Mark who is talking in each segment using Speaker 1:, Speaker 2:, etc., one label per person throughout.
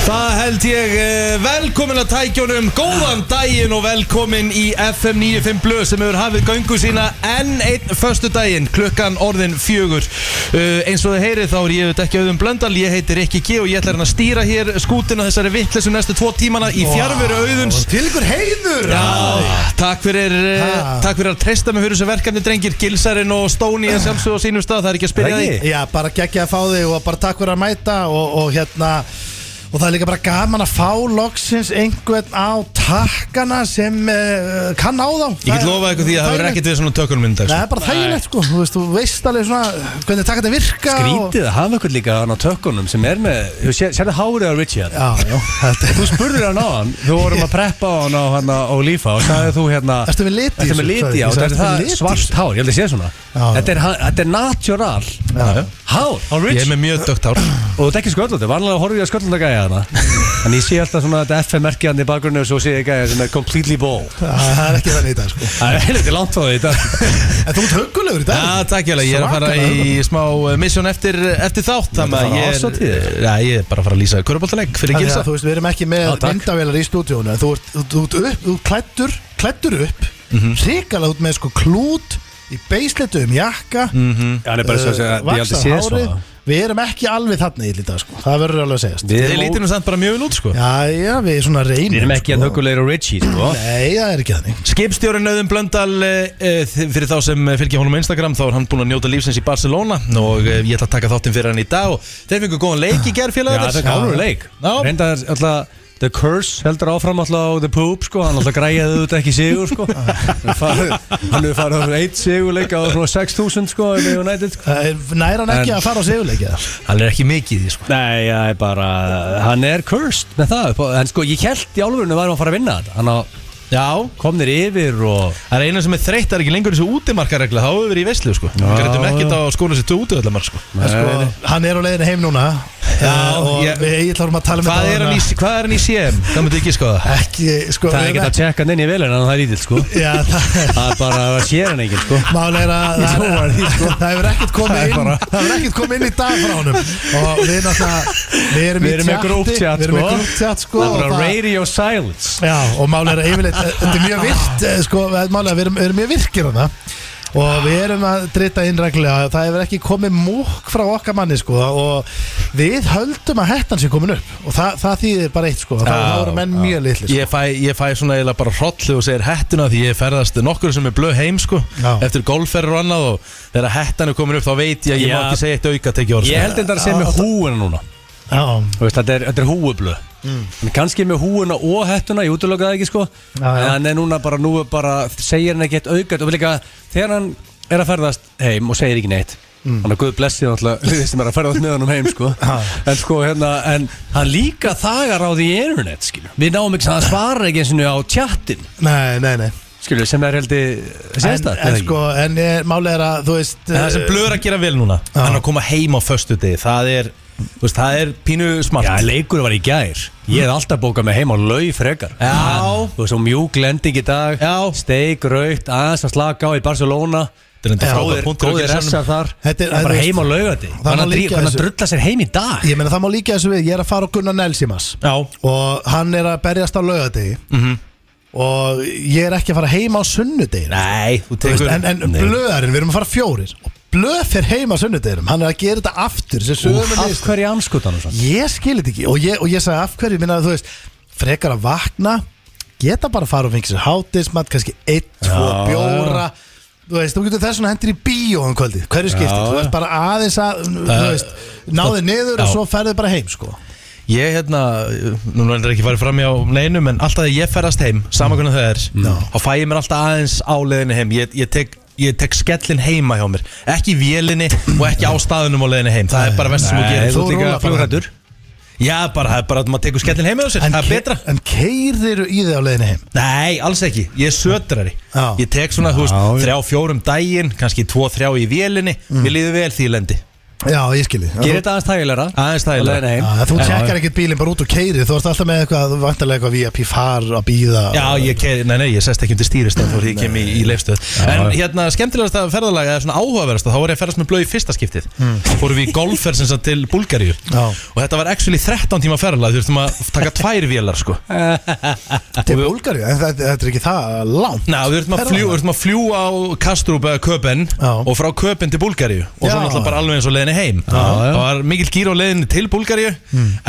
Speaker 1: held ég eh, Velkomin að tækjónum, góðan daginn og velkomin í FM 95 Blöð sem hefur hafið göngu sína enn einn föstu daginn, klukkan orðin fjögur uh, Eins og þið heyrið þá er ég auðvitað ekki auðum blöndal, ég heitir Rikki G og ég ætla hérna að stýra hér skútina þessari vittlesum næstu tvo tímana í fjárveru auðuns
Speaker 2: Til ykkur heiður
Speaker 1: Já, takk fyrir, uh,
Speaker 2: Ha.
Speaker 1: takk fyrir að treysta mig fyrir þessu verkefni drengir Gilsarinn og Stóni en sjálfsög á sínum stað, það er ekki að spyrja
Speaker 3: Það
Speaker 1: því
Speaker 3: ekki?
Speaker 2: Já, bara geggja að fá þig og bara takk fyrir að mæta og, og hérna Og það er líka bara gaman að fá loksins einhvern á takkana sem uh, kann á þá
Speaker 1: Ég get lofað ykkur því að það verður ekkert við svona tökunum minn í dag
Speaker 2: Það
Speaker 1: sko.
Speaker 2: er bara þægilegt sko, þú veist, þú veist alveg svona hvernig takkan þetta virka og...
Speaker 3: Grítið að hafa ykkur líka hann á tökkunum sem er með, þú sé- sérðu hárið á Richard
Speaker 2: Já, já, þetta
Speaker 3: Þú spurðir hann á hann, þú vorum að preppa á hann á hann á lífa og sagði þú hérna
Speaker 2: Ertu með lit í
Speaker 3: Ertu
Speaker 2: þessu?
Speaker 3: með liti, já,
Speaker 2: Ég sagði, ertu
Speaker 3: þetta er
Speaker 2: með
Speaker 3: það
Speaker 2: lit í
Speaker 3: svart hár, ég held að sé svona
Speaker 2: Já.
Speaker 3: Þetta er, hann- þetta er natural
Speaker 2: Já, já.
Speaker 3: hár á
Speaker 1: Ég er
Speaker 3: Richard
Speaker 1: með mjög dögt hár
Speaker 3: og þú dekkir sköllandi, vanlega horfum ég að sköllanda gæja hana En ég sé alltaf svona þetta FM-merki hann í bakgrunni og svo sé ég gæja sem er completely bald
Speaker 2: það er ekki þannig í dag sko
Speaker 3: Það er helviti langt á því þetta
Speaker 2: En þú ert huggulegur í dag
Speaker 1: Já, takk ég alveg, ég er að fara
Speaker 2: Svakalega.
Speaker 1: í smá eh, mission eftir, eftir þátt Þannig að
Speaker 3: fara á
Speaker 1: ég
Speaker 3: árshátíðir?
Speaker 1: er, ja, ég er bara að fara að lýsa körubóltaleg fyrir
Speaker 2: Þannig
Speaker 1: gilsa
Speaker 2: að þú veist, við erum ekki með
Speaker 3: Já, takk.
Speaker 2: myndavélar í stúdíónu en þú ert, þú, þú ert upp, þú klættur, klættur upp
Speaker 3: Mhm.
Speaker 2: mm -hmm. hrikalega út með sko klút í beisleitu um jakka mm -hmm.
Speaker 3: Já, hann er bara svo að segja, ég held að sé svona
Speaker 2: Við erum ekki alveg þarna í lítið sko. það verður alveg að segjast
Speaker 3: Við
Speaker 1: Þið
Speaker 3: erum
Speaker 1: lítir nú samt bara mjög vel út sko
Speaker 2: Já, já, við svona reynum
Speaker 3: Við erum ekki að
Speaker 2: sko.
Speaker 3: högulegur og Richie, sko
Speaker 2: Nei, það er ekki þannig
Speaker 1: Skipstjórin Auðun Blöndal eh, eh, fyrir þá sem eh, fylgja honum á Instagram þá er hann búinn að njóta lífsins í Barcelona og eh, ég ætla að taka þáttinn fyrir hann í dag og þeir fengur góðan leik í gerð
Speaker 3: Já,
Speaker 1: félagar
Speaker 3: það er gálur leik
Speaker 1: Já.
Speaker 3: Reyndar alltaf The Curse heldur áfram alltaf á The Poop, sko Hann alltaf græjaði auðvitað ekki sigur, sko Hann farið- hann hefur farið á svona eitt sigurleik á svona 6000, sko, með United, sko
Speaker 2: Það er- Nær hann ekki
Speaker 3: En-
Speaker 2: að fara á seguleiki eða?
Speaker 1: Hann er ekki mikið í því sko
Speaker 3: Nei, það er bara, hann er cursed með það upp á- En sko, ég held í álfurinu varum að fara að vinna þetta Hann á,
Speaker 1: Já,
Speaker 3: kom þér yfir og
Speaker 1: það er eina sem er þreytt, það er ekki lengur þessu útimarkaregla, þá hefur við verið í veslu sko Við greitum ekkert á skóla sér til útivallamar sko
Speaker 2: En Sko, hann er á leiðinu heim núna
Speaker 1: Já,
Speaker 2: eh, og
Speaker 1: ég-
Speaker 2: við ætlum að tala um
Speaker 1: Hvað er
Speaker 2: áðan
Speaker 1: hann í- hvað er hann í CM? Það myndi ekki skoða
Speaker 2: að- ekki, sko,
Speaker 3: Það er
Speaker 2: við
Speaker 3: ekkert
Speaker 2: erum
Speaker 3: að tjekka hann inn í velina, hann það er lítill, sko
Speaker 2: ekki- Já, það er
Speaker 3: Það er bara, það sér hann ekkert, sko
Speaker 2: Málega er að það,
Speaker 3: trúi sko.
Speaker 2: er, það hefur ekkert
Speaker 3: Það
Speaker 2: komið
Speaker 3: er
Speaker 2: inn
Speaker 3: bara-
Speaker 2: Það hefur ekkert komið inn í dag frá honum Og við náttúrulega Við erum,
Speaker 3: Við erum með group chat,
Speaker 2: Við erum með
Speaker 3: sko.
Speaker 2: group chat sko
Speaker 3: Það er
Speaker 2: og
Speaker 3: bara radio silence
Speaker 2: Já, og málega er að yfirleitt Þetta er mjög virt eh, sko, Málega, við erum, við erum mjög virkir hana Og við erum að drita inn reglulega Það hefur ekki komið múk frá okkar manni sko Og við höldum að hettan sé komin upp Og það, það þýðir bara eitt sko Það,
Speaker 1: Já,
Speaker 2: það voru menn mjög litli sko.
Speaker 1: Ég fæ, ég fæ svona eiginlega bara hrollu og segir hettuna því ég ferðast nokkur sem er blöð heim sko
Speaker 2: Já.
Speaker 1: eftir golfferður og annað og þegar hettan er komin upp þá veit ég að ég má
Speaker 3: Já.
Speaker 1: ekki segja eitt auka tekið orð sko.
Speaker 3: Ég held þetta að segja með húuna núna
Speaker 2: Já,
Speaker 3: Þú veist, þetta er, þetta er húublu
Speaker 2: Mm.
Speaker 3: En kannski með húuna og hettuna, ég útlöka það ekki sko
Speaker 2: Já, já.
Speaker 3: En hann er núna bara, nú er bara segir hann ekki eitt aukat og líka þegar hann er að ferðast heim og segir ekki neitt mm. Hann er guð blessið alltaf liðið sem er að ferðast með hann um heim sko En sko hérna, en hann líka þagar á því í internet skilur Við náum ekki, hann svarar ekki eins og á tjattin
Speaker 2: nei, nei, nei
Speaker 3: skilur sem er heldig,
Speaker 2: En,
Speaker 3: sést það?
Speaker 2: en sko, en eh, málega er að Þú veist eh,
Speaker 1: En það sem blöð er að gera vel núna
Speaker 2: Já.
Speaker 1: hann er að koma heim á föstu það er, þú veist, það er pínu smart
Speaker 3: Já, leikur var í gær Ég hef alltaf bókað mig heim á lauf frekar
Speaker 1: Já.
Speaker 3: Þú veist, og mjúk lending í dag
Speaker 1: Já.
Speaker 3: Steik, raukt, aðeins að slaka á í Barcelona
Speaker 1: Þetta er enda
Speaker 2: Já.
Speaker 1: frábær
Speaker 3: Góðir,
Speaker 1: punktur að
Speaker 3: góðir
Speaker 1: gera
Speaker 3: ressar
Speaker 1: samnum.
Speaker 3: þar
Speaker 2: Þetta er-
Speaker 3: Það er bara
Speaker 2: þú veist,
Speaker 3: heim á laugati
Speaker 2: það má
Speaker 3: Þannig að drí-
Speaker 2: líka
Speaker 3: hvernig hann
Speaker 2: þessu.
Speaker 3: drulla sér heim í dag
Speaker 2: Ég meina það má líka þessu við, ég er að fara á Gunnar Nelsimas
Speaker 1: Já,
Speaker 2: og hann er að berjast á laugadegi
Speaker 3: Mhm.
Speaker 2: -hmm. og ég er ekki að fara heima á sunnudegi
Speaker 1: nei, þú
Speaker 2: veist,
Speaker 1: tekur
Speaker 2: en, en
Speaker 3: Nei.
Speaker 2: blöðarinn, við erum að fara fjórir og blöð fyrir heima á sunnudeginum hann er að gera þetta aftur sem sögum við
Speaker 3: Af
Speaker 2: list.
Speaker 3: hverju anskutan og svona
Speaker 2: ég skil þetta ekki og ég, og ég sagði af hverju, minna þú veist frekar að vakna, geta bara að fara og fengi sér hátismat, kannski einn, tvo bjóra Þú veist, þú getur þess vegna hendur í bíó um kvöldið, hverju skiptir, þú
Speaker 3: já.
Speaker 2: veist bara aðeins að, þú veist, náðið niður og
Speaker 1: Já.
Speaker 2: svo ferðið bara heim, sko.
Speaker 1: Ég hérna, núna er ekki farið fram hjá neinum en alltaf þegar ég ferðast heim, saman hvernig það er no. þá fæ ég mér alltaf aðeins á leiðinni heim ég, ég, tek, ég tek skellin heima hjá mér ekki í vélinni og ekki á staðunum á leiðinni heim, það er bara vest sem þú
Speaker 3: Nei,
Speaker 1: gerir
Speaker 3: þú
Speaker 2: þú
Speaker 3: ert líka
Speaker 2: rúllar bara.
Speaker 3: flugrættur
Speaker 1: Já, bara, það er bara að maður tekur skellin heima hjá sér, það er
Speaker 2: ke-
Speaker 1: betra
Speaker 2: En keirðir í þig á leiðinu heim
Speaker 1: Nei, alls ekki, ég er södrari
Speaker 2: Já.
Speaker 1: Ég tek svona, þú veist,
Speaker 3: Já, Mm. já.
Speaker 1: þrjá, fjórum daginn kannski tvo, þrjá í vélinni, mér líður vel því ég lendi
Speaker 2: Já, ég skilji
Speaker 3: Gerir þetta aðeins tægilegra
Speaker 1: Aðeins
Speaker 3: Á
Speaker 1: þægilega
Speaker 3: leiðinni heim.
Speaker 2: Já, þú
Speaker 3: Já,
Speaker 2: tjekkar ekkert bílinn bara út og keiri Þú ert alltaf með eitthvað, vantarlega eitthvað VIP far að býða
Speaker 1: Já, ég, ke- nei, nei, ég sest ekki undir stýrist þá er ég kem í, í leifstöð En hérna, skemmtilegasta ferðalega eða svona áhugaverðasta þá var ég að ferðast með blöð í fyrsta skiptið fórum við í golfferð sem sagt til Búlgaríu
Speaker 2: Já.
Speaker 1: og þetta var actually 13 tíma ferðalega þurftum að taka tvær vélar sko
Speaker 2: Til Búlgari, en þetta, þetta er ekki það langt
Speaker 1: Ná, við þurftum að, fljú, við þurftum að fljúa á Kastrup eða Köpen
Speaker 2: Já.
Speaker 1: og frá Köpen til Búlgaríu og
Speaker 2: Já.
Speaker 1: svo náttúrulega bara alveg eins og leiðinni heim Það var mikill gýr á leiðinni til Búlgaríu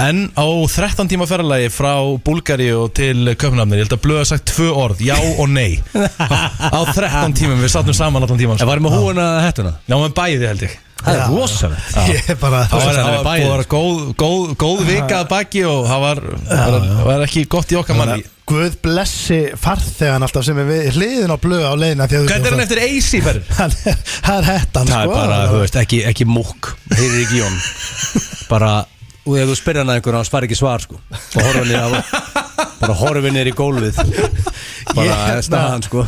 Speaker 1: en á 13 tíma ferðalagi frá Búlgaríu og til Köpenhamnir ég held að blöða sagt tvö orð, já og nei á 13 tímum, við sattum saman allan tíman
Speaker 3: En varum við húin að
Speaker 2: Sko.
Speaker 3: hettuna
Speaker 1: Já, með bæði held ég
Speaker 3: Það
Speaker 2: Já.
Speaker 3: er rosalegt
Speaker 2: Ég er bara
Speaker 1: Það var,
Speaker 3: Þú
Speaker 1: það
Speaker 3: sagðir
Speaker 1: var,
Speaker 3: bæði.
Speaker 1: búið að vera góð, góð, góð vika að baki og það var, var, var ekki gott í okkar manni
Speaker 2: Guð blessi farþegan alltaf sem er við hliðin á blöð á leiðina því að þú-
Speaker 1: Hvernig er hann eftir AC ferð?
Speaker 2: Hann er- Það er hettan
Speaker 3: Það er
Speaker 2: sko
Speaker 3: bara, þú veist, ekki, ekki múk Heyrir ekki í honum Bara, og ef þú spyrir hann að einhverjum hann svarar ekki svar, sko Bara horfum við niður á- Bara horfum við niður í gólfið Bara
Speaker 2: Ég- hérna-
Speaker 3: staðan, sko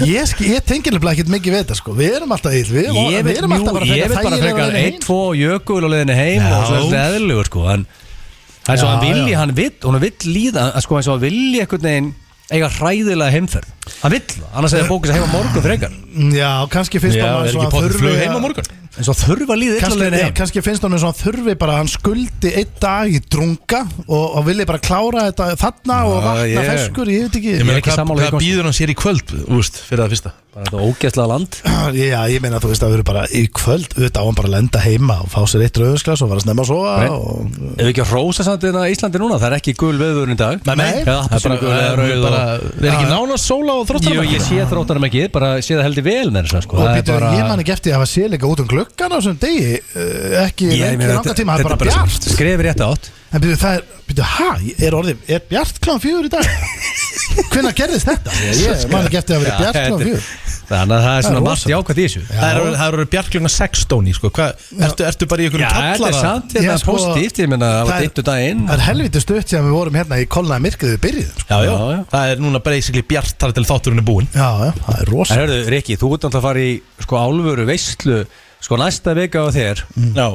Speaker 2: Ég, sk- ég tengi nefnilega ekkert mikið við þetta sko Við erum alltaf ill Við, erum-
Speaker 3: Ég
Speaker 2: við
Speaker 3: veit
Speaker 2: erum alltaf
Speaker 3: mjú-
Speaker 2: bara
Speaker 3: ég veit bara
Speaker 2: þægilega á
Speaker 3: frekar
Speaker 2: leiðinni heim.
Speaker 3: 1, 2 jökul á leiðinni heim
Speaker 2: Já.
Speaker 3: og svo er þetta eðlilegur sko en það er svo
Speaker 2: Já,
Speaker 3: hann vilji,
Speaker 2: já.
Speaker 3: hann vill, hún vill líða að sko eins og hann vilji einhvern veginn eiga hræðilega heimferð hann vill það, annars er það bókis að heima morgun frekar
Speaker 2: Já, kannski finnst
Speaker 1: Já,
Speaker 2: honum
Speaker 1: er
Speaker 2: eins og
Speaker 1: ekki
Speaker 2: hann
Speaker 1: potið
Speaker 2: þurfi
Speaker 1: flug
Speaker 2: að-
Speaker 1: heim á morgun?
Speaker 3: en svo þurfa að líða illa á
Speaker 2: kannski,
Speaker 3: leiðinni
Speaker 2: já,
Speaker 3: heim
Speaker 2: kannski finnst honum eins og hann þurfi bara hann skuldi einn dag í drunga og, og vilji bara klára þetta þarna og vatna
Speaker 3: ég-
Speaker 2: feskur, ég veit ekki
Speaker 1: Ég
Speaker 3: er
Speaker 1: meina,
Speaker 3: ekki
Speaker 1: hvað,
Speaker 3: sammála því
Speaker 1: hvað
Speaker 3: kosti.
Speaker 1: býður hann sér í kvöld, úst, fyrir það fyrsta?
Speaker 3: bara þetta ógeðslega land
Speaker 2: Já, ég meina þú veist að við erum bara í kvöld auðvitað á hann bara að lenda heima og fá sér eitt rauðsglas og fara að snemma að sofa
Speaker 3: Nei.
Speaker 2: og,
Speaker 3: ef við ekki að rósa samt þetta Íslandi núna, það er ekki gul veður í dag
Speaker 1: Nei, nei.
Speaker 3: Eða
Speaker 1: Það er bara,
Speaker 3: appelsínugul eða
Speaker 1: það er
Speaker 3: rauð
Speaker 1: bara,
Speaker 3: og-
Speaker 1: það er ekki nánast sóla og
Speaker 3: Jú,
Speaker 1: þróttarum
Speaker 3: ég sé þróttarum ekki, bara sé það heldur vel með þess sko.
Speaker 2: og
Speaker 3: Það er
Speaker 2: býtu,
Speaker 3: bara-
Speaker 2: ég man ekki eftir að hafa sér líka út um gluggan á þessum degi uh, ekki
Speaker 3: Ég
Speaker 2: lengi
Speaker 3: meina,
Speaker 2: langa
Speaker 3: þetta-
Speaker 2: tíma, það er
Speaker 3: þetta
Speaker 2: bara bjart
Speaker 3: skref í rétt átt
Speaker 2: en býtu, það er, býtu, hæ, er orðið, er bjart kláðan fjögur í dag? hvenær gerðist þetta? Ég man ekki eftir að hafa verið
Speaker 3: Já,
Speaker 2: bjart
Speaker 3: þetta-
Speaker 2: kláðan fjögur
Speaker 3: Þannig að það er svona
Speaker 2: er
Speaker 3: margt jákvæð í þessu
Speaker 1: Það eru- það eru bjarklunga 16 í, sko, hvað, ertu, ertu bara í
Speaker 3: Já,
Speaker 1: einhverjum
Speaker 3: þetta er
Speaker 1: kallara?
Speaker 3: samt hérna
Speaker 2: Já, sko,
Speaker 3: positíft, ég meina það var
Speaker 2: það er-
Speaker 3: dittu um daginn
Speaker 2: það er helviti stutt sem við vorum hérna í kolnaði myrkrið við byrjuðum sko.
Speaker 1: Já, já,
Speaker 3: Já, já.
Speaker 1: það er núna basically bjart þar til þátturinn er búinn
Speaker 2: já, já, það er
Speaker 3: En
Speaker 2: rosa
Speaker 3: hörðu, Rikki, þú ert náttúrulega að fara í sko álfuru veistlu sko næsta vika á þér
Speaker 1: Já,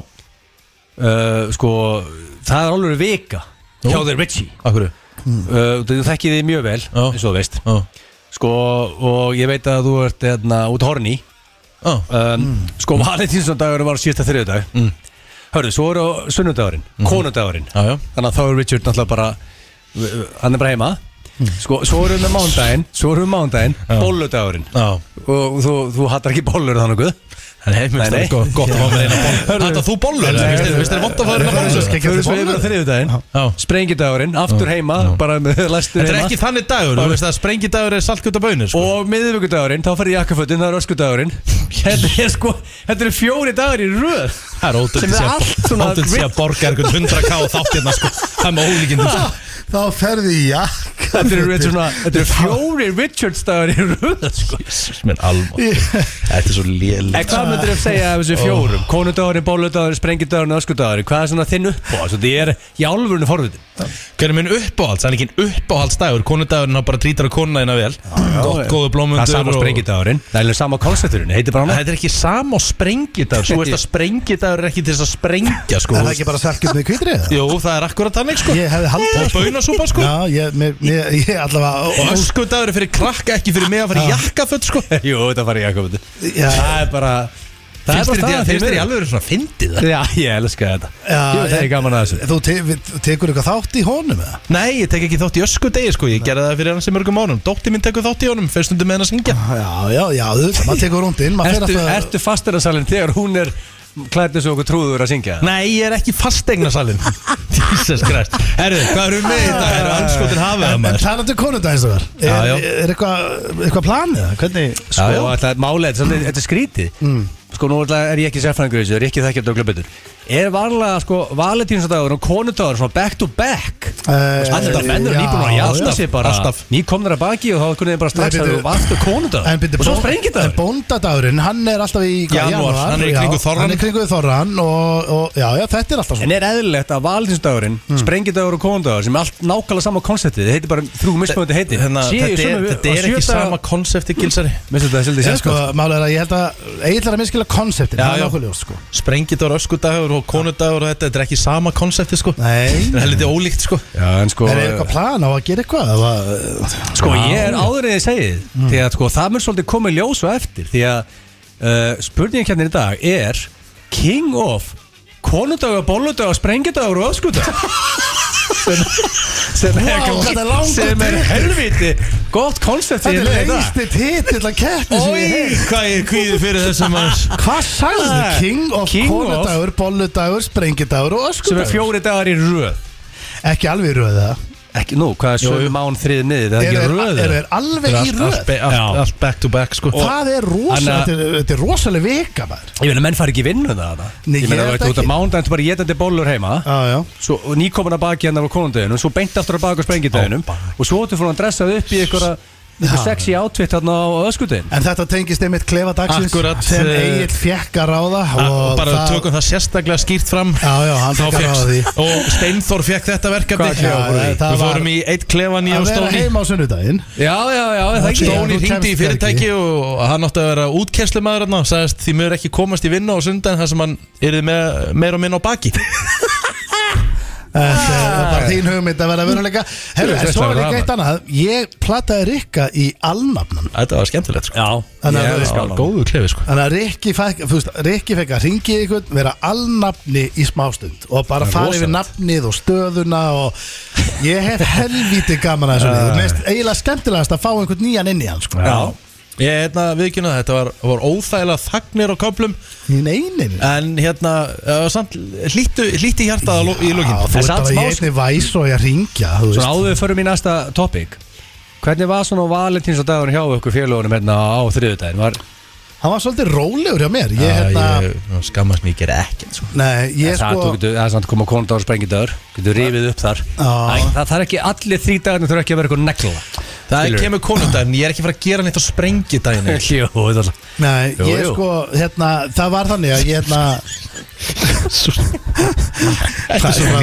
Speaker 3: uh, sko, það er álfuru vika hjá þér Richie
Speaker 1: akkur
Speaker 3: uh, þú þekkið þið mjög vel,
Speaker 1: Já.
Speaker 3: eins og þú veist
Speaker 1: Já,
Speaker 3: sko, og ég veit að þú ert hérna, út horni
Speaker 1: já,
Speaker 3: um, sko, valentínsdagurinn var síðasta þriðudag
Speaker 1: Mm. Mhm.
Speaker 3: hörðu, svo eru sunnudagurinn, konudagurinn
Speaker 1: já, já
Speaker 3: þannig að þá er Richard náttúrulega bara uh, hann er bara heima sko, svo erum við mándaginn, svo erum við mándaginn bolludagurinn
Speaker 1: Mm. Já,
Speaker 3: og þú, þú hattar ekki bollur þannig guð
Speaker 1: en hei, mér finnst
Speaker 3: Nei,
Speaker 1: það
Speaker 3: nei.
Speaker 1: gott- gott að fá með eina bollur Þetta þú bollur,
Speaker 3: Nei,
Speaker 1: finnst þér-
Speaker 3: nei.
Speaker 1: finnst þér vond að fá með eina bollur?
Speaker 2: Nei.
Speaker 3: Förum svo yfir á þriðjudaginn
Speaker 1: Já.
Speaker 3: Sprengidagurinn, aftur heima, bara með læstur
Speaker 1: Þetta er
Speaker 3: heima
Speaker 1: ekki þannig dagur, þú veist að sprengidagur er saltkjöt og bönir, sko
Speaker 3: Og miðvíkudagurinn, þá færði jakkafötin, það er öskudagurinn Þetta er sko, þetta eru fjóri dagur í röð
Speaker 1: Það er
Speaker 3: Sem
Speaker 1: ótrúlega
Speaker 3: er
Speaker 1: sé að-
Speaker 3: allt svona-
Speaker 1: ótrúlegt sé að borga einhvern 100k og þáttirna, sko Það er með ólíkindum, sko
Speaker 2: þá ferði í jakk
Speaker 3: Þetta eru þetta er svona, þetta eru fjóri Richards dagur í röð sko.
Speaker 1: Minn alma Þetta er svo lél
Speaker 3: En hvað myndir þau segja af þessu fjórum? Konudagurinn, bóludagurinn, sprengidagurinn, öskudagurinn Hvað er svona þinn upp á? Þetta er í álfurinu forvitin
Speaker 1: Hver er minn uppáhalds? Það er ekki uppáhaldsdagur Konudagurinn hann bara drítar á konuna þína vel Gott góðu blómundur
Speaker 3: Það er sama
Speaker 1: og-
Speaker 3: sprengidagurinn, það er alveg sama koncepturinn, heitir bara hann
Speaker 1: Þetta er ekki sama og sprengidagur Svo veist að sprengidagur er ekki til þess að sprengja sko
Speaker 2: er það ekki bara salkjöld með kvítri eða?
Speaker 1: Jú, það er akkurat þannig sko
Speaker 2: ég hefði haldið
Speaker 1: Og baunasúpa sko
Speaker 2: Já, ég, mér, mér, ég allavega
Speaker 1: Og öskudagur er fyrir krakka ekki fyrir mig að fara í jakkaföld sko
Speaker 3: Jú, þetta farið jakkafötin
Speaker 2: Já,
Speaker 3: Það er bara Það
Speaker 1: Finnst
Speaker 3: er
Speaker 1: þér
Speaker 3: bara staðan
Speaker 1: þetta- finnst þér í
Speaker 3: fyrir mér.
Speaker 1: alveg verið svona fyndið það?
Speaker 3: Já, ég elska þetta
Speaker 2: Já,
Speaker 3: Jú, Það er gaman að þessu
Speaker 2: Þú te, við, tekur eitthvað þátt í honum eða?
Speaker 1: Nei, ég tek ekki þátt í öskudegi sko Ég gerði það fyrir hans í mörgum mánum Dótti minn tekur þátt í honum Fyrst undir með henn að syngja
Speaker 2: Já, já, já, auðvitað, maður tekur rúndinn maður fer
Speaker 3: Ertu,
Speaker 2: alltaf-
Speaker 3: ertu fastur að salin þegar hún er klætið svo okkur trúður að syngja
Speaker 1: Nei, ég er ekki fastegnasalinn Jesus Christ Herru, hvað erum við með þetta? Herru, anskotin hafið það
Speaker 2: Ah. En, en
Speaker 1: maður
Speaker 2: talandi um konundagins það var
Speaker 1: Já, já.
Speaker 2: Er, er eitthvað eitthva planið? eða? Hvernig?
Speaker 3: Sko,
Speaker 1: já.
Speaker 3: alltaf málið, þetta er svolítið- þetta er skrítið Sko, nú ætla- er ég ekki sérfræðingur í þessu, er ég ekki þekkjandi okkur betur er varlega sko valentínsdagur og konudagur svona back to back
Speaker 2: Eh,
Speaker 3: alltaf mennur
Speaker 2: já,
Speaker 3: nýbúin að jafna sig bara
Speaker 1: alltaf.
Speaker 3: nýkomnir að baki og þá kunni þeim bara strax
Speaker 2: Nei,
Speaker 3: að
Speaker 2: bíddu.
Speaker 3: þú varstu
Speaker 2: En
Speaker 3: konudagur
Speaker 2: byrju,
Speaker 3: og svo
Speaker 2: bón-
Speaker 3: sprengir
Speaker 2: en
Speaker 3: það
Speaker 2: Bóndadagurinn, hann er alltaf í hvað,
Speaker 1: Janúar, hann er í
Speaker 2: já,
Speaker 1: kringum þorrann.
Speaker 2: Hann er í kringuð þorran og, og já, já, þetta er alltaf
Speaker 3: En
Speaker 2: svona
Speaker 3: er eðlilegt að valentínsdagurinn, mm. og konudagur sem er allt nákvæmlega sama konseptið, þið heitir bara þrjú mismunandi heiti
Speaker 1: Þannig að
Speaker 3: Séu í
Speaker 1: hérna, þetta er,
Speaker 3: sömu-
Speaker 1: þetta
Speaker 3: á
Speaker 1: er
Speaker 3: sjö
Speaker 1: ekki
Speaker 3: daga-
Speaker 1: sama konsepti gilsari
Speaker 3: Mér finnst þetta svolítið
Speaker 2: Ég,
Speaker 3: sér
Speaker 2: sko,
Speaker 3: sko
Speaker 2: Málega er að ég held að Egil er að minnskila konseptin
Speaker 1: Já,
Speaker 2: Það er
Speaker 1: já.
Speaker 2: okkur ljós sko
Speaker 1: Sprengidagur, öskudagur og konudagur og þetta Þetta er ekki sama konsepti sko
Speaker 2: Nei
Speaker 1: Þetta er heldur ólíkt sko
Speaker 3: Já, en sko
Speaker 2: Er eitthvað plan á að gera eitthvað? Það,
Speaker 3: Sko ég er áður en ég segi þið Því að sko, það mér svolítið komið ljós og eftir Því að uh, spurningin hérna í dag er King of Konudagur, bolludagur, sprengidagur og öskudagur sem, sem er
Speaker 2: Vá, þetta er langur
Speaker 3: sem er
Speaker 2: titill.
Speaker 3: helviti gott koncept
Speaker 2: Þetta er
Speaker 3: með í dag.
Speaker 2: lengsti titill að keppni sem ég
Speaker 1: Ói,
Speaker 2: hef
Speaker 1: hvað ég kvíði fyrir þessum manns
Speaker 2: Hvað sagðu þið?
Speaker 3: Ah,
Speaker 2: King of
Speaker 3: King of-
Speaker 2: konudagur, bolludagur, sprengidagur og
Speaker 3: sem er
Speaker 2: öskudagur
Speaker 3: fjóri dagar í röð
Speaker 2: Ekki alveg í röða
Speaker 3: ekki nú, hvað er sögum mán þriðið niður það er ekki röð
Speaker 2: Eru
Speaker 3: eða?
Speaker 2: þeir alveg í röð?
Speaker 1: allt, allt,
Speaker 3: Já.
Speaker 1: allt back to back sko
Speaker 2: Það er rosalega,
Speaker 3: Anna-
Speaker 2: þetta er- þetta er rosalega vika maður
Speaker 3: ég meina menn fari ekki í vinnu það
Speaker 2: Nei,
Speaker 3: ég meina
Speaker 2: ég
Speaker 3: þú
Speaker 2: veit
Speaker 3: veit út af
Speaker 2: ekki.
Speaker 3: mán það er bara getandi bollur heima
Speaker 2: Já, já
Speaker 3: svo, og nýkomin að baki hennar á konundeginum svo beint aftur að baki á sprengideginum og svo ættu fór hann að dressað upp í einhverja einhver sexy outfit hérna á öskudegin
Speaker 2: En þetta tengist einmitt klefa dagsins
Speaker 1: Akkurat,
Speaker 2: sem
Speaker 1: eh,
Speaker 2: Egil fekk að ráða
Speaker 1: og, bara
Speaker 2: það-
Speaker 1: tökum það sérstaklega skýrt fram
Speaker 2: Já, já, hann
Speaker 1: Þá
Speaker 2: fekk að ráða því
Speaker 1: fékkst- og Steinþór fekk þetta verkefni
Speaker 3: Hvað klefa
Speaker 2: fóruð í?
Speaker 1: Já,
Speaker 2: Það
Speaker 1: við
Speaker 2: var-
Speaker 1: fórum í eitt klefa nýja
Speaker 2: Að
Speaker 1: og
Speaker 2: vera
Speaker 1: Stóni
Speaker 2: heima á sunnudaginn
Speaker 3: já, já, já, er það ekki
Speaker 2: Stór-
Speaker 1: Stóni
Speaker 2: þú
Speaker 1: hringdi í
Speaker 2: kemst
Speaker 1: fyrirtæki
Speaker 2: hvergi.
Speaker 1: og hann átti að vera útkesslimaður hann sagðist því mjög ekki komast í vinna á sundan þar sem hann yrði með, meir og minn á baki
Speaker 2: En það var bara þín hugmynd að vera veruleika Herru,
Speaker 3: Þú
Speaker 2: en
Speaker 3: veist
Speaker 2: svo
Speaker 3: það
Speaker 2: er
Speaker 3: var
Speaker 2: líka eitt annað Ég plataði Rikka í alnafnan
Speaker 1: Þetta var skemmtilegt sko
Speaker 3: já,
Speaker 2: Þannig að
Speaker 3: ég
Speaker 2: það
Speaker 3: elska
Speaker 1: Það
Speaker 3: hann.
Speaker 1: var góðu klefi sko
Speaker 2: Þannig að Rikki fekk, þú veist, Rikki fekk að ringi ykkur, vera alnafni í smástund og bara
Speaker 3: Það er
Speaker 2: fara
Speaker 3: rosalegt.
Speaker 2: yfir nafnið og stöðuna og ég hef helvítið gaman að þessu liðu. Mér finnst eiginlega skemmtilegast að fá einhvern nýjan inn í hann, sko.
Speaker 3: já,
Speaker 1: Ég hérna viðkynna það, þetta var, var óþægilega þagnir á köplum
Speaker 2: Í neyninni.
Speaker 1: En hérna, það var samt hlýttu, hlýtti hjartað að lo- í
Speaker 2: Já,
Speaker 1: lókin
Speaker 2: þú
Speaker 3: En
Speaker 2: ert
Speaker 3: samt
Speaker 2: bara í
Speaker 3: smá,
Speaker 2: einni væs og ég að ringja, þú
Speaker 3: svona
Speaker 2: veist.
Speaker 3: áður við förum í næsta topic hvernig var svona valentins og dagur hjá ykkur félagunum hérna á þriðudagin var,
Speaker 2: Hann var svolítið rólegur hjá mér. Ég, hérna,
Speaker 1: Já, ég skammast mér, ég ger ekkert sko
Speaker 2: nei, ég
Speaker 3: það,
Speaker 2: sko,
Speaker 3: þú getur, það er svona koma konundagur og sprengidagur getur rifið upp þar það, það þarf ekki, allir þrý dagarnir þurfa ekki að vera eitthvað negla
Speaker 1: Það
Speaker 3: Skilurðu?
Speaker 1: kemur konundaginn, ég er ekki fara að gera neitt á sprengidaginn
Speaker 3: jú, það er
Speaker 2: nei,
Speaker 3: Jú,
Speaker 2: ég
Speaker 3: jú.
Speaker 2: sko, hérna, það var þannig að ég, hérna,
Speaker 1: Þetta er svo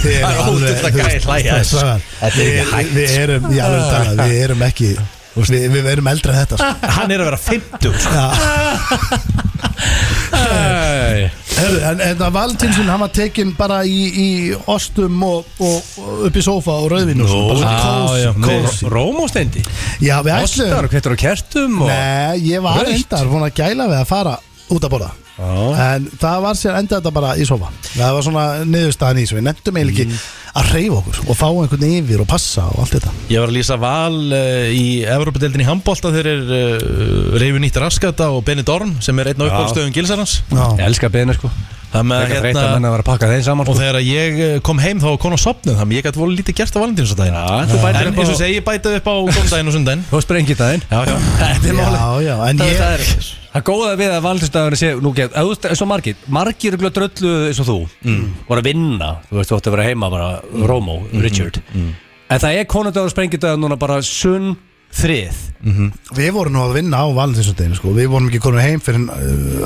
Speaker 1: rélægt Það
Speaker 2: Þið eru
Speaker 1: er
Speaker 2: alveg-
Speaker 1: ótrúlega
Speaker 2: þú
Speaker 1: gæði
Speaker 2: veist,
Speaker 1: hlæja
Speaker 2: það er
Speaker 1: þessu.
Speaker 2: Svavar,
Speaker 1: Þetta er
Speaker 2: við-
Speaker 1: ekki hægt sko.
Speaker 2: Við erum, já, við, tala, við erum ekki við, við erum eldra en þetta sko.
Speaker 1: Hann er að vera 50 sko.
Speaker 3: Æ,
Speaker 2: Herru, En, en það Valentínsson, hann var tekinn bara í, í ostum og, og, og upp í sófa og rauðvinu og svona, bara kósí, kósí.
Speaker 3: Rómóstendi
Speaker 2: Já, við
Speaker 3: Ostar,
Speaker 2: ætlum
Speaker 3: kvittur og kertum og...
Speaker 2: Nei, ég var
Speaker 3: Rautt.
Speaker 2: reyndar búin að gæla við að fara út að borða
Speaker 3: Já.
Speaker 2: En það var sér enda þetta bara í sofa Það var svona niðurstaðan í þessu Við nefndum eiginlega
Speaker 3: Mm.
Speaker 2: ekki að reyfa okkur Og fá einhvern yfir og passa og allt þetta
Speaker 1: Ég var að lýsa val uh, í Evropadeildin í handbólta þegar er uh, Reifin Ítt Raskata og Benny Dorn sem er einn á uppáhaldstöðum Gilsarans
Speaker 3: Ég elska beðinu sko
Speaker 1: Það með að
Speaker 3: Þegar
Speaker 1: hérna
Speaker 3: breyta menn að vera að pakka þeim saman
Speaker 1: Og
Speaker 3: sko.
Speaker 1: þegar ég eh, kom heim þá var konu á sopnið þannig að ég gæti voru lítið gert á valentínsdaginn
Speaker 3: Já, þú bætir
Speaker 1: En
Speaker 3: upp á-
Speaker 1: eins og segi, ég bætið upp á góndaginn og sundaginn
Speaker 3: Þú sprengir daginn
Speaker 1: Já, já
Speaker 3: Þetta er málið
Speaker 2: Já, já, en
Speaker 3: Það
Speaker 2: ég
Speaker 3: það er Það góða við að valdinsdagurinn sé Nú get, að þú veist, eins og margir Margir eru glöð dröllu eins og þú Var að vinna Þú veist, þú ætti að vera heima bara Rómó, Richard En það er konundagur og sprengidagur núna bara sunn þrið
Speaker 2: Við vorum nú að vinna á valentinsundeginu sko. Við vorum ekki komin heim fyrir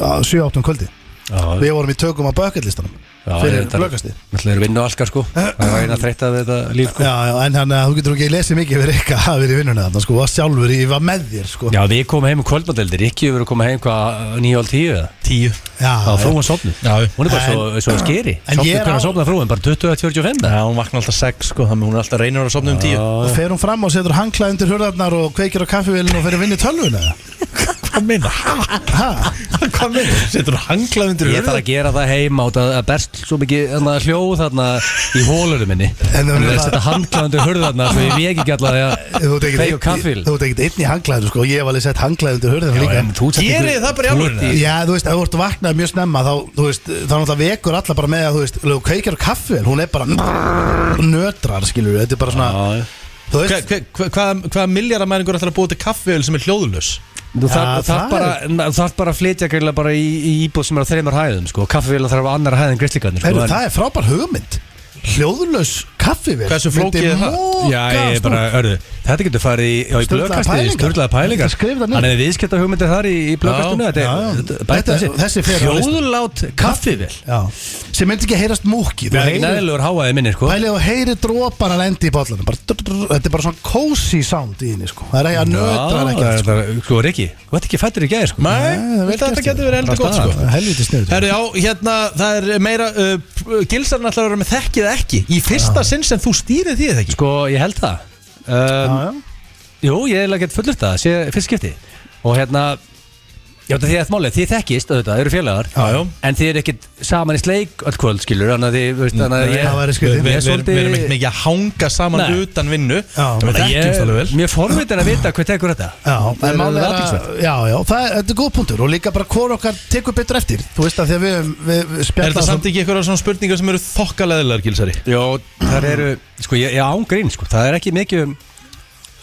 Speaker 2: uh, 7-8 kvöldi
Speaker 3: Já,
Speaker 2: Við vorum í tökum á bucketlistanum
Speaker 3: Já,
Speaker 2: Fyrir
Speaker 3: þetta-
Speaker 2: blöggastið
Speaker 3: Það er vinnu alskar sko Það er eina þreytt að þetta líf sko
Speaker 2: Já, já, en hann, þú getur ekki lesið mikið fyrir eitthvað að vera í vinnunni þarna sko, og sjálfur ég var með þér sko
Speaker 3: Já, við komum heim um í kvöldmadeldir, ekki við erum komið heim hvað nýja ál tíu eða?
Speaker 1: Tíu
Speaker 2: já,
Speaker 3: Já, frúin sopnu
Speaker 1: Já,
Speaker 3: Hún er bara svo, svo skeri
Speaker 2: En
Speaker 3: Sáttu
Speaker 2: ég er
Speaker 3: hvernig
Speaker 2: á-
Speaker 3: sopna frúin, bara 20-45
Speaker 1: Já, hún vaknar alltaf sex sko, þannig að hún er alltaf reynur að sopna um tíu
Speaker 2: Og fer hún fram og setur handklað undir hurðarnar og kveikir á kaffivélinu og fer að vinna í tölvuna
Speaker 1: Hvað meina? Hvað meina? Setur hún hanglað undir
Speaker 3: Ég þarf að gera það heima át að að berst svo mikið þarna, hljóð þarna í hólunum minni
Speaker 2: En það
Speaker 3: Þannig
Speaker 2: er
Speaker 3: að setja handklæðandi hurðarna svo ég vegi ekki allavega
Speaker 2: Þú ert
Speaker 3: að
Speaker 2: ekkert
Speaker 3: feig og kaffil
Speaker 2: einn- þú ert ekkert einn í handklaðinu sko, ég hef alveg sett handklað undir hurðarnar líka
Speaker 1: Gerið
Speaker 3: Gerið
Speaker 1: það bara í alvörunni?
Speaker 2: Já, þú veist, ef þú ert vaknað mjög snemma þá, þú veist, þá náttúrulega vekur alla bara með að, þú veist, ef þú kveikir á kaffi hún er bara nötrar, skilur þetta er bara svona,
Speaker 3: Já,
Speaker 2: þú
Speaker 1: Hva-
Speaker 2: veist
Speaker 1: hva- hva- Hvaða hva miljardamæringur ætlar að búa til kaffiöl sem er hljóðlös?
Speaker 3: Þú
Speaker 2: Já,
Speaker 3: þarf
Speaker 2: það
Speaker 3: þarf bara, na- þú þarf bara að flytja gæla bara í, í íbúð sem er á þreymar hæðum sko. og kaffevíla þarf á annar hæðin gristlíkarnir
Speaker 2: Heru,
Speaker 3: sko.
Speaker 2: það er frábær hugmynd Hljóðlaus kaffivél
Speaker 1: Hversu flókið er það?
Speaker 3: Já, ég er bara, örðu, þetta getur farið í, já, í
Speaker 2: Sturlaðar
Speaker 3: blöðkastið,
Speaker 2: pælingar.
Speaker 3: sturlaða pælingar
Speaker 2: Þetta skrifa þetta niður.
Speaker 3: Hann er viðskipta hugmyndir þar í, í blöðkastinu
Speaker 1: Já,
Speaker 3: Þetta
Speaker 2: já, já.
Speaker 3: er, þetta- bæta
Speaker 2: Þetta- þessi
Speaker 3: þessi
Speaker 2: fer á lista.
Speaker 3: Hljóðlát kaffivél
Speaker 2: Já, sem myndi ekki heyrast múki
Speaker 3: Það er ekki neðilegur háaði minni, sko
Speaker 2: Pælið og heyri drópar að lendi í bollanum bara, drr, drr, Þetta er bara svona cozy sound í henni sko. Það er ekki að nötra
Speaker 3: Já,
Speaker 2: ekki
Speaker 3: það er
Speaker 2: sko. Eh,
Speaker 3: bara- Sko, Rikki, þú ert ekki fættur í gæði, sko
Speaker 1: Nei,
Speaker 2: vel
Speaker 1: þetta
Speaker 2: gert,
Speaker 1: getur verið
Speaker 3: Bara
Speaker 1: eldur gott
Speaker 3: staðan.
Speaker 1: sko
Speaker 2: Helviti sniður
Speaker 1: Herru, já, hérna, það er meira uh, Gilsarinn ætlar að vera með þekkið ekki Í fyrsta sinn sem þú stýrið því eða ekki
Speaker 3: Sko, ég held það um, Jú, ég er ekkert fullur það, sé fyrst skipti Og hérna Já, þetta er því að málið, þið þekkist, auðvitað, þið eru félagar
Speaker 1: Já, já.
Speaker 3: En þið eru ekkert saman í sleik öll kvöld, skilur Þannig að þið,
Speaker 1: Mm.
Speaker 3: veist, þannig að
Speaker 2: Nei,
Speaker 3: ég
Speaker 2: það væri
Speaker 1: Við
Speaker 2: skrítið.
Speaker 3: ég er
Speaker 1: við- við erum
Speaker 3: svolítið-
Speaker 1: ekkert mikið að hanga saman
Speaker 3: Nei.
Speaker 1: utan vinnu
Speaker 2: Já.
Speaker 1: Við þekkjumst alveg vel
Speaker 3: Mér forvitin að vita hvað tekur þetta
Speaker 2: Já,
Speaker 3: Það
Speaker 2: en
Speaker 3: er
Speaker 2: málið er
Speaker 3: athyglisvert.
Speaker 2: að, já, já, það er, þetta er góð punktur og líka bara hvort okkar tekur betur eftir Þú veist að þegar við, við, við
Speaker 1: Er
Speaker 2: spjallum
Speaker 1: þetta samt ekki eitthvað svona spurningar sem eru þokkaleðilegar, Gilsari?
Speaker 3: Jó, það eru, sko, ég, ég ángrín, sko Það er ekki mikið um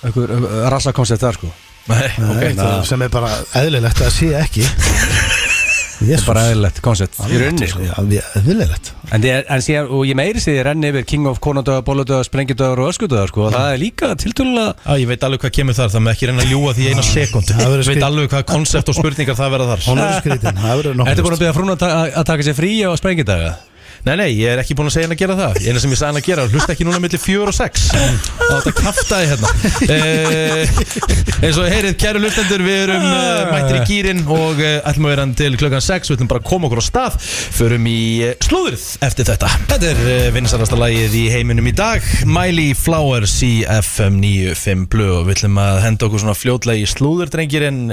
Speaker 3: einhver rassakoncept þar, sko
Speaker 1: Nei,
Speaker 2: Nei,
Speaker 1: ok
Speaker 2: það sem er bara eðlilegt að sé ekki Jésus
Speaker 3: Bara eðlilegt koncept í rauninni, sko
Speaker 2: Eðlilegt
Speaker 3: En, ég, en síðan, og ég meiri sér renni yfir King of Konadöða, Bóludöða, Sprengjudöða og Öskudöða, sko og Það er líka tiltölulega
Speaker 1: Já, ég veit alveg hvað kemur þar, það með ekki reyna að ljúa því í eina sekundu
Speaker 2: Það verður
Speaker 1: Ég veit
Speaker 2: skrít-
Speaker 1: alveg hvað konsept og spurningar það verða þar
Speaker 2: Hún er skrítin, það verður
Speaker 3: Þetta er
Speaker 2: nokkuð
Speaker 3: búin að byrja frún að, ta að taka sér frí á sprengidaga
Speaker 1: Nei, nei, ég er ekki búin að segja henni að gera það Ég sem ég sagði henni að gera, hlusta ekki núna millir fjör og sex Það átt að kafta þið hérna eh, Eins og heyrið, kæru hlustendur Við erum eh, mættir í gýrin Og eh, ætlum að vera hann til klukkan sex Við ætlum bara að koma okkur á stað Förum í eh, slúðrið eftir þetta Þetta er eh, vinsælasta lagið í heiminum í dag Miley Flowers í FM 95 Blue Og við ætlum að henda okkur svona fljótlega í slúður Drengir en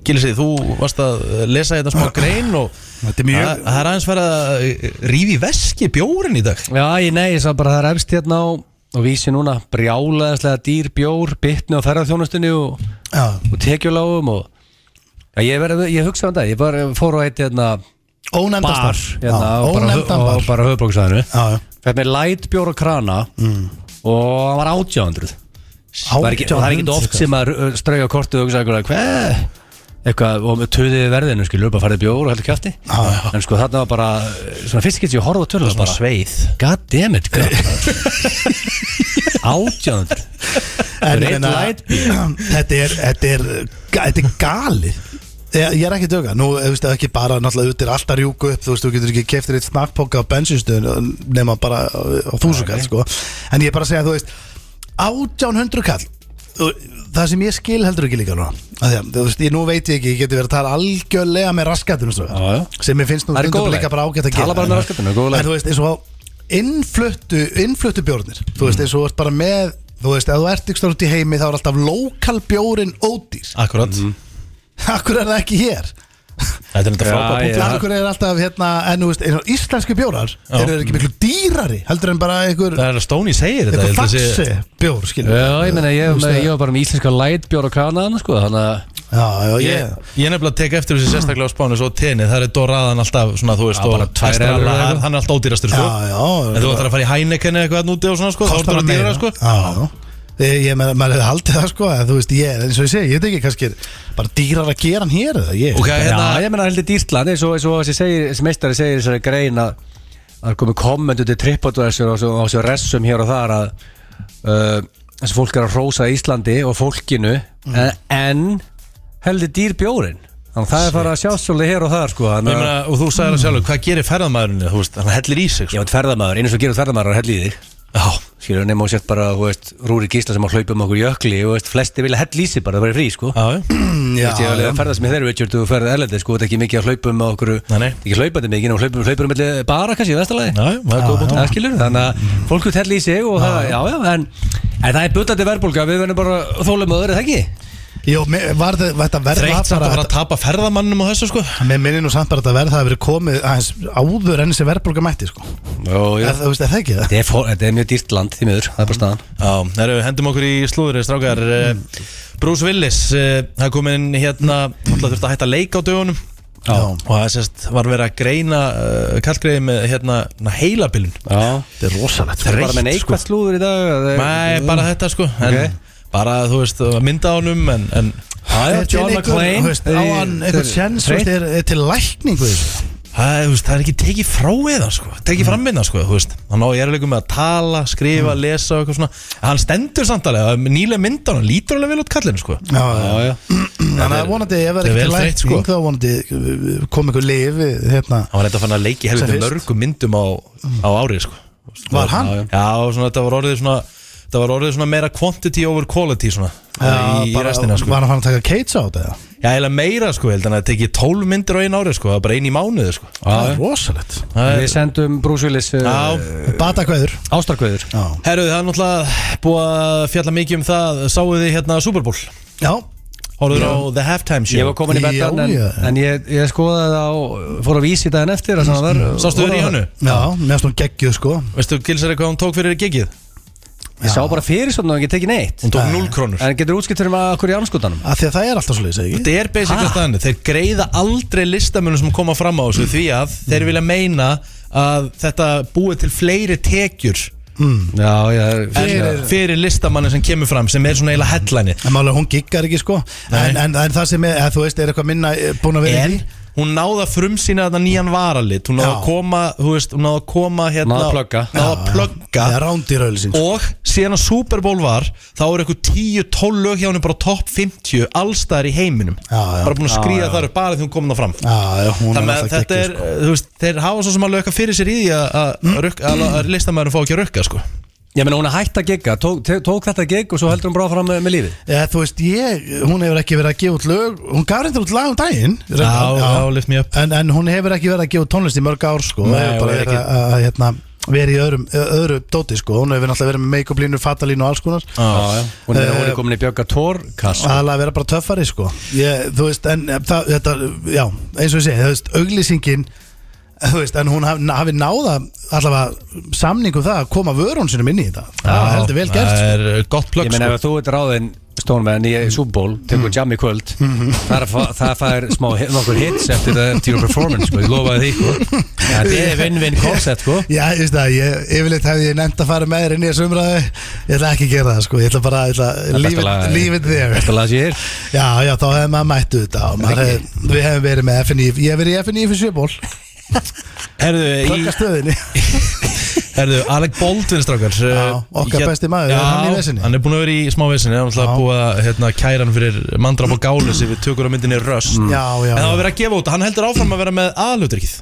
Speaker 1: Gilsið, þú varst að lesa þetta smá grein og Ah,
Speaker 2: Þetta er
Speaker 1: Það það er aðeins verið að eh, rífa í veski bjórin í dag
Speaker 3: Já, ég nei, ég sá bara það er efst hérna á og vísi núna brjálaðislega dýr bjór bytni á ferðarþjónustunni og,
Speaker 2: Já,
Speaker 3: og tekjulágum og já, ég, verið, ég hugsa um þetta, ég bara fór á eitt hérna, bar
Speaker 2: ónefndastar
Speaker 3: hérna, og, bara,
Speaker 2: Ónefndan
Speaker 3: og
Speaker 2: bar
Speaker 3: bara höfbróksæðinu
Speaker 2: Já, Mm. já
Speaker 3: fætt með light bjór og krana og hann var 800 Það er ekki, það er ekki oft sem að uh, strauja á kortið og hugsa eitthvað hvað eitthvað og með töðið í verðinu skilur bara farið í bjór og heldur kjátti
Speaker 2: já.
Speaker 3: en sko þarna var bara uh, svona fyrst getur ég horfa á tölur bara
Speaker 1: sveið
Speaker 3: god damn it átjöndur
Speaker 2: En ég
Speaker 3: Red
Speaker 2: meina,
Speaker 3: light
Speaker 2: Þetta er, þetta er, ga- þetta er galið Ég, ég er ekki döga, nú eh, þú veist ekki bara náttúrulega út er alltaf rjúku upp þú veist, þú getur ekki keftir eitt snakkpóka á bensinstöðun nema bara á þúsukall sko. en ég er bara að segja, þú veist 1800 kall Þú- það sem ég skil heldur ekki líka núna Af því að, þú veist, ég nú veit ég ekki, ég geti verið að tala algjörlega með raskatum svo,
Speaker 3: Já, já.
Speaker 2: sem ég finnst nú
Speaker 3: Það er
Speaker 2: stundum
Speaker 3: góð leið.
Speaker 2: líka bara ágætt að
Speaker 3: Tala
Speaker 2: gera
Speaker 3: bara með raskatunum, góð leið.
Speaker 2: En þú veist, eins og innfluttu, innfluttu bjórnir þú
Speaker 1: Mm.
Speaker 2: veist, eins og þú ert bara með þú veist, ef þú ert ykkur út í heimi þá er alltaf lokal bjórin ódýr
Speaker 1: Akkurat
Speaker 2: akkur er það ekki hér
Speaker 1: Þetta er þetta
Speaker 3: Já,
Speaker 1: frábæð
Speaker 3: ég-
Speaker 1: punkt
Speaker 3: Ja.
Speaker 2: akkur er alltaf hérna, en þú veist, eins og íslensku bjórar eru þeir ekki miklu dýrari heldur en bara einhver,
Speaker 1: Það er að Stóni segir þetta
Speaker 2: einhver
Speaker 1: ég held að sé-
Speaker 2: faxi bjór, skilur við.
Speaker 3: já ég meina ég,
Speaker 2: Þú veist,
Speaker 3: ég, ég var bara með íslenska light bjór og krana hann sko þannig að
Speaker 2: já, já,
Speaker 1: Ég,
Speaker 2: ég
Speaker 1: ég nefnilega tek eftir þessu sérstaklega á spánu Svo tenni, það er Doraðan alltaf svona, þú veist,
Speaker 3: Já, bara
Speaker 1: og
Speaker 3: tvær
Speaker 1: Estrella,
Speaker 3: evrur eða
Speaker 1: hann
Speaker 3: eitthvað.
Speaker 1: hann er alltaf ódýrastur sko.
Speaker 2: Já, já.
Speaker 1: En þú ætlar að fara í Heineken eða eitthvað þarna úti og svona sko, Þá
Speaker 2: kostar
Speaker 1: ertur að
Speaker 2: það
Speaker 1: dýra
Speaker 2: meira.
Speaker 1: sko
Speaker 2: já, já Ég, ég með, maður hefði haldið það sko að þú veist, ég, eins og ég segi, ég veit ekki, kannski er bara dýrar að gera hann hér eða ég
Speaker 1: Ok, hérna
Speaker 3: já ég meina heldur dýrtlan eins og eins og þessi segir- þessi meistari segir í þessari grein að það er komið kommentu til tripadvæsir og svo- og svo resum hér og þar að uh, þessi fólk er að rósa Íslandi og fólkinu
Speaker 1: Mhm.
Speaker 3: en, en heldur dýr bjórin þannig að það er bara að sjá svolítið hér og þar sko
Speaker 1: Ég
Speaker 3: þannig að
Speaker 1: meina, og þú sagði það sjálfur, hvað gerir ferðamaðurinn þú veist, hann hellir í sig
Speaker 3: ég
Speaker 1: sko.
Speaker 3: veit ferðamaður, einu sem gerir ferðamaður er heldur í þig
Speaker 1: Já,
Speaker 3: skilur nema og sért bara, þú veist, Rúri Gísla sem á hlaupum okkur jökli, þú veist, flesti vilja hell í sig bara, það var í frí, sko
Speaker 1: já, já.
Speaker 2: Mm,
Speaker 3: Þú veist, ég alveg að ferðast með þeirri veitjur, þú ferðið erlendið, sko, þetta er ekki mikið að hlaupum með okkur
Speaker 1: Nei, nei.
Speaker 3: ekki hlaupandi mikið, en hlaupum, hlaupum með um bara, kannski, í vestalagi
Speaker 1: Já, já, það er góð punktur.
Speaker 3: það skilur, þannig að fólk vil hell í sig og það, já, já, en, en það er bullandi verbulga, við verðum bara þólum öðru, er það ekki?
Speaker 2: Jó, mér- var þe- þetta verð var
Speaker 1: Þreytt samt
Speaker 2: bara-
Speaker 1: að fara að tapa ferðamannum á þessu sko
Speaker 2: Mér minnir nú samt bara að þetta verð það hefur verið komið aðeins áður enn sem verðbólga mætti sko
Speaker 3: Jó,
Speaker 2: Er það, þú veist, er það ekki það?
Speaker 3: Þetta er, fó- þetta er mjög dýrt land, því miður, það er bara staðan
Speaker 1: Já, það við hendum okkur í slúðurinn, strákar mm. Bruce Willis, eh, það er komin hérna, alltaf þurfti að hætta að leika á dögunum
Speaker 2: Já.
Speaker 1: og það sérst var verið að greina uh, kallgreiði með hérna na, heilabilun
Speaker 3: Já,
Speaker 2: Þetta er rosalegt
Speaker 3: það er bara með
Speaker 1: sko.
Speaker 3: neikvægt slúður í dag það er-
Speaker 1: Nei, bara þetta sko en
Speaker 3: Ok.
Speaker 1: bara þú veist, mynda honum en, en
Speaker 3: Já, Já, já,
Speaker 2: Er til
Speaker 3: John
Speaker 2: einhver-
Speaker 3: McClane.
Speaker 2: þú veist, Á hann
Speaker 3: Þeir-
Speaker 2: eitthvað sjens þú veist, Er er til lækning við þessu?
Speaker 1: Það, þú veist, það er ekki tekið frá við hann sko Tekið fram við hann sko, þú veist Hann á eruleikum með að tala, skrifa,
Speaker 2: Mm.
Speaker 1: lesa og eitthvað svona Hann stendur samt alveg, það er nýlega mynd á hann Lítur alveg vel út kallinu sko
Speaker 2: Já, já.
Speaker 3: Já, já
Speaker 2: Þannig að vonandi ef það
Speaker 1: þetta er
Speaker 2: er ekki til
Speaker 1: vel þreytt,
Speaker 2: lækning
Speaker 1: sko.
Speaker 2: þá vonandi eh, kom einhver lifi hérna.
Speaker 1: Hann var reynda að fann að leiki
Speaker 2: Sem
Speaker 1: helviti
Speaker 2: fyrst.
Speaker 1: mörgum myndum á, á árið sko
Speaker 2: Var hann?
Speaker 1: Já, já svona, þetta var orðið svona Það var orðið svona meira quantity over quality svona
Speaker 2: Já,
Speaker 1: Í
Speaker 2: bara,
Speaker 1: restina sko
Speaker 2: Var hann fann að taka keits á þetta?
Speaker 1: Já, eiginlega meira sko, heldur hann að tekið 12 myndir á einu árið sko Það var bara einu í mánuði sko
Speaker 2: Það er rosalegt
Speaker 1: Það
Speaker 3: Við
Speaker 1: er-
Speaker 3: sendum Bruce Willis uh,
Speaker 1: Já,
Speaker 2: Batakveður
Speaker 3: ástarkveður
Speaker 2: Já,
Speaker 1: herruðu, það er náttúrulega búið að fjalla mikið um það Sáuð þið hérna Super Bowl
Speaker 2: já.
Speaker 1: Hóruður á The Halftime Show
Speaker 3: Ég var komin í
Speaker 2: Já,
Speaker 3: betan en,
Speaker 2: já.
Speaker 3: en ég, ég skoðaði það og fór að vísi daginn eftir að sem það var
Speaker 1: Sástu verið í hannu?
Speaker 2: já mér stóðum geggjuð sko
Speaker 1: Veistu Gilsari hvað hún tók fyrir gigið?
Speaker 3: Ég sá bara fyrir svona og ekki tekið neitt
Speaker 1: Hún tók
Speaker 2: Nei.
Speaker 1: 0 krónur
Speaker 3: En getur útskipt fyrir maður hverju anskotanum
Speaker 2: að Því að það er alltaf svo leiðis, ekki?
Speaker 1: Þetta er basically
Speaker 3: Ha?
Speaker 1: staðan Þeir greiða aldrei listamönnum sem koma fram á þessu Því að þeir
Speaker 2: Mm.
Speaker 1: vilja meina að þetta búið til fleiri tekjur Mm.
Speaker 3: Já, já
Speaker 1: fyrir, fyrir listamannin sem kemur fram sem er svona eiginlega headline
Speaker 2: En málega hún giggar ekki sko en, en, en það sem er, eða, þú veist, er eitthvað minna eh, búin að vera
Speaker 1: En
Speaker 2: í því?
Speaker 1: hún náða frumsýna þetta nýjan varalit Hún náða
Speaker 2: Já.
Speaker 1: að koma, þú veist, hún náða að koma hérna
Speaker 3: Náði að plugga.
Speaker 1: Náða að plugga
Speaker 2: Það er rándýröðlisins
Speaker 1: Og síðan að Super Bowl var Þá eru eitthvað 10-12 lög hjá henni bara top 50 Allstæðar í heiminum
Speaker 2: Já, já.
Speaker 1: Bara búin að skrýða þar upp bara því hún kom það fram
Speaker 2: Já, já, hún
Speaker 1: Þannig að
Speaker 2: alltaf
Speaker 1: þetta er,
Speaker 2: geggjuð, sko. Mm.
Speaker 1: þú veist, þeir hafa svo sem alveg eitthvað fyrir sér í því að- að rukk- að að listamæðurinn fá ekki að rökka, sko
Speaker 3: Ég meina hún er hægt að gegga tók, te- tók þetta gegg og svo heldur hún bara áfram með, með lífið
Speaker 2: sko. Eða, Þú veist, ég, hún hefur ekki verið að gefa út lög Hún gaf reyndar út lag um daginn
Speaker 1: Já,
Speaker 2: reyndar,
Speaker 1: já, lift me up
Speaker 2: en, en hún hefur ekki verið að gefa út tónlist í mörg ár sko Hún
Speaker 1: Nei,
Speaker 2: hefur bara
Speaker 1: hún er
Speaker 2: verið
Speaker 1: ekki-
Speaker 2: að, að hérna, vera í öðrum, öðru dóti sko Hún hefur náttúrulega verið með make-up línu, fatalínu og alls konar
Speaker 3: já Hún er,
Speaker 2: Eh,
Speaker 3: hún er komin í bjögga tórkass
Speaker 2: aðalega að vera bara töffari sko ég, þú veist, en eh, það, þetta já, eins og ég segi, þú veist, auglýsingin eh, þú veist, en hún haf, hafi náða allavega samningu það að koma vörun sinum inn í þetta, það var heldur vel gert sko.
Speaker 1: Það er gott plögg,
Speaker 3: Ég
Speaker 1: sko
Speaker 3: meina ef þú ert ráðinn Stoneman í Super Bowl
Speaker 1: Mm.
Speaker 3: tekur jam í kvöld
Speaker 1: Mm-hmm.
Speaker 3: þar fa- það fær smá hi- nokkur hits eftir það eftir your performance sko, ég lofaði því sko. ja, þetta er win-win concept sko.
Speaker 2: Já, ég veist það, ég, yfirleitt hefði ég nefnt að fara með þér inn í þessu umræðu Ég ætla ekki að gera það, sko, ég ætla bara, ég ætla, leave it- leave it there
Speaker 3: Þetta laði sér
Speaker 2: Já, já, þá hefði maður mættu þetta og maður hef, Við hefum verið með FNÍ, ég hef verið í FNÍ fyrir sjöból
Speaker 1: Herðu, í-
Speaker 2: Plögga stöðinni
Speaker 1: herðu, Alec Baldwin, strákar eh,
Speaker 2: Já, okkar besti maður, er hann í
Speaker 1: Já,
Speaker 2: vesinni?
Speaker 1: hann er búin að vera í smá vesinni Hann er alltaf
Speaker 2: Já.
Speaker 1: búið að hérna, kæra hann fyrir mandrap og gálesi Við tökur á myndinni Röst
Speaker 2: Mm. Já, já,
Speaker 1: En það var
Speaker 2: já,
Speaker 1: verið að gefa út Hann heldur áfram að vera með aðlutrykið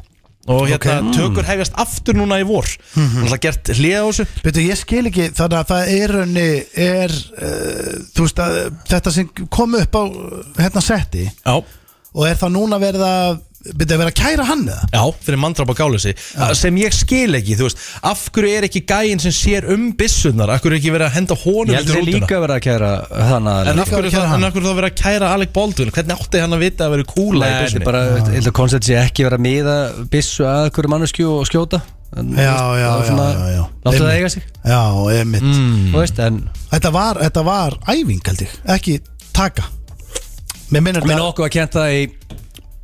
Speaker 1: Og hérna, tökur hefjast aftur núna í vor
Speaker 2: Mhm.
Speaker 1: Hann er alltaf gert hlið á þessu
Speaker 2: Veitu, ég skil ekki, þannig að það er raunni, er, uh, þú veist að þetta sem kom upp á uh, hérna setti
Speaker 1: Já,
Speaker 2: og er það núna verið að, byrja að vera að kæra hann eða?
Speaker 1: Já, fyrir mandrap og gáleysi Að- sem ég skil ekki, þú veist af hverju er ekki gæinn sem sér um byssunar af hverju er ekki verið að henda honum
Speaker 3: Ég held
Speaker 1: undir
Speaker 3: þið
Speaker 1: rútuna?
Speaker 3: líka verið að kæra þann
Speaker 1: en
Speaker 3: að
Speaker 1: af
Speaker 2: Líka verið
Speaker 1: hverju
Speaker 2: að kæra
Speaker 1: það- en
Speaker 2: hann.
Speaker 1: af hverju þá verið að kæra Alec Baldwin hvernig átti hann að vita að verið kúla í
Speaker 3: Þetta er
Speaker 1: byssunni
Speaker 3: bara, ég held að koncept sé ekki verið að miða bissu að hverju mannesku og skjóta en,
Speaker 2: Já, já,
Speaker 3: það er svona-
Speaker 2: já, já, já.
Speaker 3: Láttu það
Speaker 2: Einmitt.
Speaker 3: eiga sig
Speaker 2: Já, emitt.
Speaker 1: Mm.
Speaker 3: Þú veist, en
Speaker 2: Þetta, var, þetta var æfing, held ég, ekki taka. Mér minnir
Speaker 3: minn okkur að kenta það í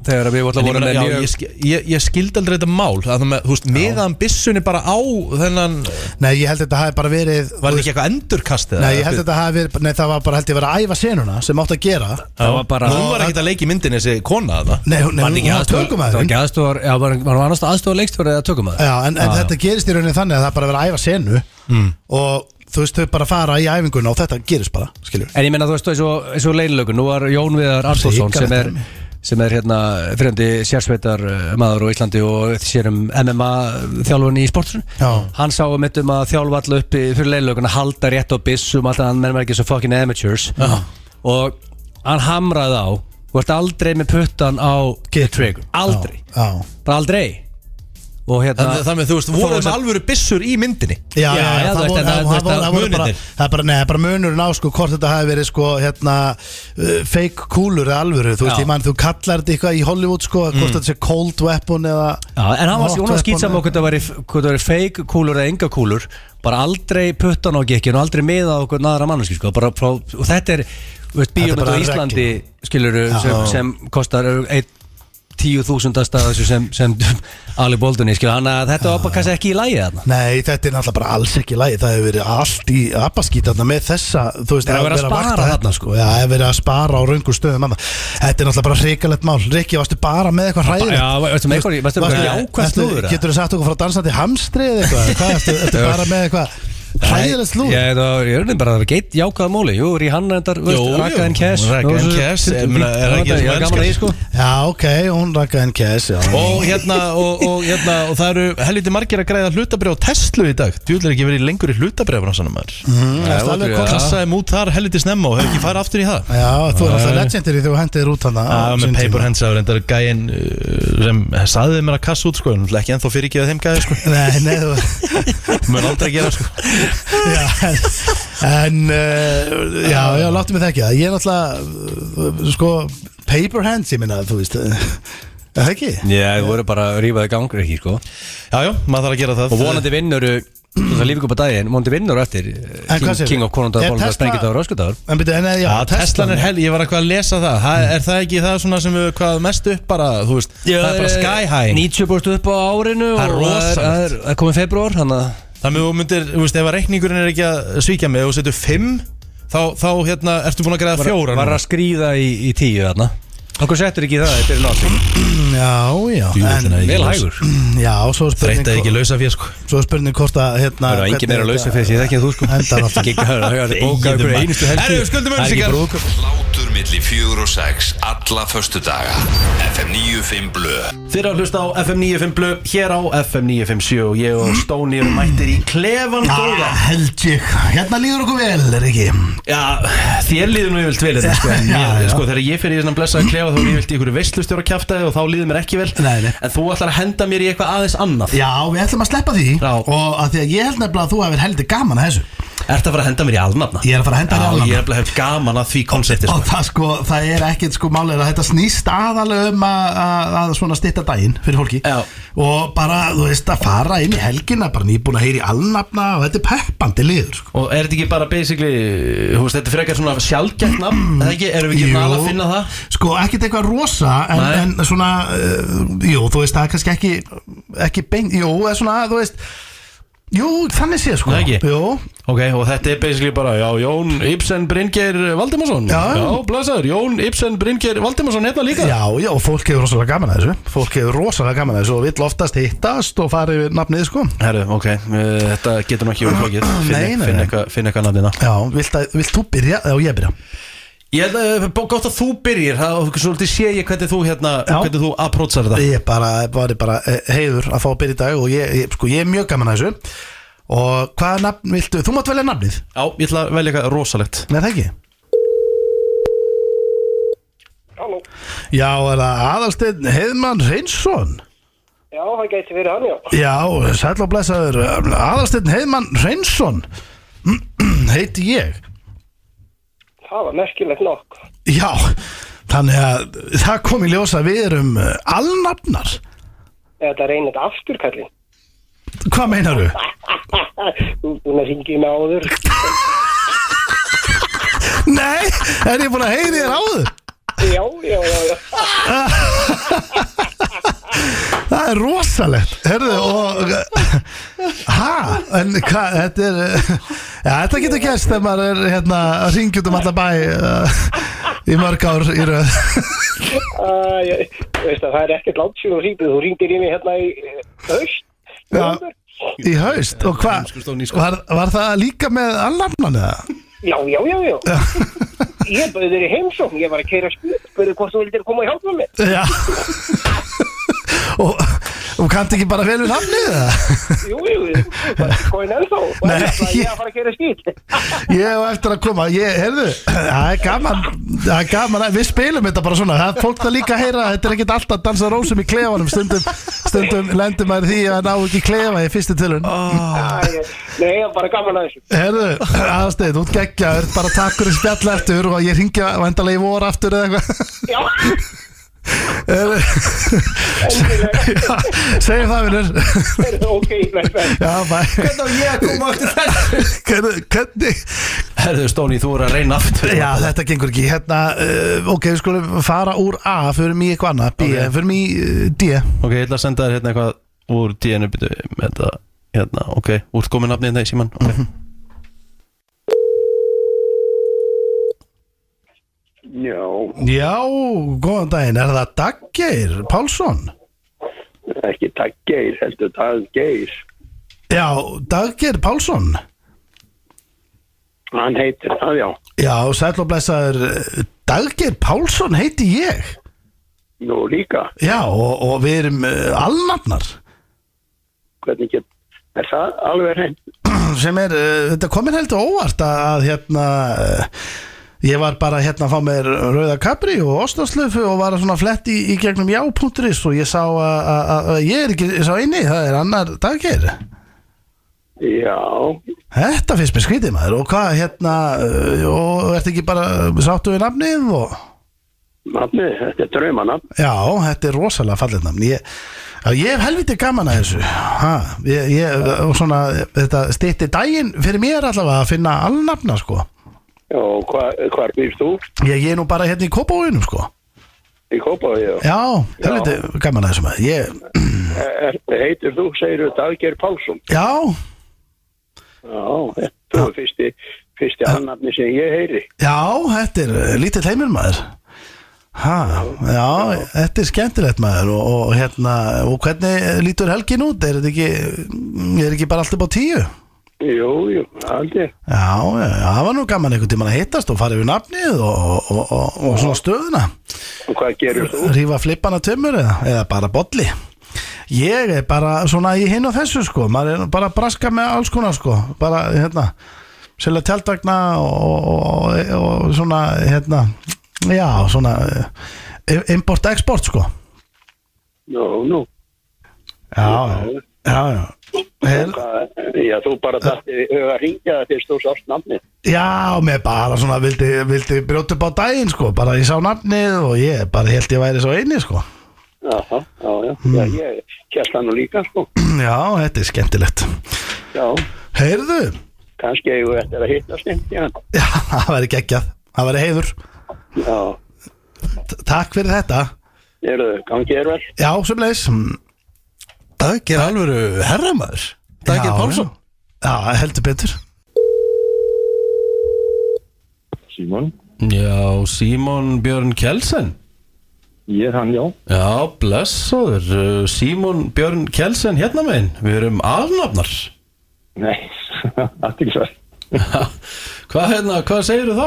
Speaker 3: þegar við
Speaker 1: En
Speaker 3: vorum
Speaker 1: ég,
Speaker 3: að
Speaker 1: meina,
Speaker 3: vera
Speaker 1: já,
Speaker 3: með
Speaker 1: ég,
Speaker 3: mjög
Speaker 1: sk- ég, ég skildi aldrei þetta mál að það með, þú veist, meðan byssunni bara á þennan,
Speaker 2: Nei, ég held þetta hafi bara verið...
Speaker 1: var þetta ekki eitthvað endurkast eða?
Speaker 2: Nei, ég held þetta hafi verið, nei, það var bara, held ég, verið að æfa senuna sem átt að gera.
Speaker 3: Það var bara
Speaker 1: hún var ekkert að leika í myndinni þessi kona að það
Speaker 2: Nei, hún- nei,
Speaker 1: var
Speaker 2: hún
Speaker 1: ekki
Speaker 2: var
Speaker 1: aðstoð
Speaker 3: Það var
Speaker 2: tökumæðurinn.
Speaker 3: ekki aðstofar, já, var var hann annars aðstofar leikstöru eða tökumæður?
Speaker 2: Já, en, en þetta gerist í rauninni þannig að það er bara verið að æfa senu
Speaker 3: Mm.
Speaker 2: og þú veist, þau bara fara í æfinguna og þetta gerist bara, skiljur
Speaker 3: En ég menna þú veist þú, eins og, eins og leinlöku, nú var Jón Viðar Arnþórsson sem er, sem er hérna fremdi sérsveitar eh, maður á Íslandi og sér um MMA þjálfun í sportsun.
Speaker 2: Já.
Speaker 3: Hann sá um um að þjálfa allu uppi fyrir leinlökuna, halda rétt á um byssum, alltaf hann mennum ekki svo fucking amateurs. Já. Og hann hamraði á, þú ert aldrei með puttan á get trigger, aldrei,
Speaker 2: Já,
Speaker 3: bara aldrei. Og hérna,
Speaker 1: þannig þannig að þú veist, voruð með alvöru byssur í myndinni
Speaker 2: já, já,
Speaker 3: Já,
Speaker 2: já,
Speaker 3: já,
Speaker 2: það
Speaker 3: þú veist,
Speaker 2: voru-
Speaker 3: en það-
Speaker 2: það voru-
Speaker 3: þetta-
Speaker 2: það voru bara-
Speaker 1: munirnir.
Speaker 2: það er bara, nei, það er bara munurinn á sko hvort þetta hafi verið sko, hérna uh, fake kúlur eða alvöru, þú veist,
Speaker 3: Já. Mm.
Speaker 2: ég mann, þú kallar þetta eitthvað í Hollywood sko, hvort þetta sé cold weapon eða
Speaker 3: Já, en hann var
Speaker 2: hot
Speaker 3: hún var
Speaker 2: weapon
Speaker 3: skýtsam
Speaker 2: eða-
Speaker 3: okkur það væri, hvort það væri fake kúlur eða enga kúlur bara aldrei puttan á gekkin og aldrei miða á okkur naðra manneski sko, bara frá, og þetta er, þú veist,
Speaker 2: er
Speaker 3: bíómynd
Speaker 2: bara
Speaker 3: á Íslandi skiluru, sem, sem kostar 1 tíu þúsundast að þessu sem, sem Ali Boldun í skil Þannig að þetta var bara kannski ekki í lægi þarna
Speaker 2: Nei, þetta er náttúrulega bara alls ekki lægi Það hefur verið allt í abaskýt þarna með þessa Þú veist,
Speaker 3: Það er verið að
Speaker 2: vera
Speaker 3: spara
Speaker 2: vakta-
Speaker 3: þarna, sko.
Speaker 2: Já, það er verið að spara á raungu stöðum þarna. Þetta er náttúrulega bara hrikalegt mál Rikki, varstu bara með eitthvað hræðið
Speaker 3: Já, veistu með eitthvað- varstu með eitthvað jákvætt slúður, eða?
Speaker 2: Getur þú sagt okkur frá dansandi hamstri eða eitthvað Hvað, ertu, ertu bara með eitthvað hræðilegt slúður
Speaker 3: Ég er bara að geit jákvæða móli Jú, Rihanna endar,
Speaker 1: Jú, jú.
Speaker 3: Raka en Cash
Speaker 1: Raka
Speaker 3: Nú,
Speaker 1: and
Speaker 3: svo-
Speaker 1: Cash, ég meina, er það ekki
Speaker 3: Þetta-
Speaker 1: það sem
Speaker 3: ég er gaman að því
Speaker 1: elskar?
Speaker 3: sko
Speaker 2: Já, ok, hún rakkaði en kæs
Speaker 1: Og hérna, og, og, hérna, og það eru helviti margir að græða hlutabrið á Tesla í dag Þú er ekki verið lengur í hlutabrið bransanum maður
Speaker 3: Já,
Speaker 2: Mhm, alveg
Speaker 3: já.
Speaker 2: komið.
Speaker 1: Kassaði mút þar helviti snemma og hefur ekki farið aftur í það
Speaker 2: Já, þú er alltaf legendir þegar þú hendir út hana á
Speaker 1: Já, með
Speaker 2: sínum tíma.
Speaker 1: paper hands að reyndar gæinn uh, sem saðið mér að kassa út sko en ekki ennþá fyrir ekki að þeim gæði sko
Speaker 2: Nei, nei, þú
Speaker 1: Mörn aldrei gera sko
Speaker 2: Já, en uh, já, já, láttu mig þekki það ég er náttúrulega uh, sko, paper hands, ég minna, þú veist eh, er það ekki?
Speaker 3: Já, við vorum bara að rífaði gangur ekki sko
Speaker 1: Já, já, maður þarf að gera það
Speaker 3: Og vonandi vinnur eh, Það lífi upp á daginn, vonandi vinnur eftir eh,
Speaker 2: En hvað
Speaker 3: King,
Speaker 2: segirðu?
Speaker 3: King of Konundar
Speaker 2: Er
Speaker 3: Bólum
Speaker 2: Tesla-
Speaker 3: Það sprengið það á röskutagur
Speaker 2: En byrja, en, eh, já,
Speaker 1: Já, Teslan er hel, ég var eitthvað að lesa það ha, Er það ekki það svona sem við hvað mest upp bara, þú veist Það er
Speaker 3: eh,
Speaker 1: bara sky high
Speaker 3: 90% upp á árinu
Speaker 1: Það er
Speaker 3: og
Speaker 1: rosalegt.
Speaker 3: Það er- það er komið februar Þannig að
Speaker 1: Þannig að þú myndir, þú veist, ef að reikningurinn er ekki að svíkja mig og þú setur 5 þá, þá hérna, ertu búin að greiða fjóra
Speaker 3: Var
Speaker 1: núna.
Speaker 3: að skrýða í, í tíu þarna Okkur settur ekki í það Þetta er náttúrulega
Speaker 2: já, já,
Speaker 1: Jú, þetta
Speaker 2: en,
Speaker 1: er ekki
Speaker 3: Vel
Speaker 1: laus.
Speaker 3: hægur
Speaker 2: já, svo er spurning
Speaker 1: Þreytta ekki lausa fér, sko
Speaker 2: svo er spurning hvort að hérna,
Speaker 3: Það eru engin meira að lausa fyrir því Það er ekki þú sko
Speaker 2: Endar alltaf.
Speaker 3: Ekki- Það er- það er bókað ykkur einustu helgi
Speaker 1: Herru, skuldum
Speaker 3: Það er ekki
Speaker 1: auglýsingar.
Speaker 3: brúðkaup.
Speaker 4: Hlátur milli fjögur og sex Alla förstu daga FM 95 Blö
Speaker 1: Þeir að hlusta á FM 95 blö hér á FM 957 og ég og Stóni eru mættir í klefan
Speaker 2: góða held ég, hérna líður okkur vel er ekki,
Speaker 1: Já, þér líður nú yfirlt vel þetta, sko, en
Speaker 2: Já,
Speaker 1: mér,
Speaker 2: já.
Speaker 1: sko, þegar ég fyrir í þennan blessaða klefa þá er yfirlt í ykkur veistlustjóra kjaftaði og þá líður mér ekki vel
Speaker 2: Nei, nei.
Speaker 1: En þú ætlar að henda mér í eitthvað aðeins annað
Speaker 2: já, við ætlum að sleppa því
Speaker 1: Já.
Speaker 2: og að því að ég held nefnilega að þú hefur heldur gaman að þessu,
Speaker 1: Ertu að fara að henda mér í alnafna?
Speaker 2: ég er að fara að henda
Speaker 1: Já,
Speaker 2: þér allan
Speaker 1: ég er að hef gaman að því konsepti
Speaker 2: Og
Speaker 1: sko.
Speaker 2: það sko, það er ekkert sko málið er að þetta snýst aðalega um að, að, að svona stytta daginn fyrir fólki
Speaker 1: Já.
Speaker 2: Og bara, þú veist, að fara inn í helgina, bara nýbúin að heyra í alnafna og þetta er peppandi liður sko
Speaker 1: Og er þetta ekki bara basically, hú veist, þetta er frekar svona sjálfgætt nafn, eða ekki, erum við ekki
Speaker 2: Jú.
Speaker 1: að að finna það?
Speaker 2: Sko, ekkert eitthvað rosa, en,
Speaker 1: Nei.
Speaker 2: en svona, uh, jú, þú veist, það er kannski ekki, ekki beint, jú, eða svona, þú veist Jú, þannig sé sko
Speaker 1: Nei, ekki?
Speaker 2: Jú,
Speaker 1: Ok, og þetta er basically bara, já, Jón Ibsen Bryngeir Valdimarsson
Speaker 2: Já.
Speaker 1: já blessaður, Jón Ibsen Bryngeir Valdimarsson hérna líka
Speaker 2: Já, já, og fólk hefur rosalega gaman að þessu Fólk hefur rosalega gaman að þessu og vill oftast hittast og fara yfir nafnið sko
Speaker 1: Herru, ok, eh, þetta getur nú ekki verið flókið
Speaker 2: Nei, nei,
Speaker 1: Finn
Speaker 2: nei.
Speaker 1: eitthvað, finn eitthvað nafnina
Speaker 2: Já, vilt, að, vilt þú byrja eða á ég byrja?
Speaker 1: Ég held að, eh, gott að þú byrjir, það svolítið sé ég hvernig þú hérna,
Speaker 2: Já.
Speaker 1: hvernig þú approachar þetta
Speaker 2: Ég bara, bara, bara eh, heiður að fá að byrja í dag og ég, ég, sko, ég er mjög gaman að þessu og hvaða nafn viltu, þú mátt velja nafnið
Speaker 1: Já, ég ætla að velja eitthvað rosalegt
Speaker 2: Nei, það ekki
Speaker 5: Halló,
Speaker 2: Já, er það aðalsteinn Heiðmann Reynsson
Speaker 5: já það gæti verið hann já
Speaker 2: Já, sæll og blessaður eh, aðalsteinn Heiðmann Reynsson heiti ég
Speaker 5: Það var merkilegt nokk
Speaker 2: Já, þannig að það kom í ljósa við erum eh, alnafnar
Speaker 5: Þetta er einnig afturkallin
Speaker 2: Hvað meinaru?
Speaker 5: Þú er búin að ringi mig áður
Speaker 2: Nei, er ég búin að heyri þér áður?
Speaker 5: Já, já, já, já
Speaker 2: Það er rosalegt Herðu og Hæ, en hvað, þetta er Já, þetta getur gerst þegar maður er hérna að ringja út um alla bæ uh, í mörg ár í röð
Speaker 5: uh, ég, þú veist að Það er ekkert langt sér og ringið Þú ringir í mig hérna í eh, haust
Speaker 2: Já,
Speaker 5: nóvember.
Speaker 2: í haust og hvað, var, var það líka með alnafnan eða?
Speaker 5: já, já, já, já Ég bauði þér í heimsókn Ég var að keira spil Spurði hvort þú vildir koma og hjálpa mér
Speaker 2: Já Og, og kannti ekki bara vel við nafnið eða?
Speaker 5: Jú, jú, jú Góðin ennþá Og
Speaker 2: Nei.
Speaker 5: annars var Ég að fara að keira skil
Speaker 2: Ég og eftir að koma, ég, herðu Það er gaman, það er gaman að- Við spilum þetta bara svona, það er fólk það líka að heyra Þetta er ekkert alltaf að dansa rósum í klefanum Stundum, stundum lendur maður í því að ná ekki klefa í fyrstu tilun
Speaker 5: Nei, ég var bara gaman að þessu
Speaker 2: Herðu, aðstæðið, þú ert geggjaður Bara takkur í spjall eftir og ég ringja Vendalega í vor aftur eða eitthvað
Speaker 5: Já
Speaker 2: Já, Segjum það vinnur
Speaker 5: ok, bless, bless.
Speaker 2: Já, bæ
Speaker 1: Hvernig á ég að koma aftur þess?
Speaker 2: Hvernig, hvernig
Speaker 1: Herðu Stóni, þú voru að reyna aftur
Speaker 2: Já, þetta gengur ekki Hérna, uh, ok, við skulum fara úr A Förum í eitthvað annað B,
Speaker 1: Ok.
Speaker 2: förum í uh, D
Speaker 1: Ok, ég ætla að senda þér hérna eitthvað úr DN byrju, með þetta, hérna, ok, úr komið nafnið hérna í síman okay.
Speaker 5: Já,
Speaker 2: Já, góðan daginn Er það Daggeir Pálsson?
Speaker 5: ekki takk geir, heldur það geir.
Speaker 2: Já, Daggeir Pálsson
Speaker 5: Hann heitir það, já.
Speaker 2: Já, sæll og blessaður eh, Daggeir Pálsson heiti ég
Speaker 5: Nú líka,
Speaker 2: Já, og, og við erum uh, alnafnar
Speaker 5: hvernig get, er það alveg reynd?
Speaker 2: sem er, uh, þetta komir heldur óvart að, að hérna uh, ég var bara hérna að fá mér rauða kapri og ostarslöfu og var að svona flett í, í gegnum já.is og ég sá að- að að- að ég er ekki sá einni, það er annar dagir
Speaker 5: Já,
Speaker 2: Þetta finnst mér skrítið maður og hvað hérna, uh, og ertu ekki bara sáttu við nafnið og
Speaker 5: nafnið, þetta er draumanafn.
Speaker 2: Já, þetta er rosalega fallið nafn Ég, já, ég hef helviti gaman að þessu ha, ég, ég, og svona, Þetta stýtti daginn fyrir mér allavega að finna alnafna sko.
Speaker 5: Og hva, hvar býrst þú?
Speaker 2: ég, ég er nú bara hérna í kópáinum sko.
Speaker 5: Í Kópavíu. já.
Speaker 2: Já, helviti gaman að þessu maður. ég,
Speaker 5: Er, heitir þú, segir þú, Daggeir Pálsson.
Speaker 2: Já,
Speaker 5: Já, þú er fyrsti, fyrsti annafni sem ég heyri.
Speaker 2: já, þetta er eh, lítill heimur maður ha, Já, þetta er skemmtilegt maður og, og hérna, og hvernig lítur helgin út, er þetta ekki mm, er ekki bara allt upp á tíu?
Speaker 5: Jú, jú, aldrei.
Speaker 2: Já, já, já, það var nú gaman einhvern tímann að hittast og fara yfir nafnið og, og, og, og, og svona stöðuna
Speaker 5: Og hvað gerir þú?
Speaker 2: Rífa flippana tömur eða, eða bara bolli Ég er bara svona í hinn og þessu sko maður er nú bara að braska með alls konar sko bara hérna selja tjaldvagna og, og, og, og svona hérna já, svona eh, import-export sko
Speaker 5: Nú, nú.
Speaker 2: Já, já, já Her,
Speaker 5: Hvað- Já, þú bara dætti huga að ringja það fyrst þú sást nafnið.
Speaker 2: Já, mér bara svona vildi, vildi brjóta upp á daginn sko, bara ég sá nafnið og ég bara held ég væri svo eini sko
Speaker 5: Jaha, já, já, já,
Speaker 6: Hmm.
Speaker 5: ég kjæst það nú líka, sko.
Speaker 2: Já, þetta er skemmtilegt
Speaker 5: Já,
Speaker 2: Heyrðu,
Speaker 5: kannski eigum við eftir að hittast einn, já.
Speaker 2: já, það væri geggjað Það væri heiður,
Speaker 5: Já,
Speaker 2: T- takk fyrir þetta
Speaker 5: eru þau, gangi er vel.
Speaker 2: Já, sömulegis
Speaker 3: Dagir alvöru herramæður Dagir
Speaker 2: Já,
Speaker 3: Pálsson
Speaker 2: Já, Já, heldur betur
Speaker 6: Símon,
Speaker 1: Já, Símon Björn Kjelsen
Speaker 6: ég er hann, já.
Speaker 1: Já, blessaður uh, Símon Björn Kjelsen hérna megin Við erum alnafnar
Speaker 6: Nei, aðtilsvært.
Speaker 1: Hvað hérna, hvað segirðu þá?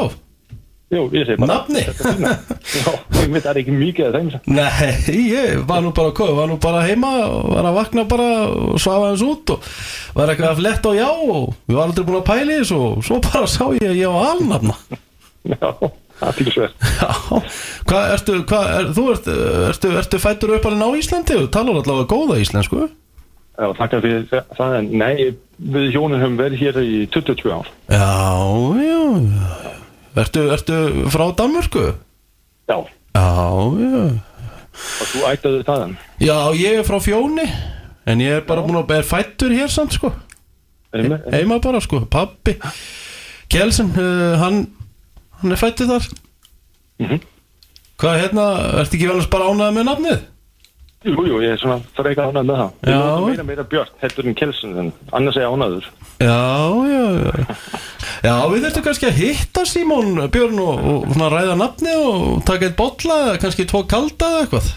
Speaker 6: Jú, ég segi bara.
Speaker 1: Nafni?
Speaker 6: Já, ég veit það er ekki mikið að þeim sem.
Speaker 1: Nei, ég var nú bara hvað, var nú bara heima og var að vakna bara og svafa hans út og var eitthvað að fletta á já og við varum aldrei búin að pæli þessu og svo bara sá ég að ég á alnafna
Speaker 6: Já, Ah, aðtilsvært.
Speaker 1: Já, hvað ertu, hvað er, þú ert, ertu, ertu fættur upp alveg á Íslandi og talar allavega góða íslensku
Speaker 6: Já, takk fyrir það. en Nei, við hjónin höfum verið hér í 22 ár.
Speaker 1: Já, já, já. Ertu, ertu frá Danmörku?
Speaker 6: Já, og
Speaker 1: Já, já
Speaker 6: þú ættaði þaðan.
Speaker 1: Já, ég er frá Fjóni en ég er bara búin að er fættur hér samt sko
Speaker 6: Er með?
Speaker 1: heima bara sko, pappi Kjelsen, uh, hann hann er fættið þar Mhm. hvað hérna, ertu ekki vel að spara ánæða með nafnið?
Speaker 6: Jú, jú, ég er svona frekar ánægð með það.
Speaker 1: Já.
Speaker 6: Ég er meira meira björn, heldur en kelsun, en annars er ég ánæður.
Speaker 1: já, já, já já, við þurftum kannski að hitta Simon Björn og, og svona ræða nafnið og taka eitt bolla eða kannski tvo kalda eða eitthvað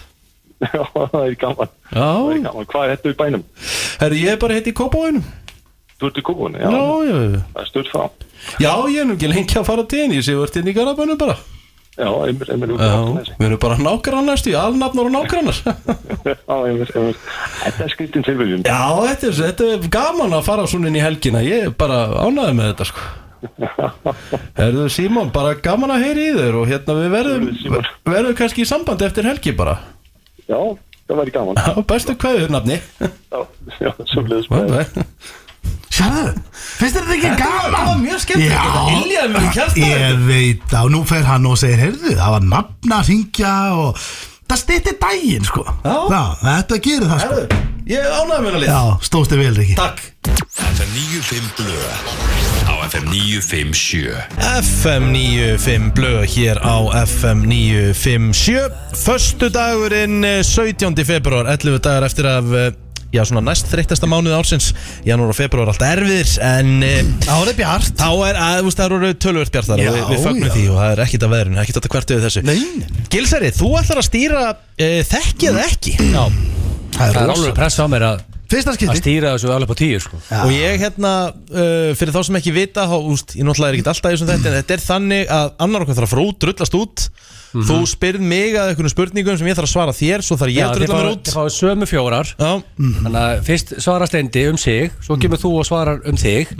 Speaker 6: Já, það er gaman. Það er
Speaker 1: já,
Speaker 6: gaman. Hvað er þetta í bænum?
Speaker 1: herri, ég er bara heiti í Kópavóinum
Speaker 6: Þú ert í kókunni,
Speaker 1: já,
Speaker 6: já.
Speaker 1: já, já
Speaker 6: Það er stöld frá.
Speaker 1: já, ég er nú ekki lengi að fara til henni ég sé vart inn í Garabænum bara
Speaker 6: Já, einmitt, einmitt, út í
Speaker 1: já,
Speaker 6: Álftanesi.
Speaker 1: við erum bara nágrannar stíð, alnafnar og nágrannar
Speaker 6: Já, einmitt, einmitt. Þetta er skriftin tilviljum.
Speaker 1: Já, þetta er, þetta er gaman að fara svona inn í helgina Ég er bara ánæði með þetta sko Herðu Símon, bara gaman að heyri í þér Og hérna við
Speaker 6: Heyrðu, Símon.
Speaker 1: verðum Verðum kannski í sambandi eftir helgi bara
Speaker 6: Já, það væri gaman.
Speaker 1: Já, Bestu kveður nafni
Speaker 6: Já, já, svo leiðis
Speaker 1: Bæ,
Speaker 6: með.
Speaker 1: bæ.
Speaker 2: Sjáðu, finnst þér þetta ekki
Speaker 1: Það
Speaker 2: gaman?
Speaker 1: var mjög skemmt Þetta iljaði mér í
Speaker 2: Ég
Speaker 1: kjartan
Speaker 2: veit það og nú fer hann og segir, heyrðu, það var nafna að hringja og það stýtti daginn sko
Speaker 1: Já.
Speaker 2: þetta gerir það sko
Speaker 1: Herðu, ég ánægði með hennar lið
Speaker 2: Já, stóðst þér vel Riki
Speaker 1: Takk
Speaker 4: FM 95 Blö Á FM 957
Speaker 1: FM 95 blöð hér á FM 957 Föstu dagurinn eh, 17. februar 11 dagar eftir af eh, Já, svona næst þreyttasta mánuð ársins Janúar og februar alltaf erfiðir En eh,
Speaker 2: Árið bjart
Speaker 1: þá er, að, þú veist, það eru tölvöld bjartar
Speaker 2: Já,
Speaker 1: og við, við fagnum
Speaker 2: já.
Speaker 1: því og það er ekkit að veðrun Ekkit að hvert við þessu
Speaker 2: Nei,
Speaker 1: Gilsari, þú ætlar að stýra uh, þekki eða ekki Já
Speaker 3: Það er alveg pressa á mér að,
Speaker 2: Fyrsta
Speaker 3: að
Speaker 2: skipti
Speaker 3: stýra þessu alveg på tíu sko.
Speaker 1: Og ég hérna, uh, fyrir þá sem ekki vita þá, úst, Ég náttúrulega er ekkert alltaf í þessum þetta En þetta er þannig að annar okkar þarf að frú drullast út
Speaker 3: Mhm.
Speaker 1: Þú spyrð mig að einhvern spurningum sem ég þarf að svara þér Svo þarf ég að drulla mér út
Speaker 3: Þið fáið sömu fjórar Mhm.
Speaker 1: Já,
Speaker 3: Þannig að fyrst svarar Steindi um sig Svo kemur þú og svarar um þig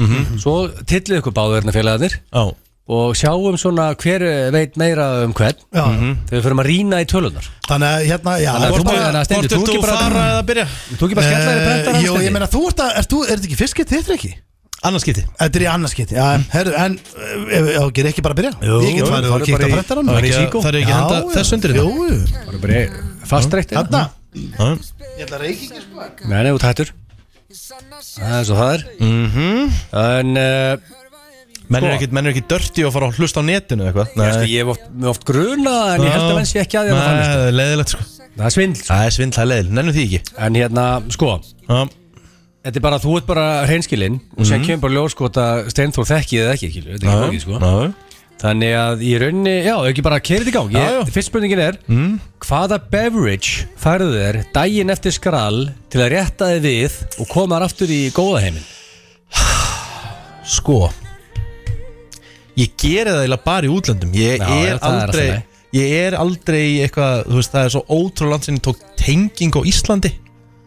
Speaker 3: Svo tillið ykkur báður hérna félagarnir
Speaker 1: já
Speaker 3: Og sjáum svona hver veit meira um hvern
Speaker 2: Já.
Speaker 3: Þegar við förum að rýna í tölunar
Speaker 2: Þannig að hérna, já
Speaker 3: Þannig að
Speaker 2: hvort
Speaker 3: þú
Speaker 2: að-
Speaker 3: bara- Þannig að
Speaker 1: Hvort
Speaker 3: Steindi, þú
Speaker 1: er þú
Speaker 3: ekki
Speaker 1: að
Speaker 3: bara-
Speaker 1: fara eða að byrja?
Speaker 3: Þú ekki bara skellaði brendar
Speaker 2: Eh, Jú, ég meina, þú ert að, er þetta ekki fyrst skipti þitt Riki?
Speaker 1: Annars geti
Speaker 2: Þetta er í annars skipti, já, herru, en eh, Ef ekki Riki bara að byrja? Jú, ég
Speaker 3: jú,
Speaker 2: get farið
Speaker 3: farðu
Speaker 2: og
Speaker 3: bara
Speaker 2: kíkt
Speaker 3: í-
Speaker 2: að brettar hann
Speaker 1: Mm. Það er ekki að- það er ekki að henda þess undir
Speaker 2: Jú,
Speaker 1: þetta
Speaker 2: jú.
Speaker 3: Bara bara fastreitt
Speaker 2: þarna
Speaker 1: Já.
Speaker 2: Ég ætla að reiki ekki sko
Speaker 3: hérna. Nei, nei, út hættur Það er svo það er
Speaker 1: Mhm.
Speaker 3: En uh,
Speaker 1: Menn er
Speaker 3: Sko.
Speaker 1: ekkit, menn er ekkit dörti og fara að hlusta á netinu eða eitthvað
Speaker 3: ég, sko, ég hef oft, mig oft gruna En ég held að menn sé ekki að því að það
Speaker 1: Nei,
Speaker 3: fannist
Speaker 1: það er leiðilegt sko
Speaker 3: Það er svindl sko.
Speaker 1: Það er svindla leiðil, nennum því ekki
Speaker 3: En hérna, sko
Speaker 1: Já,
Speaker 3: Þetta er bara, þú ert bara hreinskilinn Og
Speaker 1: Mhm.
Speaker 3: sér kemur bara ljós sko að Steinþór þekki eða ekki ekki, Þetta er ekki bókið sko
Speaker 1: já
Speaker 3: Þannig að í rauninni, já, ekki bara kerið í gang
Speaker 1: Já, Mhm. já.
Speaker 3: ég, Fyrst spurningin er Hvaða beverage færðu þér daginn eftir skral Til að rétta þið við Og koma þér aftur í góða heiminn
Speaker 1: Sko Ég geri það eiginlega bara í útlöndum Ég
Speaker 3: Já, já,
Speaker 1: er
Speaker 3: það er
Speaker 1: aldrei
Speaker 3: allt í lagi.
Speaker 1: Ég er aldrei í eitthvað Þú veist það er svo ótrúlega langt sinni tók tenging á Íslandi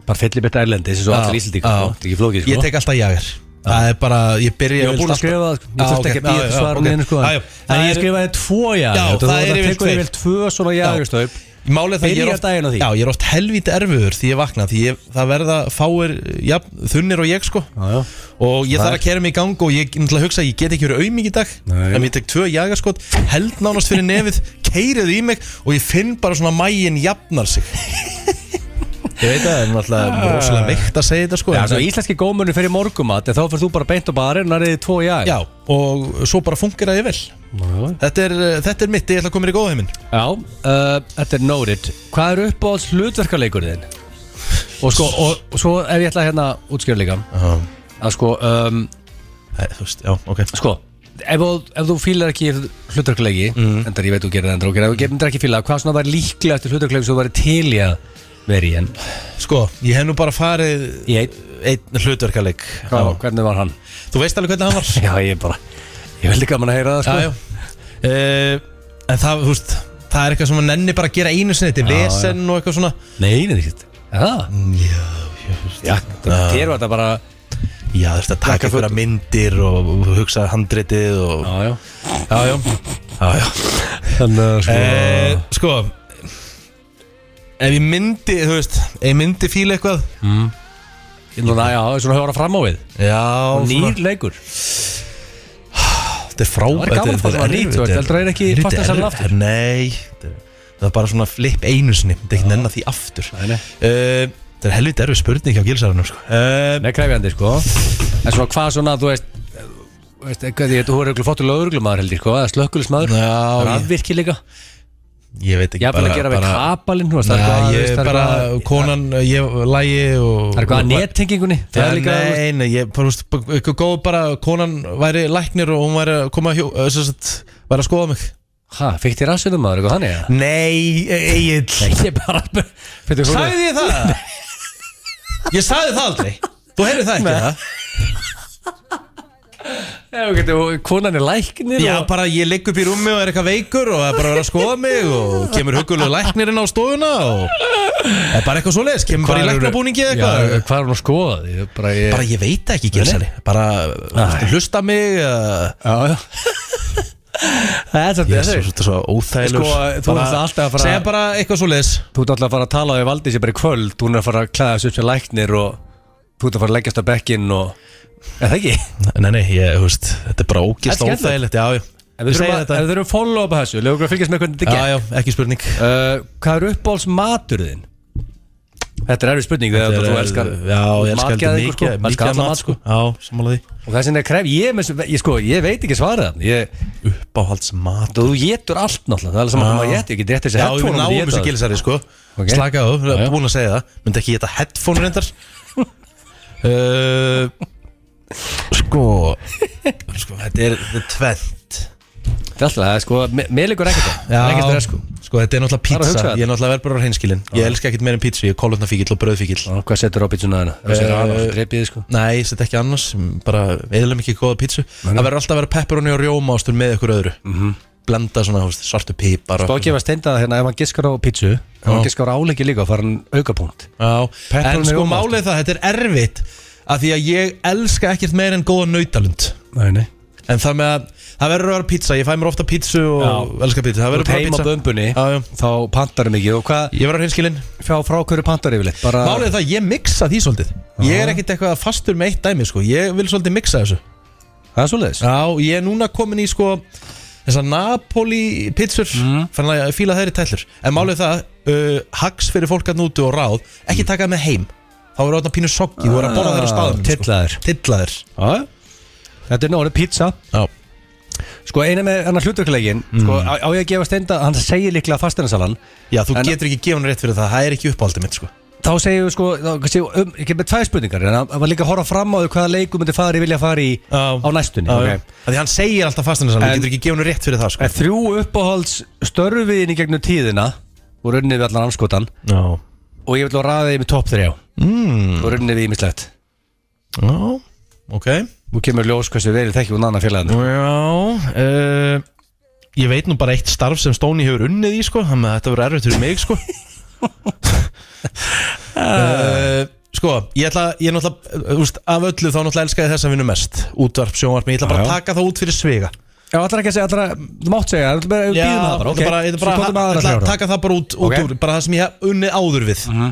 Speaker 3: Bara fyllir betta erlendi Þessi svo
Speaker 1: Já,
Speaker 3: allir íslendingar,
Speaker 1: já.
Speaker 3: sko, þetta er ekki flókið, sko.
Speaker 1: Ég tek alltaf jager Það er bara Ég byrja
Speaker 3: Ég var búin að skrifa það, sko. ég þurfti ekki að býja þetta svara okay. sko.
Speaker 1: Það
Speaker 3: En ég
Speaker 1: er
Speaker 3: skrifaði tvo
Speaker 1: Já,
Speaker 3: jáður
Speaker 1: það er yfir
Speaker 3: tekur
Speaker 1: tveir.
Speaker 3: yfir tvö svona sko. jáðurstaup
Speaker 1: Málið það ég er
Speaker 3: Byrjar
Speaker 1: oft
Speaker 3: daginn á því.
Speaker 1: Já, ég er oft helvítið erfiður því ég vakna Því ég, það verða fáir ja, þunnir og ég sko
Speaker 3: já.
Speaker 1: Og ég
Speaker 3: Það
Speaker 1: þarf
Speaker 3: er-
Speaker 1: að kæra mig í gang Og ég náttúrulega hugsa að ég get ekki verið auðming í dag
Speaker 3: Nei.
Speaker 1: En ég tek tvö jagarskot Held nánast fyrir nefið Keirið í mig Og ég finn bara svona mægin jafnar sig Ég veit að það er náttúrulega rosalega veikt að segja þetta sko
Speaker 3: Já,
Speaker 1: en-
Speaker 3: svo íslenski gómunni fyrir morgumat en þá fyrir þú bara beint á barinn og nariði tvo jáður
Speaker 1: já, og svo bara funkar það ég vel þetta er, þetta er mitt, ég ætla að koma mér í góðheiminn
Speaker 3: Já, uh, þetta er noted Hvað er uppáhalds hlutverkarleikur þinn? Og sko, og, og svo ef ég ætla að hérna útskjöra líka að sko, um,
Speaker 1: Æ, Þú veist, já, ok
Speaker 3: sko Ef, þú- ef þú fílar ekki hlutverkuleiki mm. Endar ég veit þú gerir það endar og gerir Ef þú gerir- myndir ekki fíla Hvað svona var líklegast hlutverkuleiki Svo var til í að vera í en
Speaker 1: Sko, ég hef nú bara farið
Speaker 3: Í einn
Speaker 1: einn hlutverkaleik
Speaker 3: Hvað, hvernig var hann?
Speaker 1: Þú veist alveg hvernig hann var
Speaker 3: Já, ég bara Ég veldi gaman að heyra það sko
Speaker 1: Já, já uh, En það, þú veist Það er eitthvað sem maður nenni bara að gera einu sinni Þetta er
Speaker 3: Já,
Speaker 1: vesen og eitthvað svona
Speaker 3: Nei, neður ekkert Er það? Já, hérna. það- þér var þetta bara
Speaker 1: Já, þú veist að taka
Speaker 3: Taka
Speaker 1: fyrir myndir og hugsa handritið og
Speaker 3: Já, já
Speaker 1: Já, já, já, já.
Speaker 3: Þannig að sko
Speaker 1: Eh, Sko Ef ég myndi, þú veist Ef ég myndi fíla eitthvað
Speaker 3: Núna, já, svona höfara fram á við
Speaker 1: Já,
Speaker 3: Nýr leikur
Speaker 1: Þetta er frá
Speaker 3: Það var gaman að fá svona nýtt, þú veist, heldur það er ekki fast að selja aftur?
Speaker 1: Nei, þetta er- það er bara svona flip einu sinni Þetta er ekki nennan því aftur
Speaker 3: Nei, nei.
Speaker 1: Eh, Þetta er helviti erfið spurning hjá gilsarunum sko. uh,
Speaker 3: Nei, krefjandi, sko En svona hvað svona, þú veist þú veist, hvað því, þú er eitthvað fóttur lögurglumæður heldur, sko, eða slökkulismæður
Speaker 1: Já, ég-
Speaker 3: Rafvirki líka,
Speaker 1: Ég veit ekki
Speaker 3: ég að gera við kapalinn, þú veist, það er
Speaker 1: Nei,
Speaker 3: eitthvað, þú
Speaker 1: ég
Speaker 3: veist,
Speaker 1: er
Speaker 3: það er
Speaker 1: bara,
Speaker 3: eitthvað
Speaker 1: konan, ég lægi og
Speaker 3: Það er eitthvað að nettengingunni, það
Speaker 1: Já,
Speaker 3: er líka, þú veist,
Speaker 1: nei, nei, ég, bara, þú veist, eitthvað góð bara, konan væri læknir og hún væri að koma hjó, þess að, væri að skoða mig
Speaker 3: hæ, fikk þér aðsynum maður, eitthvað þannig, eða?
Speaker 1: Nei, Egil
Speaker 3: Nei, ég bara, fyrir þú
Speaker 1: Sæði ég það? Ég sæði það aldrei Þú heyrðu það ekki það?
Speaker 3: Já, ok, og konan er læknir
Speaker 1: Já,
Speaker 3: og-
Speaker 1: bara ég ligg upp í rúmi og er eitthvað veikur og það er bara að vera að skoða mig og kemur hugulegu læknirinn á stofuna og það er bara eitthvað svoleiðis, kemur bara í
Speaker 3: Hvar eru-
Speaker 1: læknabúningi eða
Speaker 3: Já,
Speaker 1: eitthvað
Speaker 3: hvað er hún að skoða því? Ég Bara, ég,
Speaker 1: Bara ég veit það ekki, Gilsari Bara þú veist, hlusta mig uh,
Speaker 3: já, já Það er svolítið
Speaker 1: Ég er
Speaker 3: þessu
Speaker 1: svo, svo, svo óþægilegur
Speaker 3: Sko, þú
Speaker 1: Bara-
Speaker 3: ert alltaf að fara-
Speaker 1: Segja bara eitthvað svoleiðis
Speaker 3: Þú ert alltaf að fara að tala á því Valdísi bara í kvöld Hún er að fara að klæða þessu upp sem læknir og þú ert að fara að leggjast á bekkinn og Er það ekki?
Speaker 1: Nei, nei, ég, þú veist, þetta er bara ógist
Speaker 3: Þetta er skemmtilegt.
Speaker 1: óþægilegt Já, já,
Speaker 3: En við
Speaker 1: Segir
Speaker 3: þurfum að-
Speaker 1: þetta.
Speaker 3: en við þurfum að follow up að þessu Lefa okkur að fylgjast með hvernig þetta
Speaker 1: Já,
Speaker 3: gekk
Speaker 1: já, ekki spurning
Speaker 3: uh, Hvað er uppbóls maturðin? Þetta er erfið spurning þegar
Speaker 1: Þetta
Speaker 3: þú
Speaker 1: er-
Speaker 3: elskar
Speaker 1: Já, ég elskar þetta
Speaker 3: matgæði, sko.
Speaker 1: mikið
Speaker 3: Maður elskar
Speaker 1: Mikið
Speaker 3: allan
Speaker 1: mat, sko Já, sammála því
Speaker 3: Og það er sinni að kref ég, með, þessu- ég, sko, ég veit ekki svarið hann ég,
Speaker 1: Uppáhaldsmat
Speaker 3: Þú getur allt náttúrulega Það er alveg saman
Speaker 1: Já.
Speaker 3: að maður geti ekki rétt þessi
Speaker 1: Já, ég vil
Speaker 3: headphone-um,
Speaker 1: náum
Speaker 3: ég get
Speaker 1: þessu
Speaker 3: það.
Speaker 1: gilsari, sko
Speaker 3: Ok.
Speaker 1: Slaka á,
Speaker 3: Já, já.
Speaker 1: búin að segja það Myndi ekki geta headphone reyndar Uh, Sko Sko, þetta er, þetta er tvent
Speaker 3: Þetta er alltaf, það er sko, me- mér líkur ekkert það Það
Speaker 1: Já,
Speaker 3: er ekkert stress, sko.
Speaker 1: sko, þetta er náttúrulega
Speaker 3: Það er að hugsa
Speaker 1: pizza
Speaker 3: þetta.
Speaker 1: Ég er náttúrulega verður bara hreinskilin Ég elska ekkert meira en pizza, ég er kolvetnafíkil og bröðfíkil
Speaker 3: Og Hvað setur Robinsson að hana? Það sé rana,
Speaker 1: Eh,
Speaker 3: það dreipið sko
Speaker 1: Nei, ég set ekki annars, bara eðlum ekki góða pizza Það verður alltaf að vera pepperoni og rjóma ástur með ykkur öðru
Speaker 3: Mhm.
Speaker 1: Blenda svona, þú veist, svartu pipar
Speaker 3: Bókið var steindað hérna, ef hann giskar á pítsu Ef hann giskar á áleiki líka, fara hann aukapunkt
Speaker 1: Já, en
Speaker 3: Pepperoni
Speaker 1: sko
Speaker 3: og rjómaost.
Speaker 1: málið er það, þetta er erfitt af því að ég elska ekkert meira en góða nautalund
Speaker 3: Nei, nei
Speaker 1: en það með að, það verður að vera pizza ég fæ mér ofta pizzu og
Speaker 3: Já.
Speaker 1: elska pizza það
Speaker 3: Þú
Speaker 1: verður
Speaker 3: ert
Speaker 1: bara
Speaker 3: heim á
Speaker 1: pizza
Speaker 3: bömbunni,
Speaker 1: Já, já.
Speaker 3: þá pantar hann mikið Og hvað,
Speaker 1: ég verður hinskilinn
Speaker 3: fjá frá hverju pantar yfirleitt? Bara,
Speaker 1: málið er það, ég mixa því svolítið ég er ekkert eitthvað fastur með eitt dæmi sko. ég vil svolítið mixa þessu
Speaker 3: það er svoleiðis
Speaker 1: já, ég er núna komin í sko þessar Napoli pizzur mm. fann að fíla þeirri tællur en málið er það, uh, hags fyrir fólk að núti og ráð ekki taka það með heim þá verður það pínu soggi, þú verður að borða þeirra staðum Ah,
Speaker 3: Tillaður
Speaker 1: sko. tillaðir
Speaker 3: Já, Þetta er náður pizza
Speaker 1: Já.
Speaker 3: Sko eina með hann hluturklegin sko,
Speaker 1: Mm.
Speaker 3: á, á ég að gefa steinda, hann segir líklega fasteinasalan
Speaker 1: Já, þú
Speaker 3: En-
Speaker 1: getur ekki gefið hann rétt fyrir það, það er ekki uppáhaldið mitt sko
Speaker 3: Þá segir við sko, þá, kannski, um, ég kemur tvær spurningar En hann hann var líka að horfa fram á því hvaða leikum myndi fari vilja fara í
Speaker 1: Já.
Speaker 3: á næstunni
Speaker 1: Já,
Speaker 3: ok?
Speaker 1: já. Af Því hann segir alltaf fastinarsan,
Speaker 3: En-
Speaker 1: þú getur ekki gefið hann rétt fyrir það sko
Speaker 3: En þrjú uppáhalds störfiðin í gegnum tíðina og runnið við allan anskotan
Speaker 1: Já,
Speaker 3: og ég vil að ræða þið með topp þrjá mm. og runnið við ímislegt
Speaker 1: já, ok
Speaker 3: og kemur ljós hversu verið þekki og nanna félaginu
Speaker 1: Já, uh, ég veit nú bara eitt starf sem Stóni hefur unnið í sko Þannig að þetta verður erfitt fyrir mig sko
Speaker 3: Ah.
Speaker 1: uh, Sko, ég ætla, ég náttúrulega, uh, úst, af öllu þá náttúrulega elskaði þess að vinna mest Útvarp, sjónvarp, ég ætla bara
Speaker 3: Já,
Speaker 1: að
Speaker 3: já.
Speaker 1: taka það út fyrir svega
Speaker 3: Já, allar ekki að segja, allar að, þú mátt segja, allar bara, við
Speaker 1: Já,
Speaker 3: býðum það bara, ok
Speaker 1: þetta bara, þetta
Speaker 3: Svo
Speaker 1: bara,
Speaker 3: komum við
Speaker 1: bara
Speaker 3: aðra
Speaker 1: ætla að
Speaker 3: þrjár þá.
Speaker 1: taka það bara út, út
Speaker 3: Ok. Mhm.
Speaker 1: úr, bara það sem ég hef unnið áður við uh,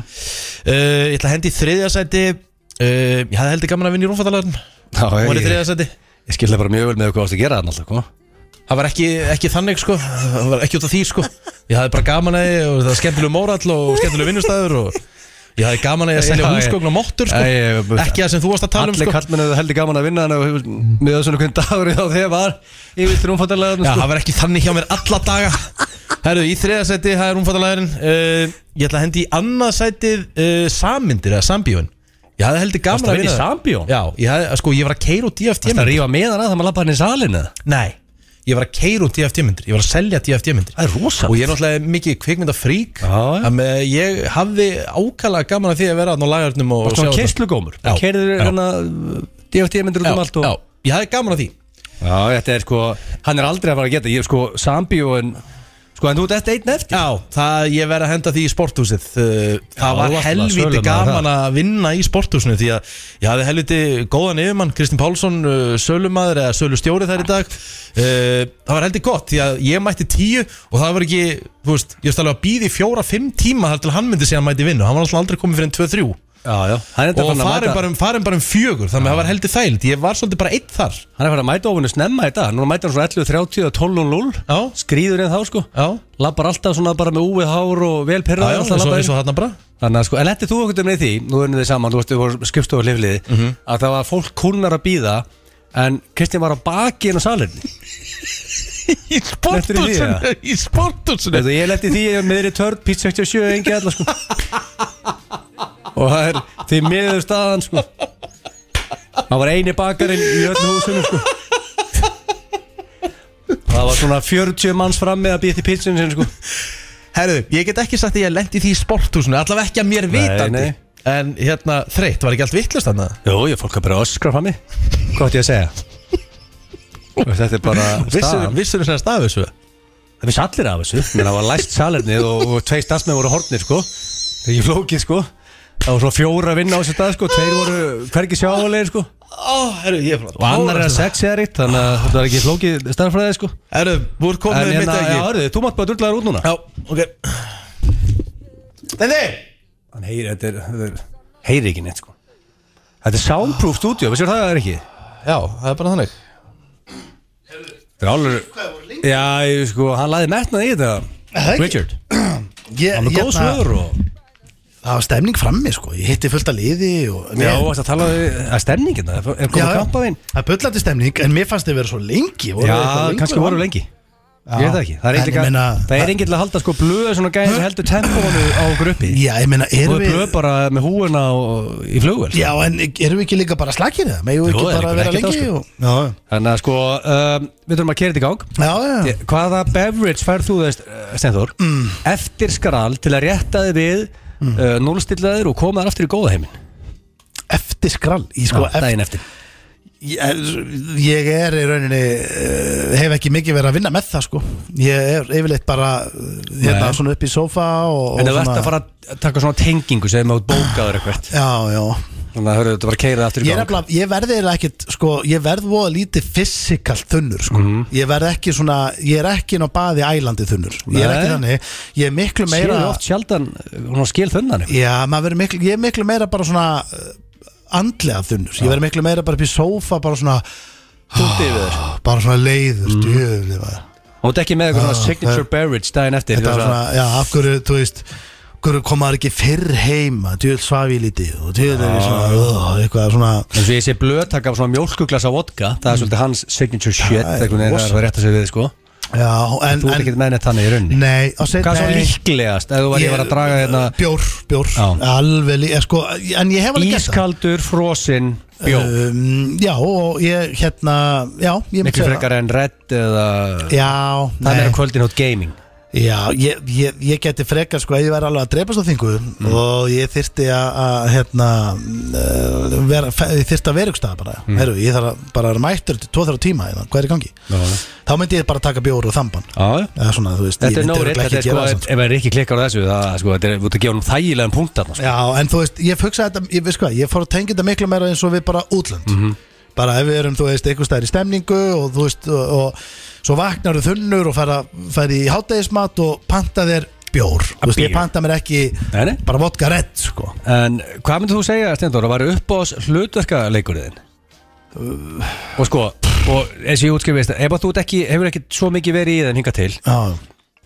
Speaker 1: Ég ætla að hendi í þriðja sæti uh, Ég hafði heldur gaman að vinna í rúmfattalarn
Speaker 3: Já,
Speaker 1: Hún var í
Speaker 3: ég-
Speaker 1: þriðja sæti
Speaker 3: Ég skilja bara mjög vel með hvað ást að gera þarna sko. alltaf, koma
Speaker 1: Það var ekki, ekki þannig sko, það var ekki út af því sko Ég hafði bara gaman að því og það var skemmtilegu mórall og skemmtilegu vinnustæður og ég hafði gaman að því að selja
Speaker 3: Já, ég-
Speaker 1: húsgögn og móttur sko
Speaker 3: Já, ég-
Speaker 1: Ekki það sem þú varst að tala um
Speaker 3: Allir
Speaker 1: sko
Speaker 3: kallmennu hefur heldur gaman að vinna þannig að með þessu hvernig dagur í þá þegar var yfir trúmfattalega
Speaker 1: Já,
Speaker 3: sko.
Speaker 1: það var ekki þannig hjá mér alla daga Herru, í þriða sæti, það er umfattalæðurinn uh, Ég ætla að hendi í annað sætið uh, Sammyndir eða sambíun Ég hafði heldur
Speaker 3: Varstu
Speaker 1: gaman
Speaker 3: að
Speaker 1: að
Speaker 3: vinna í
Speaker 1: vinna
Speaker 3: Sambíón?
Speaker 1: Já, ég, hafði, sko, ég var að keira út DFT
Speaker 3: Það
Speaker 1: myndir
Speaker 3: rífa með hana þegar maður lappa hann í salinu
Speaker 1: Nei, ég var að keira út DFT myndir Ég var að selja DFT myndir
Speaker 3: Það er rosa
Speaker 1: Og ég er náttúrulega mikið kvikmyndafrík
Speaker 3: Já, já.
Speaker 1: Þannig að ég hafði ákala gaman að því að vera þarna á lagarnum og
Speaker 3: Og svona keslugómur
Speaker 1: Já.
Speaker 3: Kerður
Speaker 1: Já.
Speaker 3: hérna DFT myndir út um allt
Speaker 1: Já,
Speaker 3: og
Speaker 1: já, ég hafði gaman að því
Speaker 3: Já, þetta er sko Hann er aldrei að fara að geta Ég er sko Sambíón Sko en þú ert eftir einn eftir
Speaker 1: Já, það, ég verði að henda því í sporthúsið Uh, Það
Speaker 3: þú
Speaker 1: var
Speaker 3: varst
Speaker 1: helviti
Speaker 3: náttúrulega sölumaður
Speaker 1: gaman að vinna í sporthúsinu Því að ég hafði helviti góðan yfirmann Kristinn Pálsson, uh, sölumaður eða sölustjóri þær í dag uh, Það var heldur gott, því að ég mætti tíu Og það var ekki, þú veist, ég veist alveg að býði fjóra, fimm tíma Þar til hann myndi segja að mæti vinnu Hann var alltaf aldrei komið fyrir en tvö, þrjú
Speaker 3: já, já. Hann er
Speaker 1: Og
Speaker 3: farin að
Speaker 1: farin
Speaker 3: mæta
Speaker 1: bara, um, farin bara um fjögur Þannig að það var heldur þæld, ég var svolítið bara einn þar
Speaker 3: Hann er farin að mæta ofinu snemma í dag Núna mæta hann svona 11.30 og 12.00
Speaker 1: Já,
Speaker 3: Skrýður einn þá sko
Speaker 1: já,
Speaker 3: Lappar alltaf svona bara með úið hár og vel
Speaker 1: já, já
Speaker 3: perraður
Speaker 1: eins
Speaker 3: alltaf
Speaker 1: og-
Speaker 3: labbaði.
Speaker 1: eins og þarna bara
Speaker 3: Þannig að sko, en lettið þú okkur með því, nú erum við saman, þú veist, við vorum skipstofu hlifliði,
Speaker 1: Mhm.
Speaker 3: að það var fólk kunnar að býða, en Kristján var á baki en á salinni.
Speaker 1: Í
Speaker 3: sporthúsinu,
Speaker 1: í sporthúsinu
Speaker 3: Þetta ég letti því með þeirri törn, pizza 67, engi allar, sko. Og það er því miður staðan, sko. Það var eini bakarinn í öllu húsinu, sko. Það var svona 40 manns fram með að býða því pizzinu sinni, sko.
Speaker 1: Herru, ég get ekki sagt að ég lendi því í sporthúsinu Allavega ekki að mér vitandi
Speaker 3: nei.
Speaker 1: En hérna, þreytt, var ekki allt vittlust hann
Speaker 3: Jó, ég fólk að bara öskra fram í. Hvað ætti ég að segja? Þetta er bara staðan.
Speaker 1: Vissur þess að staðu þessu
Speaker 3: Það vissi allir af þessu Menn það var læst salernið og, og tvei stafsmenn voru hornir sko Þegar ég flókið sko Það var svona fjóra að vinna á þessu stað sko Tveir voru hvergi sjáulegir sko
Speaker 1: Ó, herru, ég er frá
Speaker 3: Og annar er að sexið er eitt Þannig að þetta er ekki flókið starffræði sko
Speaker 1: Herru, búr
Speaker 3: En
Speaker 1: komið mitt
Speaker 3: hérna, já,
Speaker 1: ekki
Speaker 3: hörðu, þú mátt bara drulla þér út núna
Speaker 1: Já, ok Stendi
Speaker 3: Hann heyri, þetta er, þetta er Heyri ekki neitt sko Þetta er soundproof studio, vissir það er ekki
Speaker 1: Já, það er bara þannig
Speaker 3: Þetta er alveg Já, ég, sko, hann laði metnað í þetta
Speaker 2: það ekki? Hérna-
Speaker 3: Richard,
Speaker 2: Ég,
Speaker 3: hann var góð svör og
Speaker 2: Það var stemning frammi sko Ég hitti fullt að liði og
Speaker 3: Já, og það talaði að stemningina Er er komið kampaðinn?
Speaker 2: það er bullandi stemning En mér fannst þið vera svo lengi voru
Speaker 3: Já,
Speaker 2: þið eitthvað lengur
Speaker 3: kannski voru
Speaker 2: á-
Speaker 3: lengi Ég veit það ekki, það
Speaker 2: En
Speaker 3: er enginn
Speaker 2: ég
Speaker 3: að,
Speaker 2: meina,
Speaker 3: það er enginn til að halda sko blöðu svona gæðin sem heldur tempónu á gruppi
Speaker 2: Já, ég meina,
Speaker 3: Og
Speaker 2: erum
Speaker 3: er blöð
Speaker 2: við
Speaker 3: bara með húuna og, í sko. flugvel
Speaker 2: Já, en erum við ekki líka bara slakir það? Megum við
Speaker 3: Jú,
Speaker 2: ekki
Speaker 3: það
Speaker 2: bara
Speaker 3: liggur
Speaker 2: vera
Speaker 3: ekkert á,
Speaker 2: lengi
Speaker 3: sko.
Speaker 2: og... Já,
Speaker 3: Þannig að sko, um, við þurfum að kera þetta í gang
Speaker 2: já, já,
Speaker 3: Ég- Hvaða beverage færð þú þess, Stenþór,
Speaker 2: Mm.
Speaker 3: eftir skral til að rétta þið við mm. uh, núlstillaðir og koma þar aftur í góða heiminn
Speaker 2: Eftir skrall Ég, sko,
Speaker 3: Já, daginn eftir
Speaker 2: ég, eh, ég er í rauninni eh, Hef ekki mikið verið að vinna með það sko Ég er yfirleitt bara eh, Hérna
Speaker 3: Nei.
Speaker 2: svona upp í sófa og,
Speaker 3: En
Speaker 2: og
Speaker 3: ef þú ert að fara að taka svona tengingu sem þú ert bókaður eitthvað
Speaker 2: Já, já,
Speaker 3: Þannig að hörðu þetta bara keirað aftur
Speaker 2: Ég,
Speaker 3: í gang
Speaker 2: nefnilega, ég verði eiginlega ekkit, sko, ég verð voða lítið fysikalt þunnur, sko
Speaker 3: Mhm.
Speaker 2: Ég verð ekki svona, ég er ekki inn á baði ælandi þunnur Ég er
Speaker 3: Nei.
Speaker 2: ekki þannig, ég er miklu meira
Speaker 3: Skilur oft sjaldan, uh, hún á skil þunnan eitthvað.
Speaker 2: Já, maður verður miklu, ég er miklu meira bara svona uh, andlega þunnur Ég verð miklu meira bara upp í sófa, bara svona Ah,
Speaker 3: Dútti yfir þér. Mhm.
Speaker 2: Bara svona leiður, mm. djöfli maður
Speaker 3: Og þú ert ekki með eitthvað svona signature beverage daginn eftir
Speaker 2: Ah, Þetta er
Speaker 3: þú veist
Speaker 2: svona, já, af hverju, þú veist af Hverju komaður ekki fyrr heima, djöfli svafi lítið Og djöfli er ég svona, uh, eitthvað svona
Speaker 3: eins og ég sé blöðtak af svona mjólkuglasa vodka það er svolítið hans signature shit
Speaker 2: Mm. Það er
Speaker 3: einhvern veginn er
Speaker 2: rosa.
Speaker 3: að rétta sig við sko
Speaker 2: Já, en,
Speaker 3: þú
Speaker 2: en
Speaker 3: ert ekki með neitt þannig í rauninni
Speaker 2: Nei, á seinni-
Speaker 3: hvað er svo
Speaker 2: nei.
Speaker 3: líklegast ef þú var ég var að draga hérna
Speaker 2: Bjór, bjór,
Speaker 3: Já.
Speaker 2: alveg lí, eh, sko, En ég hef alveg gert það
Speaker 3: ískaldur, frosinn, bjór
Speaker 2: um, Já, og ég hérna Já, ég myndi
Speaker 3: miklu
Speaker 2: segja
Speaker 3: frekar en redd eða
Speaker 2: það Já,
Speaker 3: það
Speaker 2: nei,
Speaker 3: er á kvöldin átt gaming
Speaker 2: já ég, ég, ég geti frekar sko, ef ég væri alveg að dreipast á þingu
Speaker 3: Mm.
Speaker 2: og ég þyrfti að- að hérna, uh, vera, fe- ég þyrfti að vera ykkur stað bara,
Speaker 3: Mm.
Speaker 2: herru, ég þarf að bara að vera mættur til 2-3 tíma, hérna, hvað er í gangi þá myndi ég bara taka bjór og þamban
Speaker 3: Já, já.
Speaker 2: eða svona, þú veist,
Speaker 3: þetta
Speaker 2: ég
Speaker 3: er
Speaker 2: myndi
Speaker 3: nóg rétt
Speaker 2: örugglega
Speaker 3: þetta er
Speaker 2: ekki
Speaker 3: sko
Speaker 2: gera það samt.
Speaker 3: ef það er ekki klikkar á þessu það sko þetta er út að gefa hún þægilegan punkt þarna sko.
Speaker 2: Já, en þú veist, ég hugsa þetta, ég veist hvað, ég fór að tengja þetta miklu meira eins og við bara útlönd
Speaker 3: Mhm.
Speaker 2: Bara ef við erum, þú veist, einhvers staðar í stemningu og þú veist, og, og svo vaknar þú þunnur og fara, fara í hátegismat og panta þér bjór Þú veist, ég
Speaker 3: bjór.
Speaker 2: panta mér ekki
Speaker 3: Nei, nei.
Speaker 2: bara vodka redd, sko
Speaker 3: En hvað myndir þú segja, Steindóra, var upp á hlutverkaleikurinn? og sko, og eins og ég útskrifist, ef að þú ert ekki, hefur ekki svo mikið verið í þeim hingað til,
Speaker 2: Já,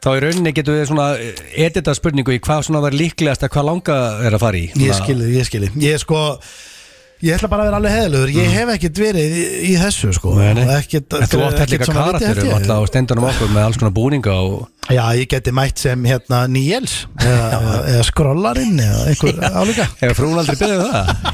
Speaker 3: þá í rauninni getur við svona eh, edita spurningu í hvað svona var líklegast að hvað langa er að fara í.
Speaker 2: ég skili, ég skili Ég sko, ég ætla bara að vera alveg heðalögur Ég hef ekkert verið í, í þessu, sko
Speaker 3: Mhm. Nei, nei.
Speaker 2: Ekkert,
Speaker 3: En þú átt
Speaker 2: ekkert
Speaker 3: líka
Speaker 2: svona lítið, held
Speaker 3: karakterum
Speaker 2: ég.
Speaker 3: alltaf á Steindórum okkur með alls konar búninga og...
Speaker 2: Já, ég geti mætt sem, hérna, Níels eða, eða, eða skrollarinn eða einhver álíka
Speaker 3: Hefur frún aldrei beðið um það?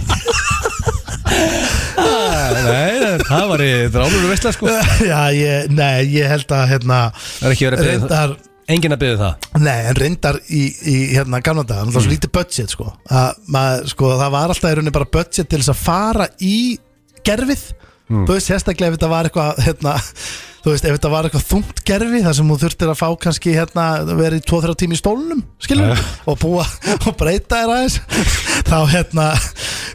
Speaker 3: Nei, það var í drálur veistla sko.
Speaker 2: Já, ég, nei, ég held að hérna,
Speaker 3: Það er ekki verið að beðið það.
Speaker 2: reyndar,
Speaker 3: Engin að beðið það.
Speaker 2: nei, en reyndar í, í hérna gamla daga, það var
Speaker 3: Mm.
Speaker 2: svo lítið budget sko. Að, maður, sko, það var alltaf í rauninni bara budget til þess að fara í gerfið, mm. þú veist, sérstaklega ef þetta var eitthvað, hérna þú veist, ef þetta var eitthvað þungt gerfi þar sem þú þurftir að fá kannski, hérna, vera í 2-3 tími í stólnum, skilur og búa og breyta þér aðeins þá hérna,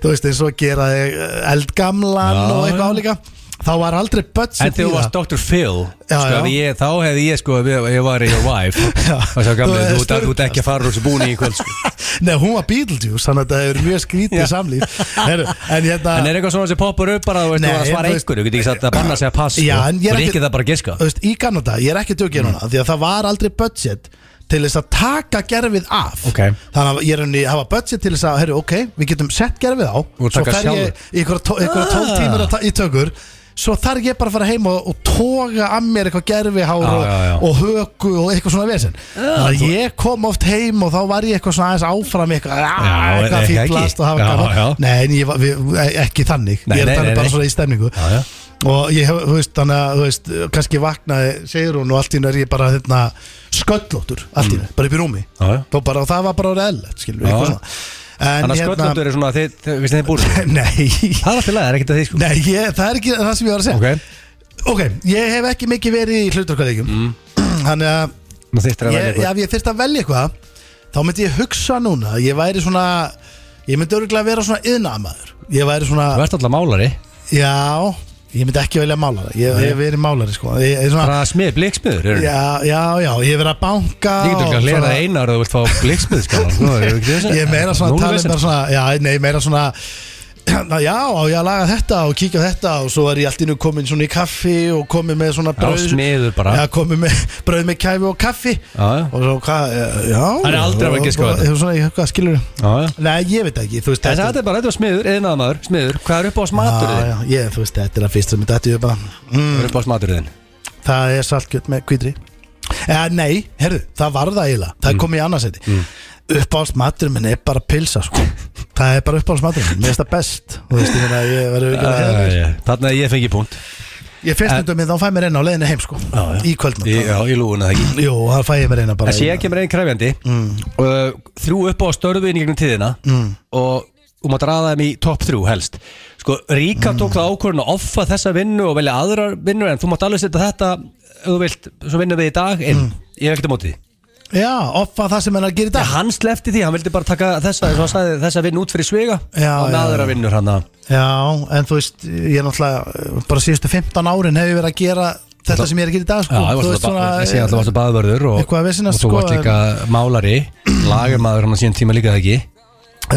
Speaker 2: þú veist, eins og að gera þig eldgamlan
Speaker 3: Já,
Speaker 2: og eitthvað
Speaker 3: já.
Speaker 2: álíka þá var aldrei budget
Speaker 3: En þegar
Speaker 2: í
Speaker 3: þú varst
Speaker 2: það.
Speaker 3: Dr. Phil
Speaker 2: Já,
Speaker 3: sko,
Speaker 2: já.
Speaker 3: hefði Ég, Þá hefði ég sko Ég, ég var í Your Wife
Speaker 2: Já.
Speaker 3: Og svo gamlega
Speaker 2: Þú
Speaker 3: Þú
Speaker 2: hefði
Speaker 3: ert- þú ert ekki að fara úr þessu búni í kvöld sko.
Speaker 2: Nei, hún var Beetlejuice, þannig að það er mjög skrítið samlíf Heru, En hérna
Speaker 3: En er eitthvað svona sem poppar upp bara Þú veist,
Speaker 2: Nei,
Speaker 3: þú var að svara
Speaker 2: þú veist-
Speaker 3: einhverju Þú getur ekki sagt að banna sig að pass
Speaker 2: Já, en ég
Speaker 3: sko.
Speaker 2: er
Speaker 3: Og
Speaker 2: ekki-
Speaker 3: ekki það bara að giska Mm.
Speaker 2: þú veist, Í Kanada, ég er ekki tökir hana Því að það var aldrei budget til þess að taka gerfið af
Speaker 3: Ok.
Speaker 2: Þannig að ég er henni að hafa budget til þess að heru, Ok, við getum sett gerfið á
Speaker 3: Og taka
Speaker 2: fer ég
Speaker 3: sjálfur.
Speaker 2: í einhverja tó- einhverja tólf
Speaker 3: Ah.
Speaker 2: tímur að ta- í tökur Svo þarf ég bara að fara heim og, og toga að mér eitthvað gerfihár
Speaker 3: Já,
Speaker 2: og,
Speaker 3: já, Ah, já.
Speaker 2: og höku og eitthvað svona vesinn Þannig að ég kom oft heim og þá var ég eitthvað svona aðeins áfram í eitthvað, "Ah,
Speaker 3: Já,
Speaker 2: eitthvað
Speaker 3: ekki,
Speaker 2: fínt
Speaker 3: ekki.
Speaker 2: last og
Speaker 3: Já,
Speaker 2: hafa
Speaker 3: já.
Speaker 2: gaman Nei, en ég, var- við, e, ekki þannig
Speaker 3: Nei,
Speaker 2: Ég er
Speaker 3: nei,
Speaker 2: að
Speaker 3: nei,
Speaker 2: tala bara
Speaker 3: nei.
Speaker 2: svona í stemningu
Speaker 3: Já, já.
Speaker 2: Og ég hef, þú veist, þannig að, þú veist, kannski vaknaði segir hún og allt í hennu er ég bara hérna, sköllóttur, allt í hennu, bara upp í rúmi
Speaker 3: Mm. Já, já.
Speaker 2: Þó bara, og það var bara reðlegt, skilur
Speaker 3: Já.
Speaker 2: við, eitthvað svona En hérna-
Speaker 3: Þannig að sköllundur er svona þið- þið- Við þeim búin
Speaker 2: Nei,
Speaker 3: Það er alltaf læg, er ekkert að því sko
Speaker 2: nei ég, það er ekki það sem ég var að segja
Speaker 3: Ok,
Speaker 2: Ok, ég hef ekki mikið verið í hlutarkvæðleikum Þannig að
Speaker 3: nú þýttir Mm. að velja
Speaker 2: ég,
Speaker 3: eitthvað
Speaker 2: ef ég þyrst að velja eitthvað þá myndi ég hugsa núna að ég væri svona ég myndi örgulega vera svona yðnaðamaður ég væri svona,
Speaker 3: Þú ert alltaf málari
Speaker 2: já ég myndi ekki velja málara, ég hef verið málari sko, ég er svona,
Speaker 3: Bara smið bliksmiður Ég
Speaker 2: já, já, já ég hef verið að banka
Speaker 3: getur
Speaker 2: og
Speaker 3: ekki að hlera
Speaker 2: svona-
Speaker 3: einar Þú vilt fá bliksmiðskálan
Speaker 2: ég er meira svona að tala um bara svona, já, nei, meira svona hérna, já, á ég að laga þetta og kíkja á þetta og svo er ég allt innu komin svona í kaffi og komin með svona
Speaker 3: Já,
Speaker 2: brauð
Speaker 3: smiður bara.
Speaker 2: Já, komin með brauð með kæfi og kaffi
Speaker 3: Já, já.
Speaker 2: Og svo hvað, eh, já
Speaker 3: Hann er aldrei að fara að giska á þetta.
Speaker 2: Svona, ég- hvað skilur
Speaker 3: Já, já.
Speaker 2: Nei, ég veit ekki, þú veist
Speaker 3: Þessi þetta er bara, þetta var smiður, eðnaða maður, smiður Hvað er upp á
Speaker 2: Já,
Speaker 3: smaturðin?
Speaker 2: já, ég, þú veist, þetta er að fyrst sem þetta er bara
Speaker 3: Hvað er upp á smaturðin?
Speaker 2: Það er saltkjöt með kvítri Eða nei, herðu, það var það eiginlega Það kom í annarsæti mm. Uppáhaldsmaturinn minn er bara pilsa sko. Það er bara uppáhaldsmaturinn, minn, mér finnst það best Þú veist, ég meina, ég hérna. verður ekki að hefða
Speaker 3: Þannig að ég fengi punkt
Speaker 2: Ég fyrst undum minn, þá fæ mér eina á leiðinu heim sko. Í kvöldmatt
Speaker 3: Í- Já, ég lúin að það ekki
Speaker 2: Jú, það fæ ég mér eina bara
Speaker 3: Þessi ég kemur einn krefjandi
Speaker 2: Mm.
Speaker 3: uh, Þrjú upp á störfin í gegnum tíðina og þú mátt ræða þeim í topp þrjú helst Sko, Ríka
Speaker 2: Mm.
Speaker 3: tók það ákvörðin að offa þessa vinnu og velja aðrar vinnur en þú mátt alveg setja þetta ef þú vilt, svo vinnum við í dag inn
Speaker 2: Mm.
Speaker 3: Ég hef ekkert á móti því
Speaker 2: Já, offa það sem hann er að gera í
Speaker 3: Nei,
Speaker 2: dag
Speaker 3: Hann slefti því, hann vildi bara taka þessa eins og hann sagði, þessa vinn út fyrir svega
Speaker 2: Já,
Speaker 3: og með
Speaker 2: já,
Speaker 3: aðra
Speaker 2: já.
Speaker 3: vinnur hann að
Speaker 2: Já, en þú veist, ég er náttúrulega Bara síðustu 15 árin hef ég verið að gera Þetta sem ég er að gera í dag
Speaker 3: Já,
Speaker 2: sko.
Speaker 3: ég
Speaker 2: Þú
Speaker 3: varst
Speaker 2: veist,
Speaker 3: svona,
Speaker 2: svona,
Speaker 3: þessi alltaf varstu baðvörður og,
Speaker 2: eitthvað að
Speaker 3: og
Speaker 2: vesinast,
Speaker 3: þú
Speaker 2: sko,
Speaker 3: varst
Speaker 2: en-
Speaker 3: líka málari, lagarmaður hann að síðan tíma líka það ekki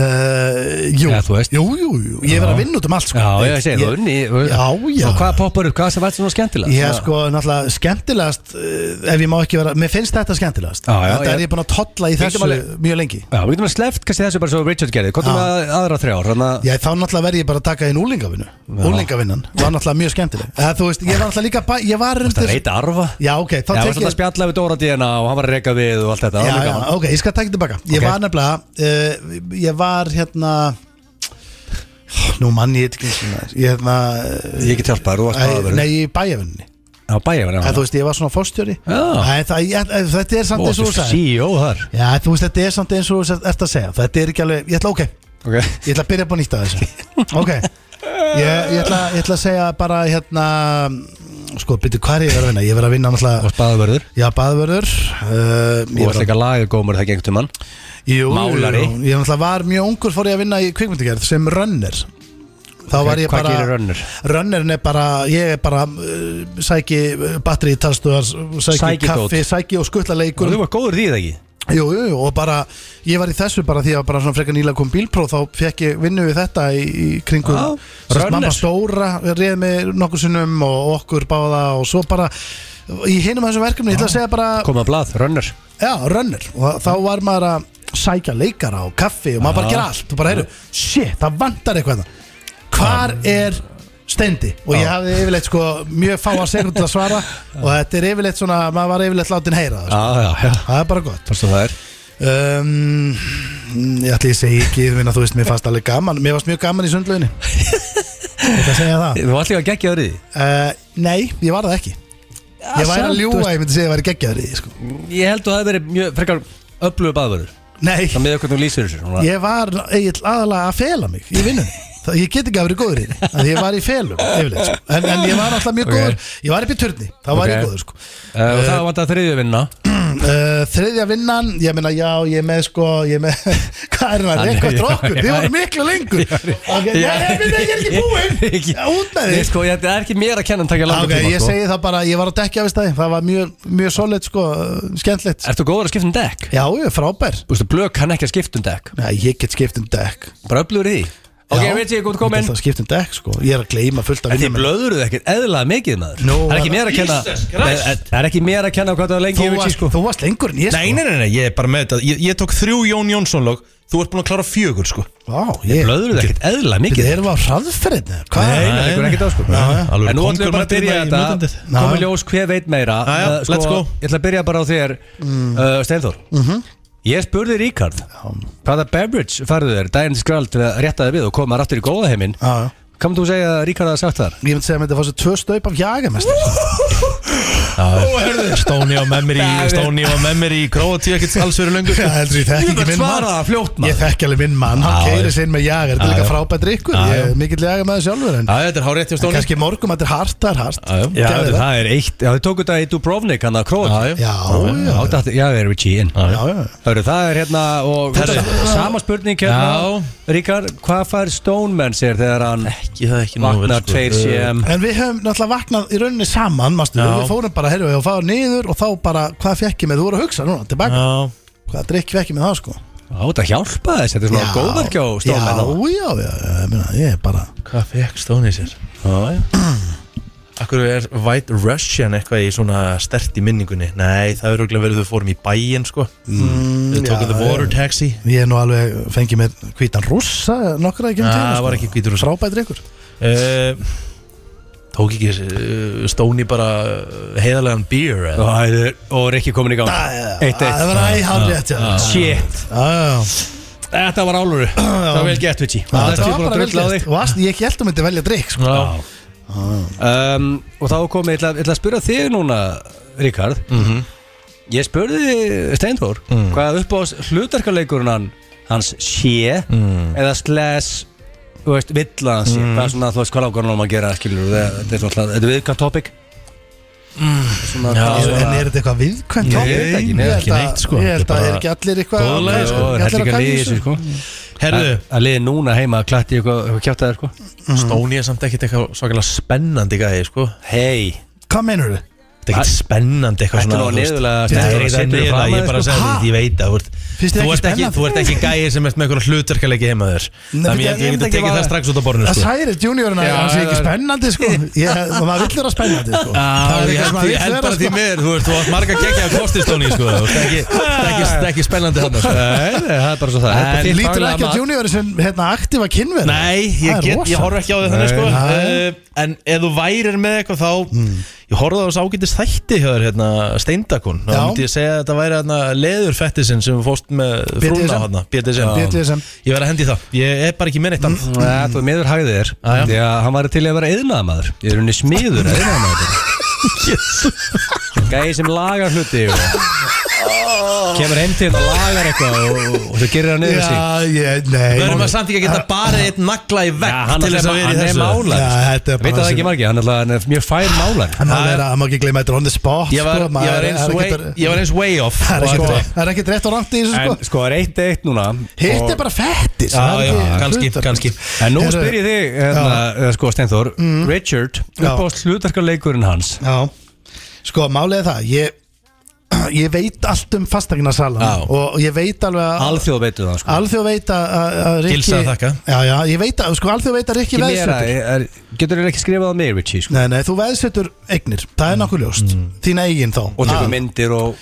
Speaker 2: Uh, jú.
Speaker 3: Já, þú veist.
Speaker 2: jú, jú, jú, ég er
Speaker 3: Já.
Speaker 2: að vinna út um allt sko.
Speaker 3: Já, ég segi þú unni
Speaker 2: Já, já.
Speaker 3: Og hvað poppar upp, hvað sem vært svona skemmtilegast
Speaker 2: Ég er sko náttúrulega skemmtilegast uh, Ef ég má ekki vera, mér finnst þetta skemmtilegast
Speaker 3: Já, já,
Speaker 2: Þetta
Speaker 3: ég-
Speaker 2: er ég búin að tolla í
Speaker 3: Víkjum
Speaker 2: þessu
Speaker 3: alveg.
Speaker 2: mjög lengi
Speaker 3: Já, við getum að sleft kannski þessu bara svo Richard gerði Hvað
Speaker 2: Já.
Speaker 3: með aðra þrjár, þannig að
Speaker 2: Já, þá náttúrulega verð ég bara að taka inn úlingavinu Úlingavinnan, var náttúrulega mjög skemmtileg Eða, Þú veist, ég var náttúrulega líka, bæ- ég var
Speaker 3: Það
Speaker 2: undir
Speaker 3: reyta arfa Já,
Speaker 2: Já, ok, þá
Speaker 3: það var
Speaker 2: tek
Speaker 3: svona að
Speaker 2: ég
Speaker 3: spjalla við Dóra Díana og hann var að reyka við og allt
Speaker 2: Já,
Speaker 3: þetta það var
Speaker 2: já,
Speaker 3: gaman.
Speaker 2: ok, ég skal taka tilbaka Ég
Speaker 3: Ok.
Speaker 2: var nefnilega, uh, ég var hérna Nú mann ég eitthvað Ég hérna eh,
Speaker 3: Ég get hjálpað, þér, þú varst
Speaker 2: æ,
Speaker 3: baðvörður
Speaker 2: Nei, í bæjavinninni
Speaker 3: Já, bæja var
Speaker 2: Eða, þú veist, ég var svona fórstjóri
Speaker 3: Já.
Speaker 2: Æ, það, ég, æ, Þetta er samt eins og þú sagði
Speaker 3: CEO E þar
Speaker 2: Já, þú veist, þetta er samt eins og þú seg- ert að segja Þetta er ekki alveg, ég ætla, ok Ég
Speaker 3: Ok
Speaker 2: ætla að byrja upp á nýtt að þessu Ok Ég, ég, ætla, ég ætla að segja bara, hérna Sko, byrju, hvað er ég að vera að vinna? Ég verið að vinna
Speaker 3: Þú
Speaker 2: náttúrulega
Speaker 3: varst baðvörður
Speaker 2: Já, baðvörður uh,
Speaker 3: Þú
Speaker 2: ég
Speaker 3: varst
Speaker 2: var-
Speaker 3: líka lagagómur þegar gengt um hann
Speaker 2: Jú,
Speaker 3: málari.
Speaker 2: jú, Ég náttúrulega var mjög ungur fór ég að vinna í kvikmyndagerð sem runner Þá var ég
Speaker 3: Hvað
Speaker 2: bara
Speaker 3: gerir rönnur?
Speaker 2: Runnerin er bara, ég er bara uh, sæki uh, batteri í talstöðar sæki,
Speaker 3: Sæki dót.
Speaker 2: kaffi, sæki og skuttla leikur
Speaker 3: Þú var góður í því það ekki?
Speaker 2: Jú, jú, jú, og bara, ég var í þessu bara því að bara svona frekar nýlega kom bílpróf þá fekk ég vinnu við þetta í, í kringum
Speaker 3: Já,
Speaker 2: sem sagt,
Speaker 3: runner.
Speaker 2: mamma stóra, réði mig nokkur sinnum og okkur báða og svo bara í hinum þessum verkefni, ég ætla að segja bara
Speaker 3: Komað blað, rönnur
Speaker 2: já, runner, og þá var maður að sækja leikara og kaffi og maður bara gera allt og bara, heyrðu, shit, það vantar eitthvað þarna. hvar er stendi og ég hafði yfirleitt sko mjög fáa sekundur að svara og þetta er yfirleitt svona, maður var yfirleitt látin heyra það, sko.
Speaker 3: Já, já, já
Speaker 2: það er bara gott
Speaker 3: Fannst þú það er?
Speaker 2: Um, ég ætla ég segi ekki ég meina, Þú veist, mér fannst alveg gaman Mér fannst mjög gaman í sundlauginni Þetta segja það
Speaker 3: Þú varst líka geggjaður í því?
Speaker 2: uh, Nei, ég var það ekki Ég væri
Speaker 3: Ah, samt,
Speaker 2: að
Speaker 3: þú
Speaker 2: ljúga,
Speaker 3: veist.
Speaker 2: ég myndi segja að ég væri geggjaður í því, sko.
Speaker 3: Ég held að það hef verið mjög frekar öflugur baðvörður Það
Speaker 2: Nei,
Speaker 3: með hvernig þú lýsir þessu hún var-
Speaker 2: ég var eiginlega aðalega að fela mig Í vinnunni Það, ég get ekki að vera góður í því af því Ég var í felum, yfirleitt sko. en, en ég var alltaf mjög
Speaker 3: Ok.
Speaker 2: góður Ég var upp í turni, þá var
Speaker 3: Ok.
Speaker 2: ég góður sko.
Speaker 3: Eh, og Það vant að þriðju vinna
Speaker 2: uh, Þriðja vinnan, ég meina já Ég er með sko, ég er með Hvað er það,
Speaker 3: Hann-
Speaker 2: rekvað
Speaker 3: já,
Speaker 2: strókkur
Speaker 3: já,
Speaker 2: Þið
Speaker 3: já.
Speaker 2: voru miklu lengur Ok, Nei,
Speaker 3: Já.
Speaker 2: ég meina, ég er ekki búinn
Speaker 3: Ég-
Speaker 2: Já, Út með
Speaker 3: Ég
Speaker 2: þig
Speaker 3: sko, ég, það er ekki mér að kenna um takja
Speaker 2: Já,
Speaker 3: langa
Speaker 2: Ok,
Speaker 3: tíma
Speaker 2: ég
Speaker 3: sko.
Speaker 2: segi það bara, ég var á dekki af þess staði Það var mjög, mjög solid sko, uh, skemmtilegt
Speaker 3: Ertu góður að skipta um dekk?
Speaker 2: Já, ég er frábær
Speaker 3: Þú veist, blöð kann ekki að skipta um dekk
Speaker 2: Nei, ég get skipt um dekk
Speaker 3: Bara öflugur í því Ok,
Speaker 2: Já,
Speaker 3: ég veit ég, góð
Speaker 2: get
Speaker 3: komin
Speaker 2: alltaf skipt um dekk sko Ég er að gleyma fullt af
Speaker 3: En þið
Speaker 2: vinnum
Speaker 3: blöðuruð ekkert eðlaða mikið maður
Speaker 2: Nú,
Speaker 3: Það er ekki
Speaker 2: var-
Speaker 3: mér að kenna
Speaker 1: Jesus
Speaker 3: Nei,
Speaker 1: Christ.
Speaker 3: Það er ekki mér að kenna hvað það var lengi
Speaker 2: Þú,
Speaker 3: ég veit ég,
Speaker 2: varst-
Speaker 3: sko.
Speaker 2: þú varst lengur en ég sko
Speaker 1: Nei, nei, nei, nei, ég er bara með þetta Ég, ég tók þrjú Jón Jónsson lög Þú ert búin að klára fjögur, sko
Speaker 2: Vá, ég
Speaker 3: Blöðuruð ekkert eðlaða
Speaker 2: Þið
Speaker 3: mikið
Speaker 2: erum á hraðferðinni Hvað?
Speaker 1: Nei,
Speaker 3: Það
Speaker 1: nei,
Speaker 3: er
Speaker 1: nei.
Speaker 3: ekkert á sko
Speaker 1: Já, já. Alveg
Speaker 3: En nú ætlum
Speaker 1: kóngurinn
Speaker 3: við bara að byrja
Speaker 1: að dýrna í
Speaker 3: þetta
Speaker 1: notendið.
Speaker 3: Komið
Speaker 2: Já.
Speaker 3: ljós, hver veit meira
Speaker 1: Já, já,
Speaker 3: Eh, sko,
Speaker 1: let's go.
Speaker 3: Ég ætla að byrja bara á þér uh, Steinþór Ég spurði Ríkard Hvaða beverage færðu þér daginn til skrald til að rétta þér við og koma aftur í góða heiminn
Speaker 2: Já, já.
Speaker 3: Kan þú segja að Ríkard hafa sagt þar?
Speaker 2: Ég myndi segja að þetta fá sér tvö staup af jagamestur
Speaker 1: Stóni og Memory,
Speaker 3: David.
Speaker 1: Stóni og Memory Króatíu ekkert alls verið löngu
Speaker 2: Já, heldur ég þekki ekki minn mann
Speaker 3: það fljótt
Speaker 2: Ég þekki alveg minn mann, hann
Speaker 1: Já,
Speaker 2: keirir sinn með jagar Þetta er
Speaker 1: Já,
Speaker 2: líka
Speaker 1: já.
Speaker 2: frábært ykkur,
Speaker 1: Já,
Speaker 2: ég
Speaker 1: já.
Speaker 2: er mikill jagar með sjálfur En
Speaker 1: Já, þetta er hár rétt hjá
Speaker 2: en
Speaker 1: Stóni
Speaker 2: kannski morgum, þetta er hart, það er hart
Speaker 1: Já, já.
Speaker 3: Já,
Speaker 2: Gerðu
Speaker 3: þetta,
Speaker 2: það.
Speaker 3: það er eitt, já, þið tóku þetta í Dubrovnik, hann að Krót
Speaker 1: Já, já.
Speaker 2: Já, já.
Speaker 3: já, já, já, við erum við tíinn
Speaker 1: Já,
Speaker 2: Já, já.
Speaker 3: Hörru, það er hérna og
Speaker 1: Herru.
Speaker 3: sama spurning hérna Ríkar, hvað fær Stoneman sér þegar hann
Speaker 1: Ekki, það er ekki nógu vel,
Speaker 3: vaknar
Speaker 1: sko.
Speaker 3: 2 cm
Speaker 2: En við höfum náttúrulega vaknað í rauninni saman mastu,
Speaker 1: Já.
Speaker 2: Við fórum bara, heyrðu, ég fórum niður og þá bara, hvað fekk ég með, þú voru að hugsa núna, tilbaka
Speaker 1: Já,
Speaker 2: Hvað drikk fekk ég með það, sko
Speaker 3: Já, þetta hjálpa þess, þetta er svona góðverkjá
Speaker 2: Já,
Speaker 3: stórmenn
Speaker 2: já, já, já, ég meina, ég er bara
Speaker 1: Hvað fekk Stóni sér? Akkur er White Russian eitthvað í svona stert í minningunni? Nei, það er auðvitað verið þau fórum í bæinn sko Þau
Speaker 2: já,
Speaker 1: tókum the water taxi
Speaker 2: Ég er nú alveg, fengið mér hvítan rússa nokkra ekki um
Speaker 1: Ah,
Speaker 2: tíma
Speaker 1: það var ekki hvítur rússa.
Speaker 2: Frábæð drikkur
Speaker 1: Eh, Tók ekki uh, Stóni bara eh, heiðarlegan beer eða?
Speaker 3: Og Rikki komin í gang Eitt,
Speaker 2: Það
Speaker 3: eitt
Speaker 2: var æg hálfrétt, já
Speaker 3: Shit,
Speaker 2: Já,
Speaker 3: þetta var áluru Það var vel gett, Vici
Speaker 2: Það var bara
Speaker 3: drull á þig
Speaker 2: velgert Og varst- Ég held um þetta velja drikk sko.
Speaker 1: Já.
Speaker 3: um, Og þá komið, ég ætla, ég ætla að spyrja þig núna Ríkard
Speaker 2: Mhm.
Speaker 3: Ég spurði Steinþór
Speaker 2: Mm.
Speaker 3: Hvað upp á hlutarkaleikurinn hann Hans sé
Speaker 2: Mm.
Speaker 3: Eða slash Þú veist, vill að hann sé Það er svona, þú veist, hvað ákvæmum hann um að gera skilur, það, Þetta er svona, þetta er viðkvæmt topic
Speaker 1: Já,
Speaker 3: svona, hvað
Speaker 2: Mm. En
Speaker 3: svona-
Speaker 2: er þetta eitthvað viðkvæmt?
Speaker 3: Nei,
Speaker 2: topic?
Speaker 3: ég veit ekki,
Speaker 2: Ég
Speaker 3: nei,
Speaker 2: held
Speaker 1: ekki
Speaker 2: að-
Speaker 1: neitt, sko.
Speaker 2: Ég held að
Speaker 1: Þetta
Speaker 2: er
Speaker 1: er
Speaker 2: ekki allir eitthvað
Speaker 1: Góðlega,
Speaker 2: sko.
Speaker 1: sko.
Speaker 2: Ekki
Speaker 3: Það er
Speaker 2: allir að
Speaker 3: líka
Speaker 2: kæfa
Speaker 3: liðið
Speaker 2: þessu.
Speaker 3: þessu sko
Speaker 1: Herðu,
Speaker 3: Að- Að liðið núna heima að klatti eitthvað eitthvað kjátt að þér sko
Speaker 1: Stóni er samt ekkert eitthvað svakalega spennandi gæði sko
Speaker 3: Hei
Speaker 2: Hvað meinur þau?
Speaker 1: Þetta er ekkert spennandi eitthvað
Speaker 3: Þetta er
Speaker 1: svona
Speaker 3: nú
Speaker 1: þú veist.
Speaker 3: niðurlega
Speaker 1: Þetta
Speaker 3: stendur
Speaker 1: er
Speaker 3: og
Speaker 1: ekkert
Speaker 3: setur
Speaker 1: niðurlega,
Speaker 3: fram að
Speaker 1: ég bara
Speaker 3: þér,
Speaker 1: sagði þetta, sko. ég veit að þú ert- Þú
Speaker 2: Finnst þér ekki
Speaker 1: ert ekki,
Speaker 2: spennandi?
Speaker 1: þú ert ekki gæði sem ert með eitthvað hlutarkalegi heima þér
Speaker 2: Nei,
Speaker 1: Þannig
Speaker 2: bíddu,
Speaker 1: að
Speaker 2: ég
Speaker 1: ég geti
Speaker 2: myndi ekki
Speaker 1: tekið
Speaker 2: bara-
Speaker 1: það strax út á borðinu
Speaker 2: Það
Speaker 1: sko
Speaker 2: særi juniorina
Speaker 3: Já,
Speaker 2: að hann sé ekki
Speaker 3: já, já.
Speaker 2: spennandi sko Ég- Maður vill vera spennandi sko Það er
Speaker 1: Já,
Speaker 2: eitthvað sem maður
Speaker 1: ég
Speaker 2: vill
Speaker 1: held
Speaker 2: vera
Speaker 1: bara því
Speaker 2: sko
Speaker 1: miður, þú veist, þú átt marga geggja að kosti Stóni sko Þú ert ekki- þetta er ekki- þetta er ekki spennandi hann sko
Speaker 3: Nei, nei, það er bara svo það
Speaker 1: En
Speaker 3: Þetta er þitt
Speaker 2: Lítur
Speaker 3: faglega
Speaker 2: ekki á
Speaker 3: mat.
Speaker 2: juniori sem hérna aktiva kynverð
Speaker 1: Nei, ég,
Speaker 2: Það er
Speaker 1: get, ég
Speaker 2: rosa.
Speaker 1: horf ekki á því þannig sko
Speaker 2: Nei.
Speaker 1: uh, En ef þú værir með eitthvað þá Ég horfði á þessu ágætis þætti hjá þér hérna, Steindakun Þá
Speaker 2: Já.
Speaker 1: myndi ég segja að þetta væri hérna, leðurfettisinn sem þú fórst með frúna
Speaker 2: BDSM.
Speaker 1: hérna, BDSM.
Speaker 2: BDSM.
Speaker 1: Ég verði að hendi í það, ég er bara ekki með neitt annað
Speaker 3: Nei, Þú er miður hæðið þér
Speaker 1: Já, já.
Speaker 3: Því að hann var til í að vera yðnaðamaður Ég er henni smiður yðnaðamaður Gæði sem lagar hluti og Kemur heim til þetta og lagar eitthvað og, og þú gerir það niður sig
Speaker 2: Já, ég, nei
Speaker 1: Við erum að samt ekki að geta bara eitt nagla í
Speaker 3: Já,
Speaker 1: vekk
Speaker 3: hann
Speaker 1: til
Speaker 3: er-
Speaker 1: þess að vera í
Speaker 3: hann er
Speaker 1: þessu
Speaker 3: mála.
Speaker 2: Já, þetta er bara
Speaker 3: Veit það
Speaker 2: sem-
Speaker 3: ekki margir, hann er alltaf- hann er mjög fær málar
Speaker 2: Hann má vera, hann má ekki gleyma þetta er on the spot
Speaker 1: Ég var,
Speaker 2: sko, maður
Speaker 1: ég var,
Speaker 2: er-
Speaker 1: eins, Sko-
Speaker 2: er
Speaker 1: way,
Speaker 2: ekkert-
Speaker 1: ég var eins way off
Speaker 2: Það er
Speaker 1: Og-
Speaker 2: ekkert- það er ekkert rétt og rangt í þessu
Speaker 3: En
Speaker 2: sko
Speaker 3: sko er eitt eitt núna
Speaker 2: Hitt
Speaker 3: og-
Speaker 2: er bara fettis
Speaker 1: Já, já, kannski, kannski
Speaker 3: En nú
Speaker 2: Heyrðu, Mm.
Speaker 3: spyr ég þig, hérna, eða sko Steinþór Richard,
Speaker 2: Já.
Speaker 3: upp á slutarkaleikurinn hans
Speaker 2: Já, sko málið er það Ég, ég veit allt um
Speaker 1: Já.
Speaker 2: fastegnarsalan Og ég veit alveg að
Speaker 3: Alþjóð veitu það sko
Speaker 2: Alþjóð veit að- að að Rikki
Speaker 1: Gilsa að þakka.
Speaker 2: Já, já, ég veit að, sko alþjóð veit að Rikki
Speaker 3: Ekki meira,
Speaker 2: veðsetur
Speaker 3: er, Getur þér ekki skrifað á mig, Richie sko
Speaker 2: Nei, nei, þú veðsetur eignir Það er nokkuð ljóst, þín eigin þá
Speaker 3: Og
Speaker 2: Ah.
Speaker 3: tekur myndir og,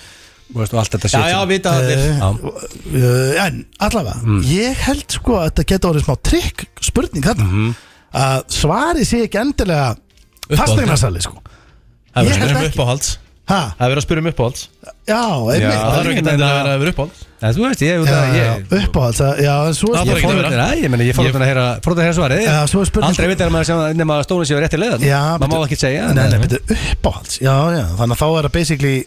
Speaker 3: og, veist, og allt þetta
Speaker 1: Já,
Speaker 3: shit,
Speaker 1: já,
Speaker 3: sko.
Speaker 1: vita það
Speaker 2: Eh,
Speaker 1: til
Speaker 3: Já.
Speaker 2: uh, En allavega, ég held sko að þetta geta orðið smá trikk spurning þarna að svarið sé ekki endilega fastegnarsali sko
Speaker 1: Það verður að
Speaker 2: Ég held
Speaker 1: spyrja um
Speaker 2: ekki.
Speaker 1: uppáhalds
Speaker 2: ha,
Speaker 1: Það verður að spyrja um uppáhalds
Speaker 2: Já, einmitt
Speaker 1: Það þarf ekki
Speaker 3: Ég meina-
Speaker 1: endilega að vera uppáhalds
Speaker 3: En þú veist, ég, út
Speaker 2: Já,
Speaker 3: að
Speaker 2: já,
Speaker 3: ég
Speaker 2: uppáhalds að- Já, en svo
Speaker 1: Já,
Speaker 2: er
Speaker 1: bara-
Speaker 3: Ég fór þetta að, ég meni, ég fór
Speaker 1: Ég-
Speaker 3: þetta að heyra Fór þetta að heyra svarið
Speaker 2: Já, svo er spurning-
Speaker 3: Aldrei veit að maður sem, nema að stónu séu rétt í leiðan
Speaker 2: Já,
Speaker 3: Maður má
Speaker 2: betur-
Speaker 3: ekki segja
Speaker 2: Nei, nei,
Speaker 3: en-
Speaker 2: betur uppáhalds Já, já, þannig að þá er það basically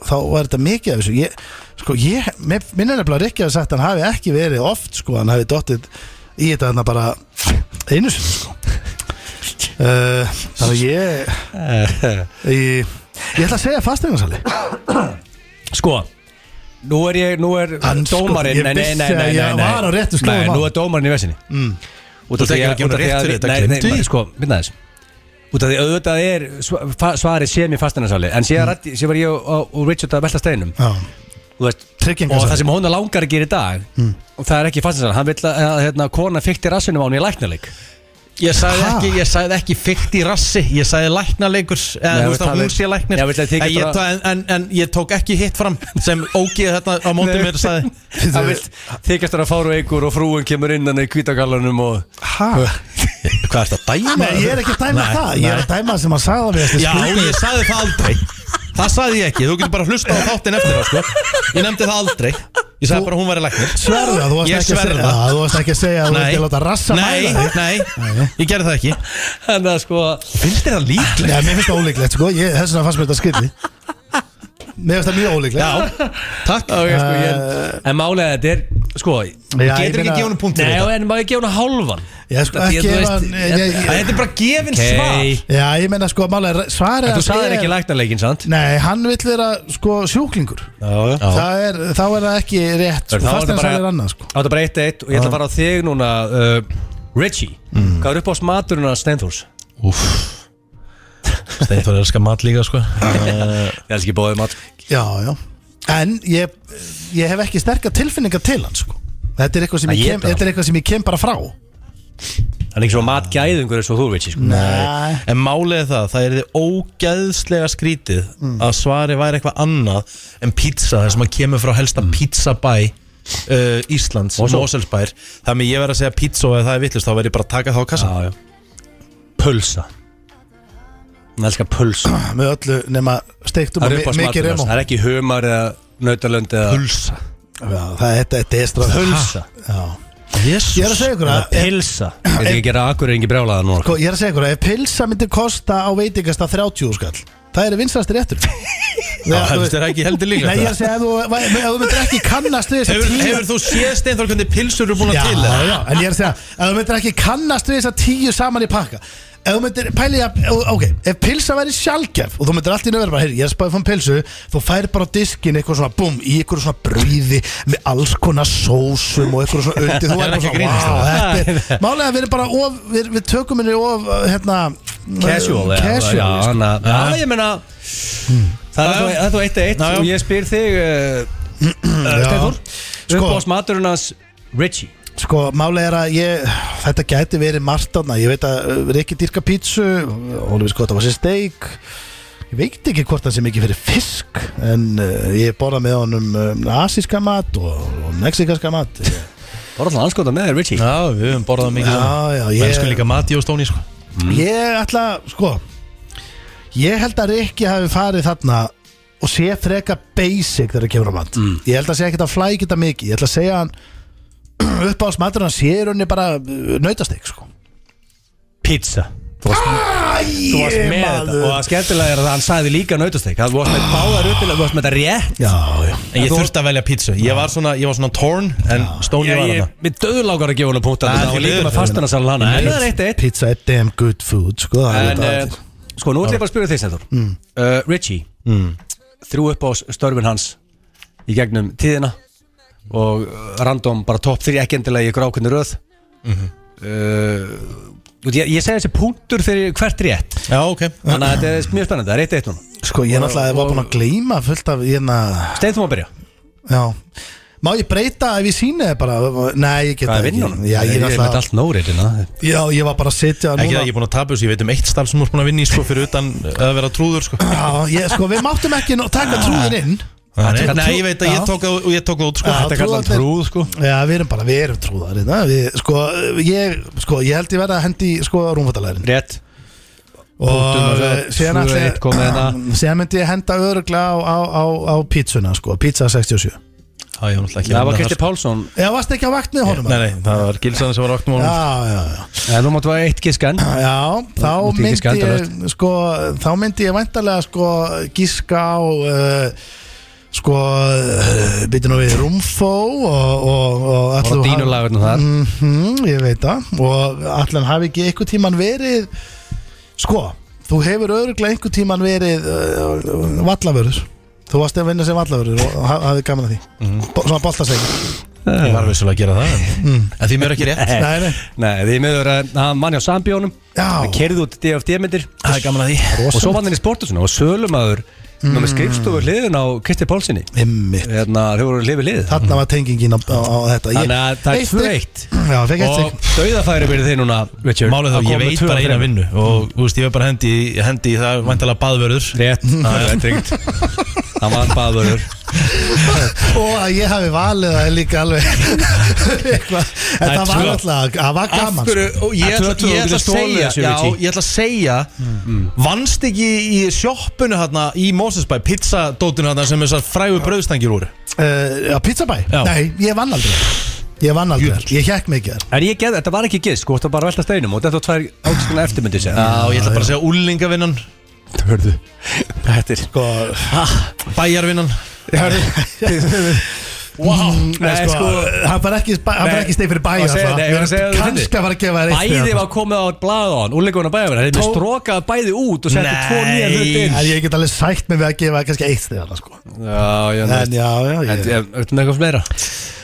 Speaker 2: þá er þetta mikið af þessu ég, sko, ég, mér minn er nefnilega Rikki að sagt hann hafi ekki verið oft, sko, hann hafi dottið í þetta þarna bara einu sinni, sko uh, þannig að ég ég, ég ætla að segja fasteignasali
Speaker 3: Sko Nú er ég, nú er
Speaker 2: Hann, sko,
Speaker 3: dómarinn
Speaker 2: ég
Speaker 3: Nei, nei,
Speaker 2: vissi
Speaker 3: nei,
Speaker 2: að
Speaker 3: nei,
Speaker 2: ég
Speaker 3: nei,
Speaker 2: var á réttu slóðum
Speaker 3: Nei,
Speaker 2: á.
Speaker 3: nú er dómarinn í vesinni mm. Út af
Speaker 1: Þú
Speaker 3: því
Speaker 1: tekur
Speaker 3: að
Speaker 1: ekki
Speaker 3: út
Speaker 1: honum
Speaker 3: af því
Speaker 1: rétt
Speaker 3: að-
Speaker 1: fyrir þetta,
Speaker 3: Nei, nei,
Speaker 1: gleymdu því.
Speaker 3: maður, sko, minna þess Út af því auðvitað er sva- fa- svarið sé mér fastinarsali En
Speaker 2: Mm.
Speaker 3: síðan ræddi- síðan var ég og- og og Richard að velta steinum
Speaker 2: Já,
Speaker 3: Þú veist, og það
Speaker 2: tryggingasali
Speaker 3: sem hún langar að gera í dag
Speaker 2: Hmm.
Speaker 3: og það er ekki fastinarsali Hann vill að að, hérna, kona fykti rassinum á hún í læknarleik
Speaker 1: Ég sagði
Speaker 2: Ha?
Speaker 1: ekki, ég sagði ekki fyrkt í rassi Ég sagði læknaleikur eða
Speaker 3: Nei,
Speaker 1: þú veist
Speaker 3: það
Speaker 1: að hún
Speaker 3: veit-
Speaker 1: sé læknir
Speaker 3: Nei, veit að þið
Speaker 1: En ég
Speaker 3: getur
Speaker 1: tó- en, en, en ég tók ekki hitt fram sem ógið þetta á móti
Speaker 3: Nei.
Speaker 1: mér sagði
Speaker 3: Hann vill þykjast þar að fáru eigur og frúin kemur innan í kvítagallanum og
Speaker 2: Hæ?
Speaker 1: Hvað er þetta dæma?
Speaker 2: Nei, ég er ekki að dæma
Speaker 1: Nei,
Speaker 2: það Ég er að dæma það sem hann sagði að við þessi
Speaker 1: Já, ég sagði það aldrei Það sagði ég ekki, þú getur bara að hlusta á þáttinn eftir á sko. Ég nefndi það aldrei Ég sagði bara að hún væri læknir
Speaker 2: Sverða, þú varst
Speaker 1: Ég
Speaker 2: ekki að
Speaker 1: sverða.
Speaker 2: segja Já, Þú varst ekki að segja að þú varst ekki að láta rassa
Speaker 1: nei,
Speaker 2: mæla þig.
Speaker 1: nei, ég gerði það ekki
Speaker 3: þannig að sko
Speaker 1: Finnst þér það líklegt?
Speaker 2: Nei, mér finnst það ólíklegt sko, ég, þess vegna fannst mér þetta skilli Mér finnst það mjög ólíklegt
Speaker 1: Já, takk
Speaker 3: Ok, sko,
Speaker 2: Eh.
Speaker 3: ég, en málega þetta er sko,
Speaker 2: Já, ég
Speaker 1: Getur ekki
Speaker 2: meina-
Speaker 1: gefið hún punkt
Speaker 3: nei,
Speaker 1: fyrir þetta
Speaker 3: en maður gefa hún hálfan
Speaker 2: Já, sko,
Speaker 3: Þetta-
Speaker 2: ekki
Speaker 3: þú
Speaker 2: ef
Speaker 3: veist,
Speaker 2: hann ég- ég-
Speaker 1: En Þetta er bara gefin
Speaker 3: Ok.
Speaker 1: svar
Speaker 2: Já, ég meina sko, málega svarið
Speaker 3: en þú
Speaker 2: hans
Speaker 3: sagðir
Speaker 2: er-
Speaker 3: ekki læknarleikin, sant?
Speaker 2: Nei, hann vill vera sko sjúklingur
Speaker 3: já
Speaker 2: Það er, þá er það ekki rétt sko,
Speaker 3: Þá er
Speaker 2: Fast
Speaker 3: þetta
Speaker 2: eins að það er
Speaker 3: bara,
Speaker 2: annað sko
Speaker 3: þá er þetta bara eitt eitt og ég ætla að fara á þig núna uh, Richie,
Speaker 2: Hmm.
Speaker 3: hvað er upp á smaturinn að Steinfors?
Speaker 1: Steinfóður elskar mat líka sko
Speaker 3: Ég elski bóðið mat
Speaker 2: Já, já En ég ég hef ekki sterkar tilfinningar til hann sko. þetta, er eitthvað sem
Speaker 3: Að
Speaker 2: ég
Speaker 3: éta
Speaker 2: kem,
Speaker 3: hann.
Speaker 2: þetta er eitthvað sem ég kem bara frá
Speaker 3: Það er ekki svo matgæðingur eins og þú veit sko.
Speaker 2: Nei.
Speaker 1: En málið er það, það er þið ógæðslega skrítið
Speaker 2: Mm.
Speaker 1: að svari væri eitthvað annað en pizza, þar sem að kemur frá helsta
Speaker 2: Mm.
Speaker 1: pizzabæ uh, Íslands, Moselsbær Þannig ég verð að segja pizza og ef það er vittlust þá verð ég bara að taka það á kassa
Speaker 3: Já, já. Pulsa Hún elskar pulsa
Speaker 2: með öllu nema steiktum og mi-
Speaker 3: uppáhalds
Speaker 2: mikið
Speaker 3: maturinn hans.
Speaker 2: remó
Speaker 3: Það er ekki humar eða nautalönd eða
Speaker 1: Pulsa
Speaker 2: Já, það er þetta er straf
Speaker 3: Pulsa
Speaker 2: Ég er að segja ykkur
Speaker 3: Eða
Speaker 2: að ef-
Speaker 3: pilsa Ég veit ekki að gera akureyringi brjálaða núna
Speaker 2: sko, Ég er að segja ykkur að ef pilsa myndi kosta á veitingasta 30 skall Það er vinstast réttur Já, þú veist-
Speaker 1: Það er ekki heldur líka
Speaker 2: Nei, ég er að segja ef þú, ef þú myndir ekki kannast við þessa
Speaker 1: Hefur,
Speaker 2: tíu
Speaker 1: hefur þú séð steinþór hvernig pilsur eru búin
Speaker 2: já,
Speaker 1: til
Speaker 2: já,
Speaker 1: eða?
Speaker 2: en ég er að segja Ef þú myndir ekki kannast við þessa tíu saman í pakka Ef þú myndir, pæli ég að, ok Ef pilsa væri sjálfgef og þú myndir allt í nöður bara, heyr, ég er spáðið fann pilsu Þú fær bara á diskin eitthvað svona, búm, í eitthvað svona brýði Með alls konar sósum og eitthvað svona undir Þú
Speaker 1: Ég er
Speaker 2: er bara
Speaker 1: ekki að
Speaker 2: svona,
Speaker 1: grínast,
Speaker 2: wow, þetta er Málega, við erum bara of, við, við tökum henni of, hérna
Speaker 3: Casual eða-
Speaker 2: Casual,
Speaker 3: Já,
Speaker 2: sko.
Speaker 3: hana- Já, ég meina Það er
Speaker 1: Hmm. Já,
Speaker 3: þá-
Speaker 1: já.
Speaker 3: það er þá eitt að eitt
Speaker 1: Já, já.
Speaker 3: og ég spyr þig eh,
Speaker 2: Já.
Speaker 3: Stefur
Speaker 2: Sko.
Speaker 3: Uppbóðs maturinn hans Richie
Speaker 2: Sko, máli er að ég, þetta gæti verið margt aðna, ég veit að uh, Rikki dýrka pítsu, Ólifi Skotta var sér steik, ég veit ekki hvort hann sé mikið fyrir fisk, en uh, ég borða með honum um, asíska mat og, og mexikaska mat.
Speaker 3: Var alltaf anskota með þér Richie
Speaker 1: Já, við höfum borðað mikið
Speaker 2: Já, já,
Speaker 1: Ég...
Speaker 2: ég-
Speaker 1: Mennsku líka mati og stóni sko.
Speaker 2: Ég ætla, sko, ég held að Rikki hafi farið þarna og sé freka basic þegar það kemur á mat. Ég held að sé ekkert að flækja þetta mikið, ég ætla að segja hann upp á smatur hann sé í rauninni bara nautasteik, sko.
Speaker 3: Pizza Þú varst þú varst með þetta og það skemmtilega er að hann sagði líka nautasteg það varst með báðar uppil þú varst með þetta rétt
Speaker 2: Já, já.
Speaker 1: En ég þurfti að velja pítsu Ég var svona, ég var svona torn En stóni
Speaker 3: ég,
Speaker 1: var
Speaker 3: ég,
Speaker 1: hana
Speaker 3: méð döðlágar að gefa hún að punkta
Speaker 1: Nei,
Speaker 3: þetta
Speaker 1: því
Speaker 3: og líka
Speaker 1: miður.
Speaker 3: með fastanarsalun hana en það er eitt eitt
Speaker 2: Pizza er damn good food sko, það er
Speaker 3: en
Speaker 2: þetta
Speaker 3: eh,
Speaker 2: allir.
Speaker 3: sko nú ætlum ég bara að spyrja þig Sæður mm. Richie þrjú upp á störfin hans í gegnum tíðina og eh, random bara topp þrjú ekki endilega í ykkur ákveðni röð uh, ég, ég segi þessi punktur fyrir hvert rétt
Speaker 1: Já, ok
Speaker 3: þannig að þetta er mjög spennandi það er eitt eitt núna
Speaker 2: Sko ég náttúrulega var búin að gleyma fullt af hérna,
Speaker 3: Steinn þú má byrja
Speaker 2: já Má ég breyta ef ég sýni þið bara? Nei, ég get
Speaker 3: hvað er
Speaker 2: ekki
Speaker 3: vinnunum
Speaker 2: já, ég,
Speaker 3: er með
Speaker 2: náttúrulega-
Speaker 3: allt nóriðina
Speaker 2: já, ég var bara að sitja
Speaker 1: Ekki
Speaker 2: núna
Speaker 1: það, ég er búin að tapa þessu Ég veit um eitt starf sem þú er búin að vinna í sko Fyrir utan að vera trúður sko
Speaker 2: Já, ég, sko, við máttum ekki nú-
Speaker 3: Ah.
Speaker 2: taka trúðin inn
Speaker 1: Nei, Nei, ég veit að ég tók það og ég tók það út sko
Speaker 2: Já,
Speaker 1: Þetta kallar hann
Speaker 2: trúðarnir-
Speaker 1: trúð sko
Speaker 2: Já, við erum bara, við erum trúðar hérna. við, sko, ég, sko, ég held ég verða að hendi sko rúmfattalærin
Speaker 3: rétt
Speaker 2: og
Speaker 3: Punktum,
Speaker 2: eh, síðan
Speaker 3: tvö,
Speaker 2: ætla
Speaker 3: eitt komið hérna.
Speaker 2: ég- síðan myndi ég henda öruglega á, á, á, á pizzuna sko, pizza 67
Speaker 1: Já, ég var náttúrulega ekki
Speaker 3: það
Speaker 1: að
Speaker 3: var
Speaker 1: vinna
Speaker 3: Kristi Pálsson
Speaker 2: Já, varst ekki á vakt með honum?
Speaker 1: þar. Nei, nei, það var gilsaðan sem var okkur málum
Speaker 2: Já, já, já
Speaker 3: en þú máttu að eitt gískan
Speaker 2: Já, þá
Speaker 3: Þú- þú ert ekki
Speaker 2: myndi ég
Speaker 3: skandalaust.
Speaker 2: sko, þá myndi ég væntalega sko gíska á uh, sko uh, býtum við Rúmfó og, og, og
Speaker 3: og
Speaker 2: ætli þú hafi-
Speaker 3: dínulagurinn þar
Speaker 2: Mhm, ég veit það og allan hafi ekki einhver tíman verið sko, þú hefur öruglega einhver tíman verið uh, vallavörður þú varst að vinna sem vallavörður og ha- hafði gaman að því mm. svona boltasegi
Speaker 1: Ég var vissulega að gera það en- En því mér er ekki rétt
Speaker 3: Nei.
Speaker 2: Nei, nei.
Speaker 3: Nei, því miður að hann manni á sambjónum
Speaker 2: Já.
Speaker 3: Hann kerði út DFD-myndir
Speaker 1: Það er gaman að því
Speaker 3: Og svo vann hann í sportusuna og sölumæður mm. Með skrifstofu hliðin á Kristi Pálsini
Speaker 2: Einmitt.
Speaker 3: Hérna, þau voru hlifið lið
Speaker 2: þarna var tengingin á, á, á þetta Ég-
Speaker 3: Þannig að það er
Speaker 2: eitt
Speaker 3: tvö
Speaker 2: stygg.
Speaker 3: eitt
Speaker 2: Já, fekk eitt
Speaker 3: Og
Speaker 2: sig
Speaker 3: dauðafæri verið þeir núna Richard,
Speaker 1: Málið
Speaker 3: að
Speaker 1: þá, ég
Speaker 3: koma með
Speaker 1: veit
Speaker 3: tvö
Speaker 1: bara
Speaker 3: af
Speaker 1: eina
Speaker 3: þremur.
Speaker 1: vinnu Og þú veist, ég var bara hendi, í- hendi í það Væntalega baðvörður
Speaker 3: Rétt, það er tryggt Það var baðurur
Speaker 2: Og að ég hafi valið það er líka alveg eitthvað En
Speaker 1: Það er
Speaker 2: það var
Speaker 1: tvö.
Speaker 2: alltaf, það var
Speaker 1: Af
Speaker 2: gaman
Speaker 1: hverju, og ég
Speaker 3: Að
Speaker 1: ætla,
Speaker 3: tvö- tvö
Speaker 1: ég ætla
Speaker 3: getur
Speaker 1: að
Speaker 3: stolið
Speaker 1: segja
Speaker 3: þessu,
Speaker 1: já,
Speaker 3: Viti.
Speaker 1: ég ætla að segja vannst ekki í sjoppunni hérna í Mosesbæ, pizzadótinu hérna sem þessar frægu brauðstangir úr
Speaker 2: uh, Já, pizzabæ?
Speaker 1: Já.
Speaker 2: Nei, ég vann aldrei Ég vann aldrei,
Speaker 1: Jöfull.
Speaker 2: ég hekk mikið þar
Speaker 3: En ég geði, þetta var ekki gisk, sko, þetta var bara að velta steinum Og þetta var tvær ákskona eftirmyndir sér
Speaker 1: Já, ég ætla bara að segja úlingavinnan
Speaker 3: hörðu Þetta er
Speaker 2: Sko,
Speaker 1: bæjarvinnan
Speaker 3: Wow
Speaker 2: nei, sko, hann fær ekki, spa- hann fær
Speaker 3: Nei.
Speaker 2: ekki steig fyrir bæ
Speaker 3: Ég var að segja-
Speaker 2: alltaf.
Speaker 3: nei, ég var að segja að þú
Speaker 2: Kannski
Speaker 3: finnir.
Speaker 2: að fara að gefa þér eitt
Speaker 3: Bæði
Speaker 2: stig,
Speaker 3: var komið á blaðan Úrleikuna bæðið Þeir
Speaker 2: Tó-
Speaker 3: strókaði bæði út og setti
Speaker 1: Nei.
Speaker 3: tvo nýja hluti inn
Speaker 2: En ég get alveg sætt mig við að gefa kannski eitt steg þarna sko
Speaker 3: Já, já,
Speaker 2: En já, já,
Speaker 3: En
Speaker 2: ég
Speaker 3: ertu með eitthvað fleira?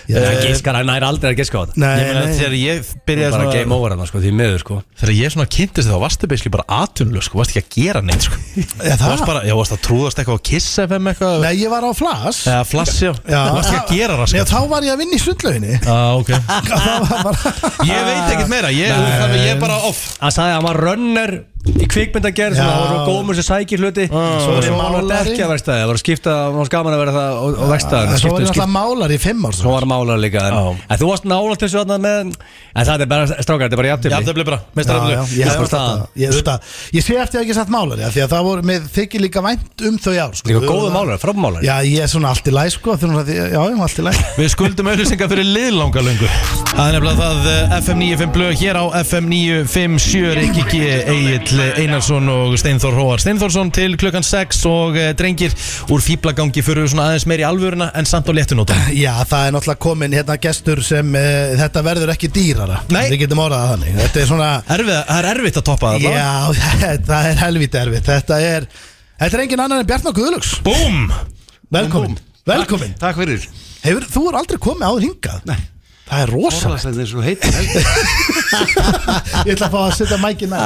Speaker 3: Það gískar, hann er aldrei að gíska á þetta
Speaker 2: Nei,
Speaker 1: Ég meina,
Speaker 2: nei.
Speaker 1: þegar ég
Speaker 3: Það er
Speaker 1: byrjaði
Speaker 3: bara
Speaker 1: svona
Speaker 3: game over hann, sko, því miður, sko
Speaker 1: Þegar ég svona kynntist þá varstu beisli bara atunlöf sko, varstu ekki að gera neitt sko
Speaker 2: Já,
Speaker 1: Þú
Speaker 2: það?
Speaker 1: varst bara, já, varstu að trúðast eitthvað á Kiss FM eitthvað
Speaker 2: Nei, ég var á flass
Speaker 1: Eða flass, já, þú varst ekki að gera það
Speaker 2: Nei,
Speaker 1: sko
Speaker 2: þá var ég að vinna í sundlauginni
Speaker 1: ah, okay.
Speaker 2: Það var bara
Speaker 1: Ég veit ekkert meira, ég, þannig, ég er bara off
Speaker 3: Hann sagði að hann var runner í kvikmyndagerð
Speaker 2: Já. Ah,
Speaker 3: Það var svona gómur sem sækir hluti Svo
Speaker 2: Svo
Speaker 3: var ég
Speaker 2: var
Speaker 3: málari
Speaker 2: málari. Ah,
Speaker 3: ekki að versta Það var að skipta, það var gaman að vera það á- á
Speaker 2: En
Speaker 3: verstaðinu
Speaker 2: Svo var ég
Speaker 3: Skipta- um
Speaker 2: alltaf málar í fimm ár sko.
Speaker 3: Svo var málar líka en, en þú varst nála til þessu þarna með En það er bara, strákar, þetta er bara
Speaker 1: Já,
Speaker 3: jafntefni
Speaker 1: það bleið bara,
Speaker 2: Já, já,
Speaker 1: meistaraflöf
Speaker 2: ég,
Speaker 3: Það
Speaker 2: hefði
Speaker 3: var staðan.
Speaker 2: þetta- ég, þetta, ég sé eftir að ég hef ekki sagt málari af Því að það voru, mér þykir líka vænt um þau ár sko.
Speaker 3: Líka góðu málar, frábmálar
Speaker 2: Já, ég er svona allt í læg sko þegar hún sagði, Já, ég er allt í læg
Speaker 1: Við skuldum auðlýsingar fyrir liðlanga löngu Það er nefnilega það eh, FM 95 blöð hér á FM 957 Rikki G, Egil Einarsson og Steinþór Róar Steinþórsson til klukkan 6 og eh, drengir úr fýblagangi fyrir svona aðeins meir í alvöruna en samt á léttunóta
Speaker 2: Já, það er náttúrulega komin hérna gestur sem uh, Þetta verður ekki dýrara
Speaker 1: Nei.
Speaker 2: Við getum orðað það þannig Þetta er svona
Speaker 1: Erfið, það er erfitt að toppa það bara.
Speaker 2: Já, það er helvítið erfitt Þetta er, þetta er engin annar en Bjarnar Guðlöks
Speaker 1: Búm!
Speaker 2: Velkomin, velkomin
Speaker 7: Takk fyrir
Speaker 2: Hefur, Þú er aldrei komið áður hingað Nei Það er rosa
Speaker 7: Orðast þetta eins og heitir heldur
Speaker 2: Ég ætla að fá að setja mækina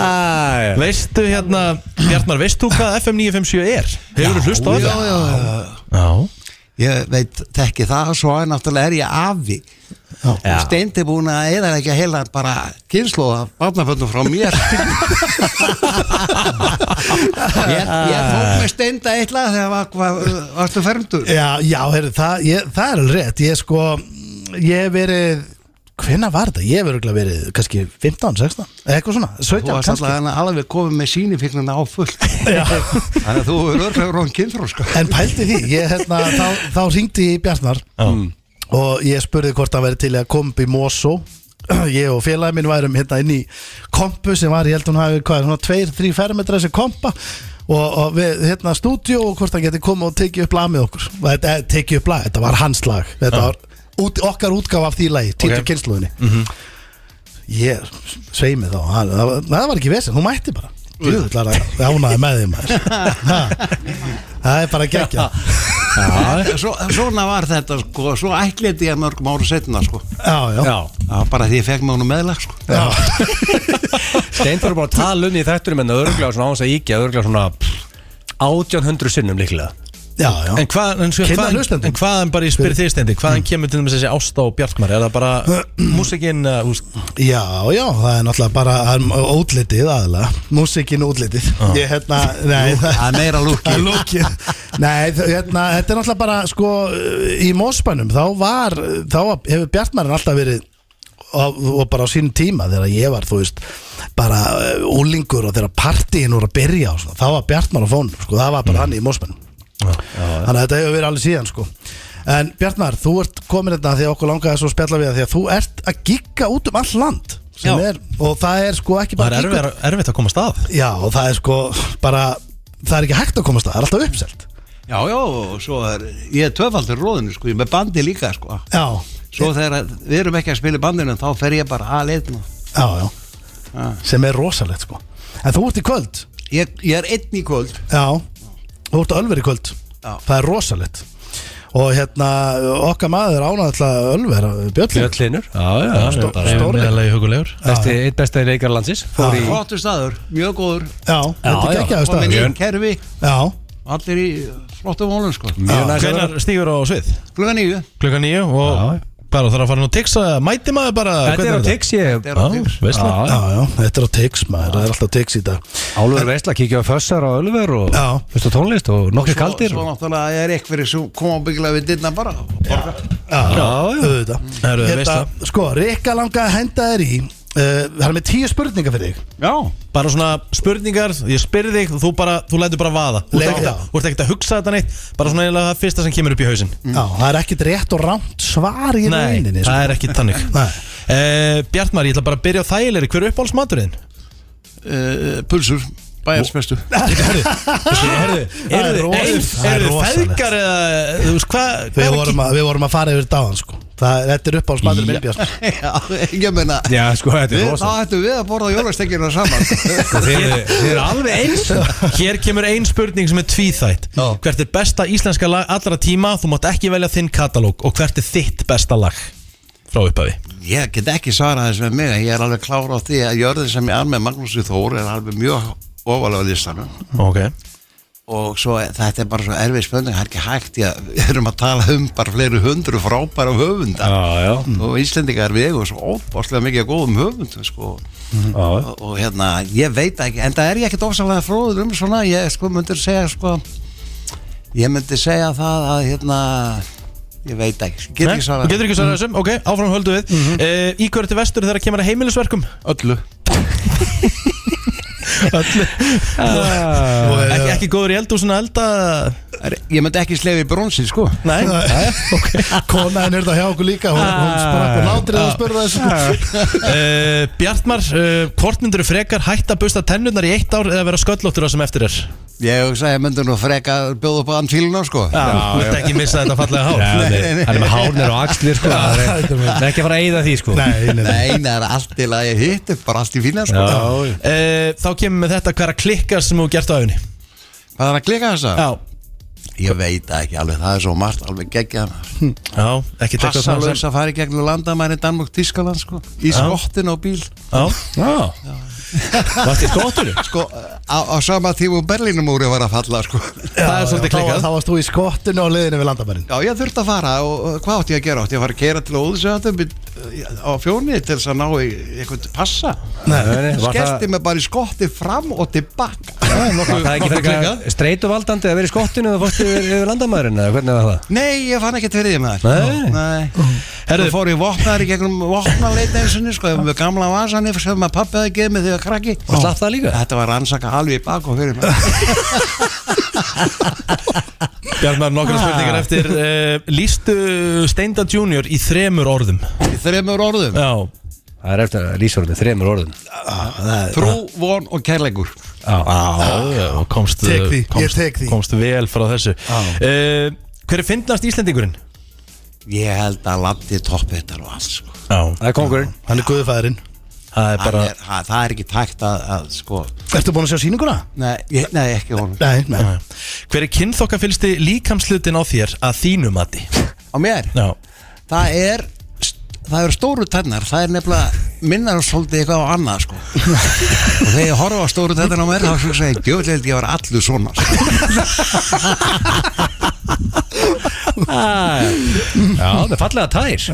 Speaker 1: Veistu hérna, Bjarnar, veist þú hvað FM 957 er? Hefur þú hlust á
Speaker 7: Já,
Speaker 1: þetta?
Speaker 7: já, já
Speaker 1: Já
Speaker 7: Ég veit þekki það Svo er náttúrulega er ég afi Og Steindi búin að eða ekki að heila bara kynnslóða barnaföldum frá mér Ég, ég tók með Steinda eitt lag þegar var, var, varstu fermdur
Speaker 2: Já, já, heyrðu, það, ég, það er alveg rétt Ég sko, ég hef verið Hvenna var það? Ég hef örugglega verið kannski 15, 16, eða eitthvað svona
Speaker 7: Þú
Speaker 2: 17
Speaker 7: varst
Speaker 2: kannski
Speaker 7: alltaf alveg komið með sínifignina á fullt Þannig að þú er örglega róðan kynnþróska
Speaker 2: En pældi því, ég, hérna, þá, þá ringdi ég í Bjarnar og ég spurði hvort það væri til að koma upp í Mosó ég og félagin minn værum hérna inn í kompu sem var, ég held hún hafi hvað, svona 2-3 fermetra þessi kompa og, og við, hérna, stúdíu og hvort hann geti komið og tekið upp lag með okkur Og þetta, eh, tekið upp lag, þetta var hans lag þetta var út, okkar útgáfa af því lagi títu okay. kynsluðinni mm -hmm. ég, svei mig þá það, það, var- það var ekki vesinn, hún mætti bara Jöðlar, það ánaði með þeim maður Ha. Það er bara geggja
Speaker 7: Svo, Svona var þetta sko Svo ætliði ég mörgum ára setna sko
Speaker 2: Já, já, já.
Speaker 7: Já, bara því ég fekk með honum meðlag sko
Speaker 3: Steinþór er bara að tala um því þætturum En örglega svona áns að íkja Örglega svona pff, 1800 sinnum líklega
Speaker 2: já,
Speaker 1: En hvað, en, sko,
Speaker 2: Kynna
Speaker 1: hvaðan-
Speaker 2: hlustendum.
Speaker 1: en hvaðan bara ég spyr þig stendi Hvaðan kemur til dæmis þessi ást á Bjartmar Er það bara músikinn uh, úst,
Speaker 2: Já, já, það er náttúrulega bara það er útlitið aðalega Músikin útlitið Ég hérna, nei það-
Speaker 7: Það er meira lúki
Speaker 2: það er lúkið. Nei, þ- hérna, þetta er náttúrulega bara sko í Mósbænum þá var, þá hefur Bjartmarinn alltaf verið og, og bara á sínum tíma þegar ég var, þú veist bara eh, úlingur og þegar partíin voru að byrja og svona, þá var Bjartmar á fónum sko, það var
Speaker 1: Mm.
Speaker 2: bara hann í Mósbænum þannig að þetta hefur verið alveg síðan sko en Bjartmar, þú ert komin þetta því að okkur langaði svo að spjalla við það því að þú ert að gigga út um all land sem
Speaker 1: Já.
Speaker 2: er, og það er sko ekki
Speaker 1: Það
Speaker 2: bara
Speaker 1: er
Speaker 2: gigga-
Speaker 1: erfitt, erfitt að koma stað
Speaker 2: Já, og það er sko bara það er ekki hægt að komast það, það er alltaf uppselt
Speaker 7: Já, já, og svo er Ég er töfaldur róðinu sko, ég er með bandi líka sko
Speaker 2: Já,
Speaker 7: Svo þegar að- við erum ekki að spila í bandinu Þá fer ég bara að leitna
Speaker 2: já, já
Speaker 1: Ah.
Speaker 2: sem er rosalegt sko En þú ert í kvöld
Speaker 7: ég, ég er einn í kvöld
Speaker 2: Já, þú ert á Ölver í kvöld
Speaker 7: Já.
Speaker 2: Það er rosalegt Og hérna, okkar maður ánaði alltaf Ölver, Björn
Speaker 3: Bjöllinur Já, já
Speaker 2: Stó-
Speaker 1: Bara
Speaker 2: stórleik.
Speaker 1: meðalagi hugulegur
Speaker 3: Besti, eitt besti leikar landsins Fór í
Speaker 7: Flottur staður, mjög góður
Speaker 2: Já, þetta
Speaker 3: já.
Speaker 2: er geggjaður
Speaker 7: Komin í
Speaker 2: staður
Speaker 7: kerfi,
Speaker 2: Já,
Speaker 7: allir í flottum málum sko
Speaker 3: Mjög næs að vera
Speaker 1: Hvenær stígur á svið?
Speaker 7: Kluga nýju
Speaker 1: Klukkan nýju og bara þarf að fara nú tiksa Mæti maður bara
Speaker 3: Þetta er á tix ég
Speaker 7: Þetta er á Tix.
Speaker 1: Veistla
Speaker 2: já, já, þetta er á teiks maður Það er alltaf teiks í dag
Speaker 3: Álfur Veistla, kíkja á fössar á Ölver og
Speaker 2: Já.
Speaker 3: fyrstu tónlist og nokkri
Speaker 7: Svo,
Speaker 3: kaldir
Speaker 7: svo náttúrulega er eitthvað sem koma byggla við dyrna bara og borga.
Speaker 2: Já,
Speaker 3: já.
Speaker 2: auðvitað
Speaker 1: Herru,
Speaker 2: Hérna,
Speaker 1: veisla.
Speaker 2: sko, Rikka langa að henda þér í uh, Það er með tíu spurningar fyrir þig
Speaker 7: Já,
Speaker 1: Bara svona spurningar, ég spyr þig Þú, bara, þú lætur bara vaða Þú
Speaker 2: Leik-
Speaker 1: ert ekkert að-
Speaker 2: já.
Speaker 1: þú ert ekkert að hugsa þetta neitt Bara svona eiginlega það fyrsta sem kemur upp í hausinn
Speaker 2: Já, það er ekkit rétt og rámt svar í
Speaker 1: Nei,
Speaker 2: rauninni sko.
Speaker 1: það er ekki tannig
Speaker 2: Nei.
Speaker 1: uh, Bjartmar, ég ætla bara að byrja á þægilegri Hver er uppáhaldsmaturinn?
Speaker 7: uh, pulsur, bæjars bestu
Speaker 1: Herðu,
Speaker 2: Það er
Speaker 1: eru
Speaker 2: rosa-
Speaker 1: þið
Speaker 2: það er
Speaker 1: eru þið
Speaker 2: rosalegt.
Speaker 1: feðgar eða Þú veist hvað
Speaker 2: Við
Speaker 1: hvað er að
Speaker 2: vorum, að, við vorum að fara yfir dáðan sko Það, þetta er upp á spæður minn Björn
Speaker 7: Já, ég meina
Speaker 3: Já, sko, þetta er
Speaker 7: við, Þá
Speaker 3: rosa
Speaker 7: ættum við að borða jólastekjuna saman
Speaker 3: Þið er alveg eins
Speaker 1: Hér kemur ein spurning sem er tvíþætt Hvert er besta íslenska lag allra tíma Þú mátt ekki velja þinn katalóg Og hvert er þitt besta lag Frá upphafi
Speaker 7: Ég get ekki svarað þess með mig Ég er alveg klára á því að jörðin sem ég er með Magnúsi Þór er alveg mjög ofalega á listanum
Speaker 1: Ok
Speaker 7: og svo þetta er bara svo erfið spönding það er ekki hægt, já, við erum að tala um bara fleiri hundru frábæra höfunda
Speaker 3: Já, já,
Speaker 7: og Íslendingar við og svo óbáslega mikið af góðum höfundum sko.
Speaker 3: já
Speaker 7: og, og hérna, ég veit ekki en það er ég ekkert ofsalega fróður um svona ég sko myndir segja sko ég myndi segja það að hérna ég veit ekki, sko. get
Speaker 1: Nei,
Speaker 7: ekki
Speaker 1: þú
Speaker 7: svarað
Speaker 1: Getur ekki svarað Mm-hmm. þessum, ok, áfram höldu við mm -hmm. uh, Í hverju til vestur þegar kemur að heimilisverkum
Speaker 7: öllu
Speaker 1: Eh, ekki, ekki góður í eldu og svona elda
Speaker 7: Er- ég myndi ekki slefi brónsi sko
Speaker 1: Nei,
Speaker 2: Konaðin er það hérna hjá okkur líka Hún, hún sprakk og látrið og spurði þessu sko.
Speaker 1: uh, Bjartmar, uh, hvort myndur frekar hætta að busta tennurnar í eitt ár eða vera sköllóttur það sem eftir er
Speaker 7: ég hugsa ég myndi nú freka bjóða upp á antíluna sko
Speaker 1: Þú ert ekki missa þetta fallega hár
Speaker 3: Já, nei, hann er með hárnir og axlir sko Það er það er ekki að fara að eyða því sko
Speaker 2: Nei, nei, nei
Speaker 7: nei, það er allt í lagi hitt er bara allt í fína sko
Speaker 1: uh, Þá kemur með þetta hverja klikkar sem þú gert á öðunni
Speaker 7: hvað er að klika þessa?
Speaker 1: Já,
Speaker 7: ég veit það ekki alveg, það er svo margt alveg geggjað
Speaker 1: já, ekki tekka það
Speaker 7: passalaus að fara í gegnum landamæri Danmúk Tískaland sko í skottin á bíl
Speaker 1: Já,
Speaker 3: Já Varst þið skottur?
Speaker 7: sko á, á sama tíma og Berlínumúri var að falla sko já
Speaker 1: það er svolítið klikkað
Speaker 2: Þá varst þú í skottinu á leiðinu við landamærin
Speaker 7: ég þurfti að fara og og hvað átti ég að gera átti ég að fara að kera til óðsöðandum á fjóni til þess að ná í eitthvað passa skerti
Speaker 3: Var
Speaker 7: mig bara í skotti fram og tilbaka
Speaker 3: það ekki fyrir eitthvað streituvaldandi að vera í skottinu og fórstu yfir, yfir landamæðurinn eða hvernig var það?
Speaker 7: nei ég fann ekki tverðið með
Speaker 3: Nei.
Speaker 7: nei. Herðu, fór ég vopnaður í gegnum vopnaleita eins og niður sko, með gamla vasanir sem að pappi hafði gefið mig þegar krakki
Speaker 3: Og slapp það líka?
Speaker 7: Þetta var rannsaka alveg í bak og fyrir mig
Speaker 1: Bjartmar, nokkra spurningar eftir uh, Lýstu Steinda Junior í þremur orðum
Speaker 7: Í þremur orðum
Speaker 1: Já,
Speaker 3: Það er eftir að lýsa orðin með þremur orðum
Speaker 7: Trú, von og kærleikur
Speaker 1: já komst,
Speaker 2: Tek því, ég
Speaker 1: komst,
Speaker 2: tek því.
Speaker 1: komst vel frá þessu uh, Hver er fyndnast Íslendingurinn?
Speaker 7: Ég held að landi toppettar og allt sko.
Speaker 1: Já,
Speaker 3: Það er kongurinn
Speaker 2: Hann er guðfæðurinn
Speaker 1: það er
Speaker 7: Hann
Speaker 1: bara
Speaker 7: er, ha, Það er ekki tækt að, að sko.
Speaker 2: Ertu búin að sjá sýninguna?
Speaker 7: nei, ég, nei, ekki honum
Speaker 2: Nei, nei
Speaker 1: Hver er kynþokkafylsti líkamslutin á þér að þínu mati?
Speaker 7: Á mér,
Speaker 1: Já,
Speaker 7: það er Það eru stóru tennar, það er nefnilega minnar svolítið eitthvað á annað sko. og þegar ég horfa á stóru tennar á mér þá svo segi ég, djöfull held ég var allur svona sko.
Speaker 3: Ah, Já, það er fallega tær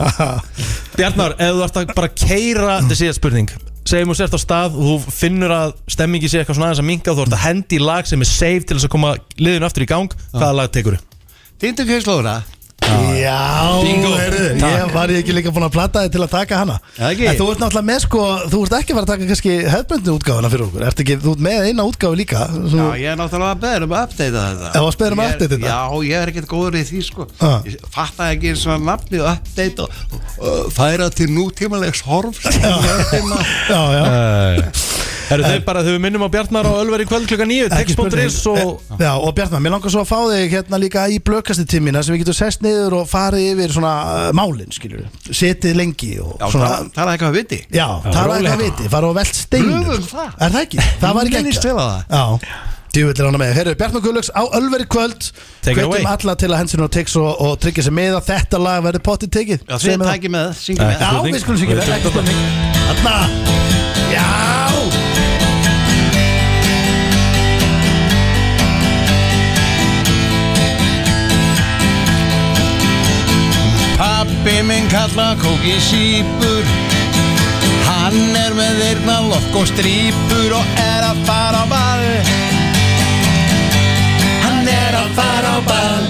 Speaker 1: Bjartmar, ef þú ert að bara keira Þetta er síðast spurning Segjum þú sért á stað og þú finnur að stemmingi sé eitthvað svona aðeins að minka og þú ert að hendi í lag sem er safe til þess að koma liðinu aftur í gang Hvaða lag tekur þú?
Speaker 7: Týndu kynslóðuna
Speaker 2: Já,
Speaker 1: Bingo.
Speaker 2: heyrðu, ég var ég ekki líka búin að platta þig til að taka hana
Speaker 7: Já, ekki.
Speaker 2: En þú ert náttúrulega með sko, þú ert ekki að fara að taka kannski hefbundinu útgáfuna fyrir okkur Ertu ekki, þú ert með eina útgáfu líka
Speaker 7: Já,
Speaker 2: svo,
Speaker 7: ég er náttúrulega að beður um að updata þetta
Speaker 2: Já, varstu beðinn um að
Speaker 7: Ég er-
Speaker 2: updata þetta?
Speaker 7: Já, ég er ekkert góður í því sko
Speaker 2: Ah.
Speaker 7: Ég fattaði ekki eins og nafni og update og uh, færa til nútímalegs horf Takk
Speaker 2: já, já,
Speaker 1: Eru þau bara, þau minnum á Bjartmar og Ölver í kvöld klukka 9 Text.is
Speaker 2: Ekki spurning. Eh,
Speaker 1: og
Speaker 2: já, og Bjartmann, mér langar svo að fá þig hérna líka í blökkastu tímina sem við getum sest niður og farið yfir svona uh, málin, skilur Setið lengi og svona
Speaker 7: Það er eitthvað að viti
Speaker 2: Já, það er
Speaker 3: rólega.
Speaker 2: eitthvað viti, fara og velt steinum sko.
Speaker 7: Höfum um það.
Speaker 2: Er það ekki? Það var ekki
Speaker 7: Minnist
Speaker 2: ekki
Speaker 7: vel á það.
Speaker 2: Já, djúvillir ána með Herru, Bjartmann Guðlöks á Ölveri kvöld
Speaker 1: Take it away.
Speaker 2: Hvetjum alla til að hensinu og tix og, og tryggja sér með að þetta lag verður pottið tekið
Speaker 7: Já,
Speaker 2: Segjum við
Speaker 7: þið
Speaker 2: það.
Speaker 7: tækir með, syngið með
Speaker 2: Já, við skulum sér ekki það Þarna Já
Speaker 7: Pappi minn kalla kóki sípur Hann er með eirna lokk og strípur og er að fara á ball Hann er að fara á ball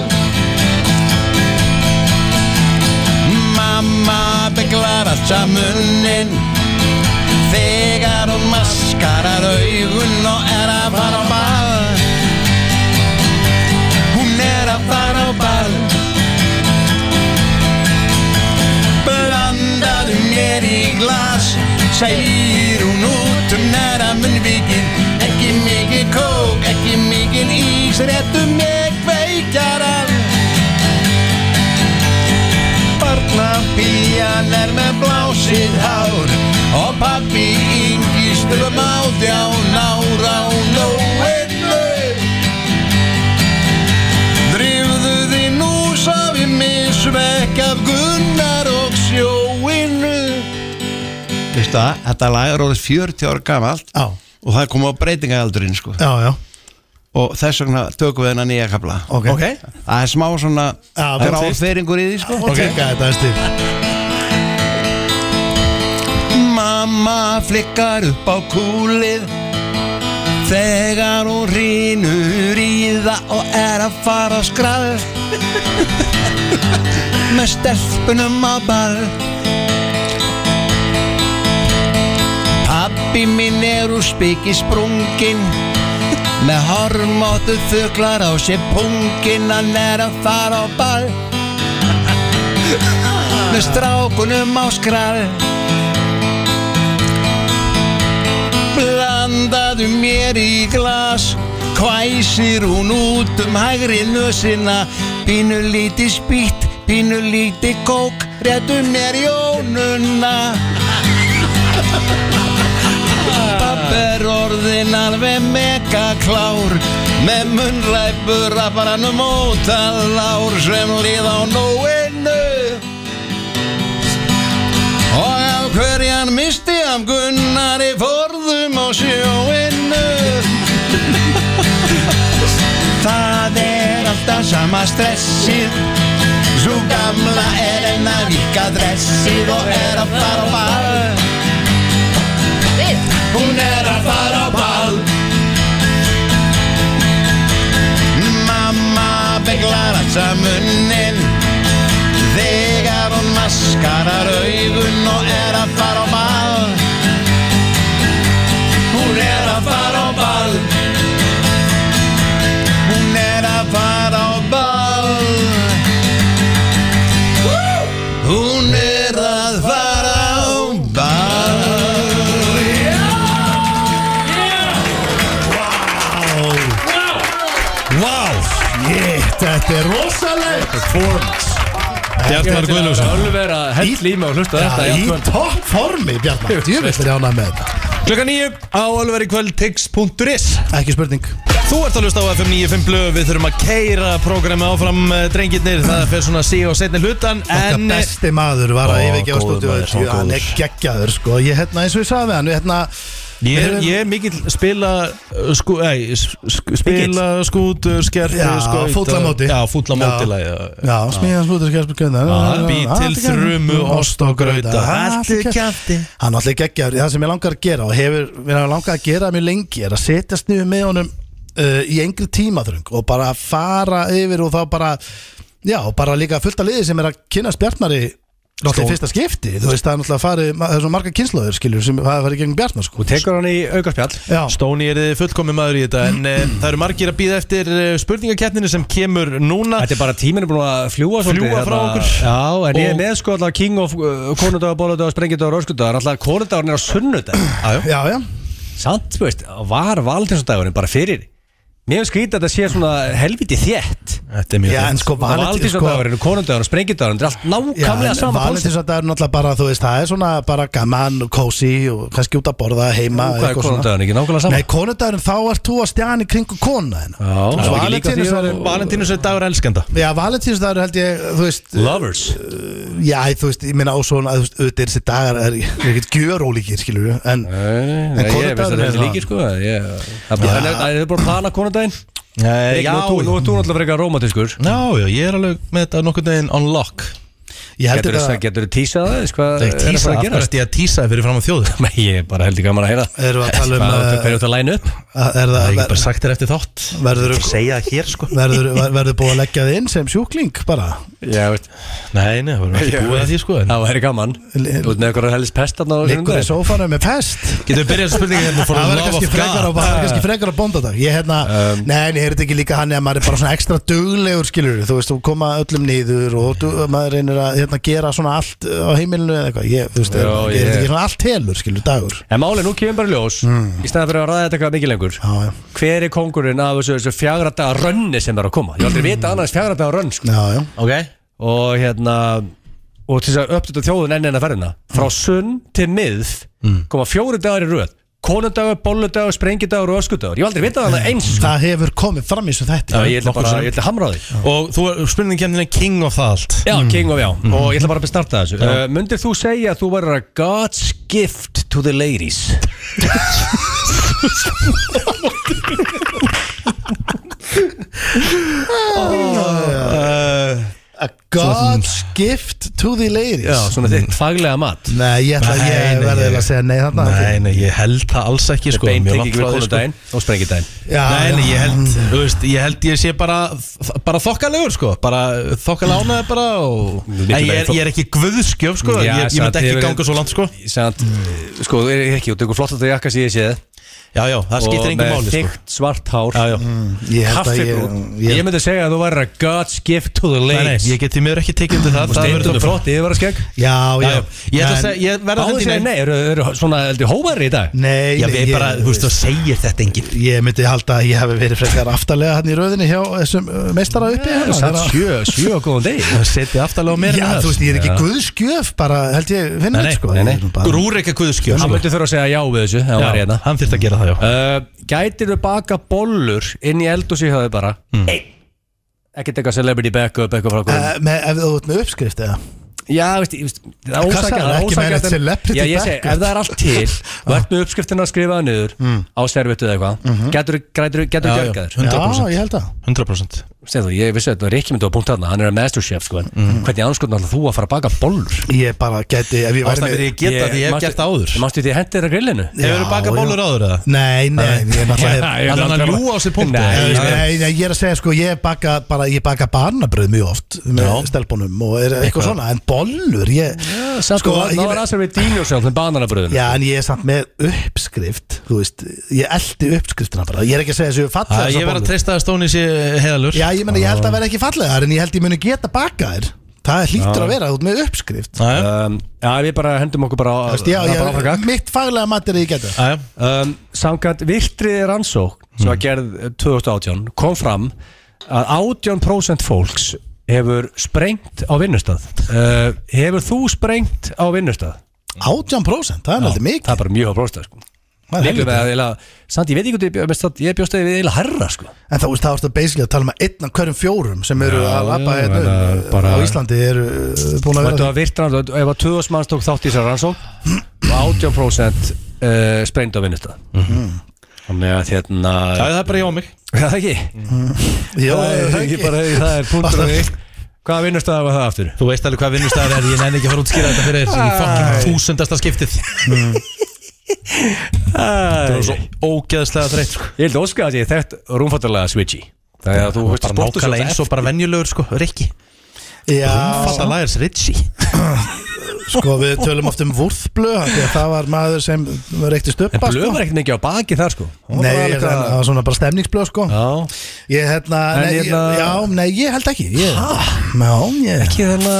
Speaker 7: Mamma beglar alltaf munnin Þegar hún maskarar augun og er að fara á ball Hún er að fara á ball Blandaðu mér í glas Segir hún út um næra munnvíkin Ekki mikið kók, ekki mikið ís Réttu mér kveikjaran Barna
Speaker 8: Piljan er með blásið hár Og pappi yngistum átján ára og nóin laug Drifðu þið nú sá ég misvekk af Gunnar og sjóinu
Speaker 7: Veistu það, þetta lag er orðið 40 ára gamalt
Speaker 2: Já,
Speaker 7: og það kom á breytingaaldurinn sko.
Speaker 2: já, já
Speaker 7: og þess vegna tökum við hennar nýja kapla
Speaker 2: Ok,
Speaker 7: það er smá svona
Speaker 2: Já, bara tvist.
Speaker 7: gráfeyringur í því sko.
Speaker 2: Og teka þetta aðeins til
Speaker 7: Mamma flikkar upp á kúlið Þegar hún rínur í það og er að fara að skrað Með stelpunum á ball Pappi minn er úr spiki sprungin Með hormóttu fuglar á sér pungin Hann er að fara á ball Með strákunum á skrall Blandaðu mér í glas Hvæsir hún út um hægri nösina Pínu líti spýtt, pínu líti kók Réttu mér jónuna Papp er orðin alveg megaklár Með munnræpur að bara nú móta lár Sem líð á nóinu Og á hverjan misti af Gunnari forðum á sjóinu Það er alltaf sama stressið Svo gamla er enn að vika dressið Og er að fara á ball Hún er að fara á ball Mamma beglar alltaf munnin Þegar hún maskarar augun og er að fara á ball Hún er að fara á ball Hún er að fara á ball Hún er að fara á ball
Speaker 1: Wow,
Speaker 2: Shit, þetta er rosaleg Performance
Speaker 1: Bjartmar Guðljófsson
Speaker 3: Ölver að hell í mig og hlusta á þetta
Speaker 2: Já,
Speaker 3: í
Speaker 2: í
Speaker 3: allt kvöld.
Speaker 2: topp formi, Bjarnar Djöfell er ánað með þetta
Speaker 1: Klukka nýju á alveg í kvöld tix.is
Speaker 2: Ekki spurning
Speaker 1: Þú ert að hlusta á FM 95 blöð Við þurfum að keira prógrami áfram eh, drengirnir Það fyrir svona sí og setni hlutan
Speaker 2: Okkar
Speaker 1: En eh,
Speaker 2: besti maður var
Speaker 3: Ó,
Speaker 2: að yfirgefa
Speaker 3: góður
Speaker 2: stúdíu
Speaker 3: maður, hann
Speaker 2: Hann er
Speaker 3: góður.
Speaker 2: geggjaður sko Ég hérna eins og ég sagði við hann við, hérna,
Speaker 1: ég er, eh, ég er mikill spila eh, sku, ei, sk, Spila skútur, skerfi
Speaker 2: Já, fúllamóti.
Speaker 1: Já, fúllamóti
Speaker 2: Já.
Speaker 1: lagi
Speaker 2: Já, smíðan slútur skjálpugönda
Speaker 1: Bý til þrumu, ost og grauta Haltu kjafti
Speaker 2: Hann allir geggjaður Það sem ég langar að gera og hefur mér hefur langað að gera mjög lengi er að setjast niður með honum uh, í engri tímaþröng og bara fara yfir og þá bara Já, og bara líka fullt að liði sem er að kynast Bjarnari Náttúrulega í fyrsta skipti, þú veist það er náttúrulega farið, ma- það er svo marga kynslaður skilur sem það er farið gegn Bjarnar sko
Speaker 3: Þú tekur hann í aukarspjall
Speaker 2: Já,
Speaker 1: Stóni er fullkomið maður í þetta En eh, það eru margir að býða eftir eh, spurningakeppninu sem kemur núna
Speaker 3: Þetta er bara tíminu búin að fljúa svolítið
Speaker 1: Fljúga frá
Speaker 3: hérna.
Speaker 1: okkur.
Speaker 3: Já, en ég er
Speaker 1: Og-
Speaker 3: með sko alltaf King of uh, Konudagur, Bóludagur, Sprengjudagur, Röskudagur Alltaf Konudagur er á sunnudag
Speaker 2: já, já
Speaker 3: Samt, þú veist, var Valdinsdagurinn bara fyrir Mér hef skrítið að þetta sé svona helviti þétt
Speaker 1: Þetta er mjög
Speaker 2: Já, en sko Valentí- sko-
Speaker 3: Valdinsdagurinn, Konundagurinn, Sprengjudagurinn Þetta er allt
Speaker 2: Já,
Speaker 3: nákvæmlega
Speaker 2: en
Speaker 3: sama konsert
Speaker 2: Valentinsdagur er náttúrulega bara, þú veist, það er svona bara gaman og kósi og kannski út að borða heima
Speaker 3: Hvað er
Speaker 2: eitthvað svona.
Speaker 3: konundagurinn, ekki nákvæmlega sama?
Speaker 2: Nei, konundagurinn, þá ert þú að stjana í kringu konuna hérna.
Speaker 3: Já,
Speaker 2: Og
Speaker 3: það var ekki líka því að
Speaker 2: Valentínusdagur-
Speaker 3: vera-
Speaker 1: Valentínus er dagur elskenda
Speaker 2: Já, Valentinsdagur held ég, þú veist eh,
Speaker 3: Lovers
Speaker 2: Já, þú veist, ég minna á svona, þú veist, auðvitað er þessi dagar er er ekkert gjörólíkir, skilur við En,
Speaker 3: En
Speaker 2: konudagurinn
Speaker 3: ég veist að
Speaker 2: er
Speaker 3: þetta er
Speaker 2: það.
Speaker 3: líki sko ég- Það er bara- en er- Það er bara að plana konundaginn
Speaker 1: Já,
Speaker 2: Eh,
Speaker 3: Já, nú er þú náttúrulega frekar rómatiskur
Speaker 1: Já, já, ég er alveg með þetta nokkur neginn on lock
Speaker 2: ég held
Speaker 3: Getur
Speaker 2: þetta
Speaker 3: þú tísað það? Hvað
Speaker 1: Nei,
Speaker 3: er það
Speaker 1: tísa,
Speaker 3: að
Speaker 1: af
Speaker 3: gera?
Speaker 1: hverju ætti ég að tísa fyrir fram á þjóðu
Speaker 3: Nei, ég er bara heldur gaman að heyra
Speaker 2: Erum við að tala um,
Speaker 3: Hvað áttu-
Speaker 2: eh,
Speaker 3: Hverju áttu að læna upp?
Speaker 2: Er
Speaker 1: Það er
Speaker 2: það,
Speaker 1: ekki bara sagt þér eftir þátt
Speaker 2: verður þú
Speaker 1: segja það hér sko
Speaker 2: Verður, ver- verður búið að leggja þið inn sem sjúkling bara
Speaker 3: Já, veist
Speaker 1: Nei, nei, það verðum ekki búið að því sko en-
Speaker 3: Það var heldur gaman Þú veit með eitthvað helst pest þarna á
Speaker 2: Liggur í
Speaker 3: sunnudaginn.
Speaker 2: sófanum með pest
Speaker 1: Getum við byrjað spurningin hérna for
Speaker 2: Það
Speaker 1: the
Speaker 2: verður
Speaker 1: love
Speaker 2: kannski
Speaker 1: of
Speaker 2: frekar á
Speaker 1: God Um.
Speaker 2: það verður kannski frekar á bóndadag Ég hérna, nei, en ég heyrði ekki líka hann eða maður er bara svona ekstra duglegur skilur Þú veist, þú koma öllum niður og du, maður reynir að hérna, gera svona allt á heimilinu eða eitthvað Ég, þú veist,
Speaker 3: Já,
Speaker 2: er, ég heyrði
Speaker 3: ég-
Speaker 2: ekki svona allt helur skilur, dagur
Speaker 3: En máli, nú kemur bara í ljós Í staðan fyrir að ræða þetta eitthvað mikið lengur
Speaker 2: Já, já,
Speaker 3: Hver er kongurinn af þessu, þessu fjagra daga rönni sem er að koma? Ég hef aldrei vita annars fjagra daga rönn sko.
Speaker 2: já, já
Speaker 1: Ok
Speaker 3: Og hérna og til þess að uppdata þjóðun enn enn að ferðina frá sunn til mið koma fjóri dagar í röð konundagur, bolludagur, sprengidagur og öskudagur ég hef aldrei vitað þannig eins sko.
Speaker 2: Það hefur komið fram í svo þetta
Speaker 3: ég ætla bara, ég ætla að hamra Mm. á því
Speaker 1: Og þú spurning kemdina king of það allt
Speaker 3: já, king of já, og ég ætla bara að bestarta þessu uh, myndir þú segja að þú verður að God's gift to the ladies
Speaker 2: A God's gift to the ladies
Speaker 3: já, svona þitt Mm. faglega mat
Speaker 2: Nei, ég ætla
Speaker 1: Nei,
Speaker 2: ég
Speaker 1: nei,
Speaker 2: verði
Speaker 1: ég-
Speaker 2: eiginlega að segja nei þarna
Speaker 1: Nei, nei, ég held það alls ekki sko
Speaker 3: beint
Speaker 1: mjög
Speaker 3: ekki
Speaker 1: langt frá
Speaker 3: við
Speaker 1: því, sko.
Speaker 3: konundaginn og sprengidaginn
Speaker 2: Já,
Speaker 1: Nei, nei,
Speaker 2: já.
Speaker 1: ég held, þú veist, ég held ég sé bara, bara þokkalegur, sko Bara þokkalega ánaði bara og
Speaker 3: Miklu
Speaker 1: En ég er,
Speaker 3: meiri
Speaker 1: ég er ekki guðskjöf, sko
Speaker 3: Já,
Speaker 1: Ég, ég
Speaker 3: samt,
Speaker 1: myndi ekki
Speaker 3: ég verið-
Speaker 1: ganga svo langt, sko
Speaker 3: Samt, sko, þú er ekki, þú tekur flott að það jakka sem ég séð
Speaker 1: Já, já, það skiptir
Speaker 3: Og
Speaker 1: engum
Speaker 3: með
Speaker 1: máli, sko
Speaker 3: þykkt svart hár Mm.
Speaker 1: Já, já
Speaker 2: Mm, Ég held að ég,
Speaker 3: Kaffibrún ég,
Speaker 2: ég,
Speaker 3: myndi segja að þú væri að God's gift to the
Speaker 1: Nei, nei,
Speaker 3: ladies
Speaker 1: ég get því miður ekki tekið undir það
Speaker 3: Og
Speaker 1: það verður
Speaker 3: steindur
Speaker 1: að-
Speaker 3: með flott yfirvaraskegg
Speaker 2: Já,
Speaker 1: Já,
Speaker 2: já
Speaker 1: já, ég ætla að
Speaker 2: En-
Speaker 1: segja, ég verða að
Speaker 3: Báðu
Speaker 1: hendi
Speaker 3: segja
Speaker 1: nei
Speaker 3: nei, eru, eru svona heldur hóverri í dag
Speaker 2: Nei,
Speaker 1: Já,
Speaker 2: nei,
Speaker 1: við bara, þú veist, þú segir þetta enginn
Speaker 2: Ég myndi halda að ég hefði verið frekar aftalega hann í röðinni hjá þessum uh, meistara uppi hérna.
Speaker 3: Samt
Speaker 2: Þeirra-
Speaker 3: sjö, sjö og góðan deg
Speaker 1: Setið aftalega á mér
Speaker 2: Já, þú veist, ég er ekki guðskjöf bara held ég finna
Speaker 1: Nei,
Speaker 2: þetta sko
Speaker 1: nei, nei,
Speaker 2: Ég er
Speaker 1: nei.
Speaker 2: bara-
Speaker 1: Rúrik er guðskjöf,
Speaker 3: Hann
Speaker 1: sko
Speaker 3: myndi þurfa að segja já við þessu ef hann væri
Speaker 1: Já,
Speaker 3: hérna.
Speaker 1: hann þyrfti að gera það, já
Speaker 3: uh, Gætir þú baka bollur inn í eld og séu það bara mm. Ekkert eitthvað celebrity backup eitthvað frá hverjum
Speaker 2: Eh, með- Ef þú ert með uppskrift eða
Speaker 3: Já, veist, ég veist, það er
Speaker 2: Hvað sagði,
Speaker 3: ósakað það er
Speaker 2: ekki
Speaker 3: ósakað
Speaker 2: meina
Speaker 3: en-
Speaker 2: celebrity
Speaker 3: Já, ég segi,
Speaker 2: backup?
Speaker 3: ef það er allt til og ert með uppskriftina að skrifa það niður á servituð eða eitthvað mm -hmm. getur þú
Speaker 1: Já, já,
Speaker 3: gergaður
Speaker 1: 100%.
Speaker 2: Já, ég held að
Speaker 1: 100%
Speaker 3: Segðu, ég vissi að þetta er ekki myndið á punkt þarna, hann er að masterchef sko, en hvernig anskotan alltaf þú að fara að baka bollur?
Speaker 2: Ég bara geti, ef ég væri
Speaker 1: Ástæðan
Speaker 2: með
Speaker 1: fyrir ég geta því ég hef
Speaker 3: manstu-
Speaker 1: gert það áður
Speaker 3: Manstu því að hendi þér að grillinu?
Speaker 1: Hefur þú bakað
Speaker 2: já.
Speaker 1: bólur áður eða?
Speaker 2: Nei, nei, ég er náttúrulega
Speaker 1: Hann
Speaker 3: Já, ég veit
Speaker 1: hann að
Speaker 3: aldrei.
Speaker 1: ljúa á sér punktu
Speaker 3: Nei,
Speaker 2: Nei,
Speaker 1: Já, já.
Speaker 2: nei, nei, ég er að segja sko, ég baka bara, ég baka barnabröð mjög oft með stelpunum og er eitthvað svona, en bollur, ég,
Speaker 3: Samt sko,
Speaker 2: ég,
Speaker 3: það var aðsverð við Dino sjálf með bananabröðinu
Speaker 2: já, en ég er samt með uppskrift, þú veist, ég eldi uppskriftina bara, ég er ekki að segja þessu
Speaker 1: Æ,
Speaker 2: fallega
Speaker 1: Ég verð að treysta að Stóni sé heðalur
Speaker 2: Já, ég meina, ég
Speaker 3: Ah.
Speaker 2: held að vera ekki fallegar, en ég held ég muni geta bakað þér, það hlýtur að vera út með uppskrift,
Speaker 1: Æja,
Speaker 3: um, Já, við bara hendum okkur bara á
Speaker 2: þú veist, já,
Speaker 3: það er bara áfram
Speaker 2: ég,
Speaker 3: gakk.
Speaker 2: mitt faglega mat er að ég geta
Speaker 1: æja
Speaker 3: um, Samkvæmt viltriði rannsókn
Speaker 2: Hmm.
Speaker 3: sem var gerð eh, 2018 kom fram að 18% fólks hefur sprengt á vinnustad uh, Hefur þú sprengt á vinnustad?
Speaker 2: 18%, það er aldrei
Speaker 3: Það
Speaker 2: mikið
Speaker 3: er bara mjög á próstað sko.
Speaker 2: Það er
Speaker 3: Miklu
Speaker 2: helviti.
Speaker 3: með að eiginlega, samt ég veit ekki hvað ég bjóst ég bjóst að við eiginlega herra sko
Speaker 2: En þá veist, þá ertu basically að tala um að einn af hverjum fjórum sem eru
Speaker 3: Já,
Speaker 2: að lappa
Speaker 3: já,
Speaker 2: hérna
Speaker 3: en,
Speaker 2: um,
Speaker 3: uh, bara-
Speaker 2: á Íslandi eru uh, búin að
Speaker 3: Og þetta
Speaker 2: vera
Speaker 3: var virtran, ef að 2000 manns tók þátt í þessar rannsók og 80% uh, sprengd á vinnustad Þannig að hérna
Speaker 1: Það er bara ég á mig
Speaker 3: Það er ekki
Speaker 2: Já,
Speaker 3: Það er ekki bara, það er punktur og eitt Hvaða vinnustad var það aftur?
Speaker 1: Þú veist alveg hvað vinnustæðar er Ég nenni ekki að fara að útskýra þetta fyrir þér Í fokkin þúsundasta skiptið Það var svo ógeðslega þreytt sko.
Speaker 3: Ég held óska að ég þekkt rúmfattalega switchy Það er að þú veist
Speaker 1: Bara nákvæmlega eins og bara venjulegur sko Rikki
Speaker 2: Já,
Speaker 1: Fata lægers Ritchie
Speaker 2: sko við tölum oft um vúrðblöð af því að það var maður sem reykti
Speaker 3: En
Speaker 2: stöppa
Speaker 3: blöð
Speaker 2: sko.
Speaker 3: var ekkert mikið á baki þar sko Hún
Speaker 2: Nei,
Speaker 3: var
Speaker 2: ég-
Speaker 3: alveg
Speaker 2: það
Speaker 3: að-
Speaker 2: var svona bara stemningsblöð sko
Speaker 3: Já,
Speaker 2: Ég hérna,
Speaker 3: En
Speaker 2: nei, ég,
Speaker 3: hérna-
Speaker 2: já, nei, ég held ekki ég, Já, ég Mm,
Speaker 3: ekki þarna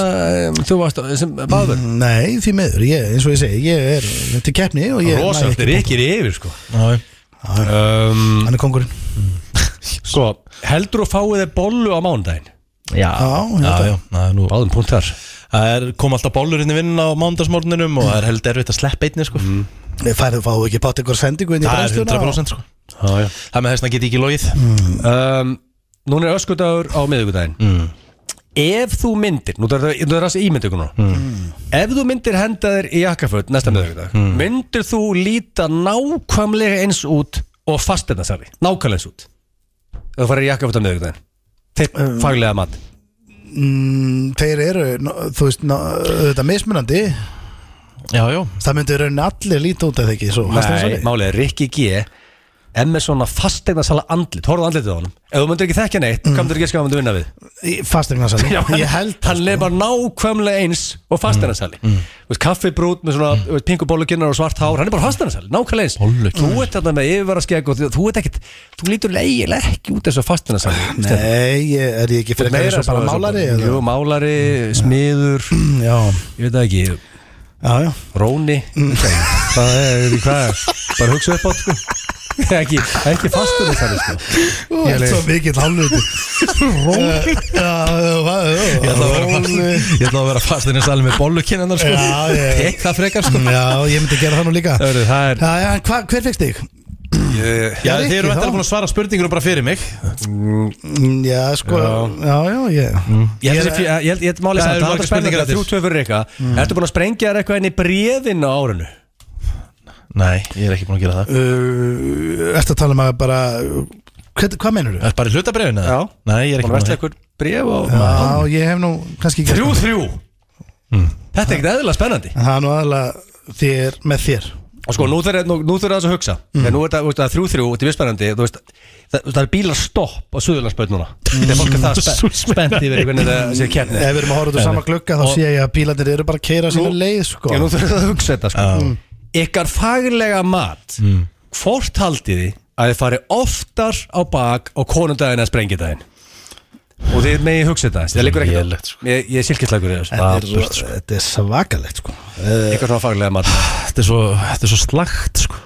Speaker 3: um, Þú varst á- sem báður
Speaker 2: Nei, því miður, ég, eins og ég segi, ég er til keppni og ég næ
Speaker 3: Rósalt
Speaker 2: ekki-
Speaker 3: er ekki yfir sko Um,
Speaker 2: Hann er kongurinn
Speaker 3: Sko, heldur þú fáið þið bollu á mánudaginn?
Speaker 1: Já,
Speaker 2: Já,
Speaker 1: já, já það er nú-
Speaker 3: Báðum punkt þar
Speaker 1: Það er kom alltaf bólur inn í vinnun á mándagsmorninum Og það er held erfitt að sleppa einni sko
Speaker 2: Færðu fáðu ekki bátt eitthvað sendingu inn í
Speaker 1: Það er 100%
Speaker 2: brennsluna
Speaker 1: sko Mm.
Speaker 3: Já, já
Speaker 1: Það með þessna get ég ekki logið
Speaker 3: um, Núna er öskudagur á miðvikudaginn Ef þú myndir, nú þarf það að ímynda ykkur núna Mm. Ef þú myndir henda þér í jakkaföld næsta miðvikudag Myndir þú líta nákvæmlega eins út og fastegna sali Nákvæmlega eins út Ef þú farir í jakkaföld á miðvikudaginn Þitt faglega mat
Speaker 2: Mm, þeir eru, ná- þú veist, ná- þetta mismunandi
Speaker 1: Já, já
Speaker 2: það myndi raunin allir líta út eða ekki svo,
Speaker 3: Nei, málið er Rikki G En með svona fastegna sala andlit Horfðu á andlitið á honum Ef þú myndir ekki þekka neitt, mm. kamdur ekki að skafum þú vinna við
Speaker 2: fastegna sæli ég held það
Speaker 3: hann
Speaker 2: sko.
Speaker 3: leið bara nákvæmlega eins og fastanarsali mm. mm. kaffibrút með svona mm. pingu bolluginnar og svart hár hann er bara fastanarsali, nákvæmlega eins Bollugin. þú ert þarna með yfirvaraskegg og þú- þú ert ekkit þú lítur eiginlega ekki út þessu fastanarsali
Speaker 2: Nei, ég, er ég ekki fyrir eins og bara málari eða?
Speaker 3: jú, málari, smiður
Speaker 2: já,
Speaker 3: ég veit það ekki,
Speaker 2: já, já
Speaker 3: róni það er, hvað er bara hugsa upp átt sko ekki, ekki fastur þessari sko.
Speaker 2: Þú ert svo mikill hálfluti Róli
Speaker 1: Ég ætla að vera fast-
Speaker 2: Róli
Speaker 1: ég ætla að vera fastin í salin með bollukinnanar sko
Speaker 2: Já, ég-
Speaker 1: Tek það frekar sko
Speaker 2: Já, ég myndi gera það nú líka
Speaker 3: Það verður, það er
Speaker 2: Já, já, en hva, hver fegst þig?
Speaker 1: Já,
Speaker 2: Já,
Speaker 1: þið
Speaker 2: Rikki,
Speaker 1: eru
Speaker 2: þá.
Speaker 1: eftir búin að svara spurningunum bara fyrir mig
Speaker 2: Já, sko, já, já, ég
Speaker 3: Ég held þessi fjö- ég held- ég held málið
Speaker 1: Það
Speaker 3: samt,
Speaker 1: eru
Speaker 3: það er
Speaker 1: margar
Speaker 3: aldrei spennandi
Speaker 1: spurningar
Speaker 3: að
Speaker 1: eftir.
Speaker 3: þrjú tvö fyrir Rikka Ertu búin að sprengja þér eitthvað inn í bréðin á árinu?
Speaker 1: Nei, ég er ekki búin að gera það
Speaker 2: uh, Ertu að tala um að bara Hvað, hvað menur
Speaker 1: Það er bara í hlutabrefinu eða?
Speaker 3: Já.
Speaker 1: Nei, ég er ekki
Speaker 3: Búin að
Speaker 1: búin að
Speaker 3: versla eitthvað bréð og
Speaker 2: Já, ég hef nú kannski gert það.
Speaker 3: þrjú Þetta er ekkert eðlilega spennandi
Speaker 2: Það er nú aðalega þér með þér
Speaker 3: Og sko, nú þurfa nú, nú þurfa þess að hugsa Þegar nú er þetta- þú veist, það þrjú þrjú, þetta er mjög spennandi Þú veist, það, það er bílar stopp á Suðurlandsböld núna Þegar fólk er það spe, spennt yfir hvernig það sé kemni
Speaker 2: Ef við erum að horfa út á sama glugga þá sé ég að bílarnir eru bara að keira sína
Speaker 3: Nú-
Speaker 2: leið sko.
Speaker 3: Já, nú þurfum við að hugsa þetta sko Ykkar faglega mat Hvort haldið þið að þið fari oftar á bak á konundaginn að sprengidaginn Og þið megið hugsa þetta Það liggur ekki
Speaker 1: lélegt, sko.
Speaker 3: Ég, ég er silkislegur í þessu
Speaker 2: Þetta er svo- Þetta er svakalegt sko.
Speaker 3: Ykkar svona faglega mat
Speaker 1: Þetta er svo, þetta er svo slagt sko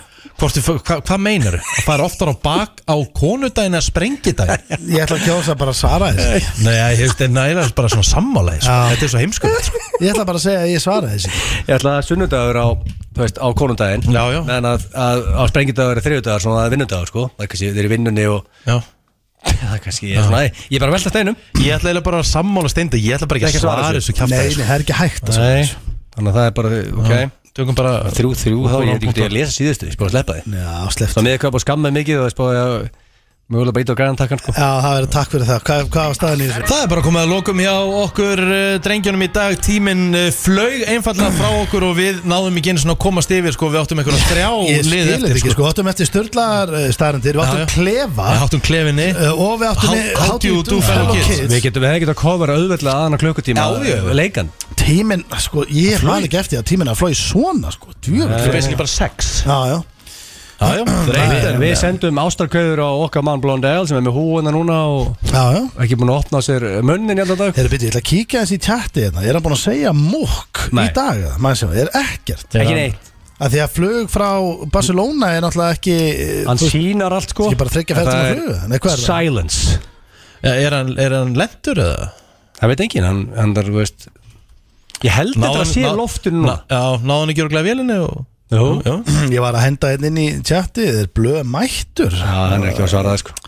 Speaker 1: Hvort, þið- hva, hvað meinar þau? Að fara oftar á bak á konudaginn eða sprengidaginn?
Speaker 2: Ég ætla að kjósa bara að svara þessu
Speaker 1: Nei, ég hefst þetta er nægilega bara svona sammálaði sko.
Speaker 2: Já.
Speaker 1: Þetta er svo heimskulegt sko.
Speaker 2: Ég ætla bara að segja að ég svara þessu
Speaker 3: Ég ætla að sunnudagur á, þú veist, á konundaginn
Speaker 1: Já, já.
Speaker 3: En að, að, að sprengidagur er þriðudagur Svona að vinnudagur sko Það er kannski, þeir eru í vinnunni og
Speaker 1: Já.
Speaker 3: Það er kannski, ég er svona Ég er bara að velta steinum
Speaker 1: Ég ætla eiginlega bara að sammála steinda Ég ætla bara ekki að svara þessu kjafta
Speaker 2: Nei, nei, það er ekki hægt sko. að svara
Speaker 3: Nei
Speaker 2: þessu
Speaker 3: Þannig að það er bara, ok
Speaker 1: Tökum bara
Speaker 3: Þrjú, þrjú, þá ég er ekki að lesa síðustu Ég er bara að sleppa þið
Speaker 2: Já, sleft
Speaker 3: Svo með eitthvað búið að skamma mikið og það spáði að mögulega bara íta á græðan takkan sko
Speaker 2: Já, það verður takk fyrir það Hvað, hvað var staðan í þessu?
Speaker 1: Það er bara komið að lokum hjá okkur eh, drengjunum í dag Tíminn eh, flaug einfallega frá okkur og við náðum ekki einu svona að komast yfir sko. Við áttum eitthvað þrjá
Speaker 2: Ég skil
Speaker 1: lið
Speaker 2: þetta
Speaker 1: eftir
Speaker 2: ekki
Speaker 1: sko.
Speaker 2: sko Við áttum eftir störlaðar staðarendir Við
Speaker 1: Já, já.
Speaker 2: áttum klefa
Speaker 1: Við áttum klefinni
Speaker 2: uh, Og við áttum
Speaker 1: How- how do you do fellow kids?
Speaker 3: Við getum, við hefum getað að kofara auðveldlega aðan á klukkutíma
Speaker 1: Já, já.
Speaker 3: eh, leikan
Speaker 2: Tíminn, sko, ég man ekki eftir að tíminn að flói svona sko
Speaker 1: Það er
Speaker 2: Djúvel
Speaker 1: basically bara sex
Speaker 2: Já, já
Speaker 1: Já, já, það er
Speaker 3: Við,
Speaker 1: eitt
Speaker 3: við sendum ástarkauður á okkar mann Blondell sem er með húuna núna og
Speaker 2: Já, já
Speaker 3: ekki búin að opna á sér munnin í allan dag
Speaker 2: Heyrðu, byrju, ég ætla að kíkja þessi í tjatti hérna Er hann búin að segja múkk í
Speaker 3: Nei.
Speaker 2: dag? eða? Maður sem, er ekkert
Speaker 3: Ekki neitt,
Speaker 2: Að því að flug frá Barcelona er náttúrulega ekki eh,
Speaker 3: hann
Speaker 2: þú veist,
Speaker 3: sínar allt sko
Speaker 2: Ekki bara þriggja ferð
Speaker 3: Þetta
Speaker 2: tíma
Speaker 3: er
Speaker 2: flug, nei, hvað er það?
Speaker 3: Silence
Speaker 1: Já, Eh, Er hann, er hann lentur eða?
Speaker 3: Það veit enginn, hann, hann er, þú veist Ég held þetta að sé
Speaker 1: ná-
Speaker 3: loftinu núna
Speaker 1: ná- Já, náðu hann ekki örglega vélinni og
Speaker 3: Jú.
Speaker 1: já.
Speaker 2: Ég var að henda einn inn í tjatti Þeir er blöð mættur
Speaker 3: Já, hann er ekki að svara það sko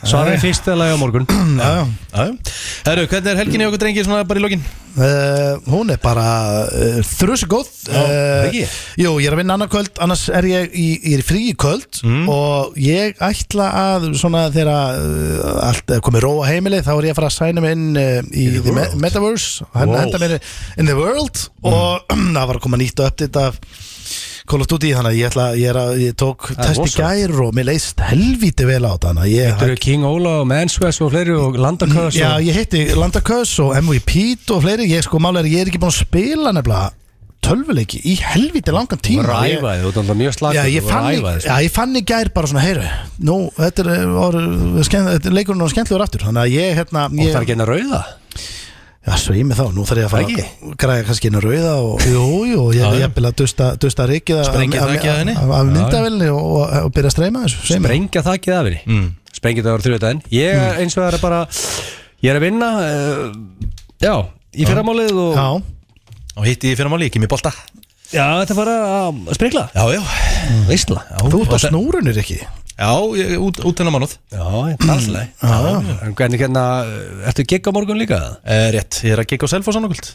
Speaker 3: Svara í fyrsta lagi á morgun
Speaker 2: Já, já.
Speaker 1: Já, já. Herru, hvernig er helginni okkur drengir svona bara í lokin?
Speaker 2: Uh, hún er bara uh, þrjusu góð uh,
Speaker 1: ekki?
Speaker 2: Jú, ég er að vinna annað kvöld annars er ég í, ég er í frí í kvöld og ég ætla að svona þegar uh, allt er komið róa heimili þá er ég að fara að sæna mig inn uh, í the me Metaverse og hérna
Speaker 1: Wow.
Speaker 2: henda mér in the world og það var að koma nýtt og uppdýtt af Call of Duty þannig að ég, ætla, ég, er að, ég tók
Speaker 3: er
Speaker 2: test í
Speaker 3: rosalegt.
Speaker 2: gær og mér leist helvíti vel á þetta þannig að
Speaker 3: Þetta
Speaker 2: ég
Speaker 3: eru King Ola og Manswest og fleiri og Landaköðs
Speaker 2: Já,
Speaker 3: og...
Speaker 2: ég hitti Landakös og MVP og fleiri, ég sko málega er ég er ekki búin að spila nefnilega tölvuleiki í helviti langan tíma Ég-
Speaker 3: Ræfaði, þú er mjög slagur
Speaker 2: Já, ég fann, í, já, ég fann í gær bara svona, heyru, nú, þetta er, var, skemmt, þetta er leikurinn og skemmtlegur aftur, þannig að ég, hérna,
Speaker 3: Og
Speaker 2: ég,
Speaker 3: það er ekki henni að rauða
Speaker 2: já, sveið mig þá, nú þarf ég að fara að græja kannski inn að rauða og, jú, jú, ég er jafnvel að dusta, dusta rikið af-
Speaker 1: Sprengja
Speaker 2: af-
Speaker 1: þakið á henni.
Speaker 2: af- af myndavelni og, og, og byrja að streyma þessu, sveið mig.
Speaker 3: Sprengja það ekki það veri mm. Sprengja það voru þrjóðdæðin Ég er eins og það er bara Ég er að vinna uh, Já, í fyrramálið og
Speaker 2: Já,
Speaker 1: Og hitti ég fyrir máli, ekki mér bolta
Speaker 3: Já, þetta er bara að sprengla
Speaker 1: Já, já,
Speaker 3: Veistla Já,
Speaker 2: þú ert á snúrunir ekki.
Speaker 1: já, ég- út, út hennar mánuð
Speaker 3: já ég er alltaf En hvernig hérna eh, Ertu gigg á morgun líka?
Speaker 1: eh, Rétt, ég er að gigga á self og sannakvöld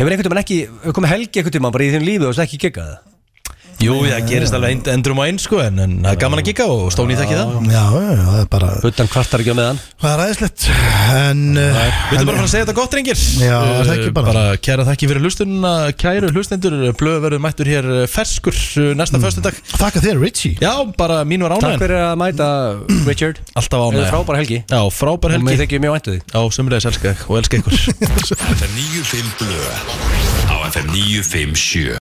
Speaker 3: Hefur einhvern tímann ekki hefur komið helgi einhvern tímann bara í þinn lífi og þess ekki giggað það?
Speaker 1: Jú, það gerist alveg end, endrum á einn sko En en það er gaman að gigga og stóni í þekki það
Speaker 2: Já, já, já, það er bara,
Speaker 3: Utan kvartar ekki á meðan
Speaker 2: það er aðeinslegt, en... uh,
Speaker 1: Við erum bara að fara að segja þetta gott, drengir
Speaker 2: Já,
Speaker 1: Eh,
Speaker 2: það er ekki bara.
Speaker 1: Bara kæra þekki fyrir hlustununa, kæru hlustendur Blöð verður mættur hér eh, ferskur eh, næsta mm.
Speaker 2: Þakka þér Richie
Speaker 1: Já, bara mín var
Speaker 3: Takk
Speaker 1: ánægðin
Speaker 3: fyrir að mæta Richard
Speaker 1: Alltaf
Speaker 3: Þetta er
Speaker 1: ánægðin
Speaker 3: frábæra helgi
Speaker 1: Já, frábær
Speaker 3: Og mér
Speaker 1: helgi
Speaker 3: þykir mjög um væntu því
Speaker 1: Já, sömulegis elska þig og elska ykkur
Speaker 4: FM 95 blöð Á FM 957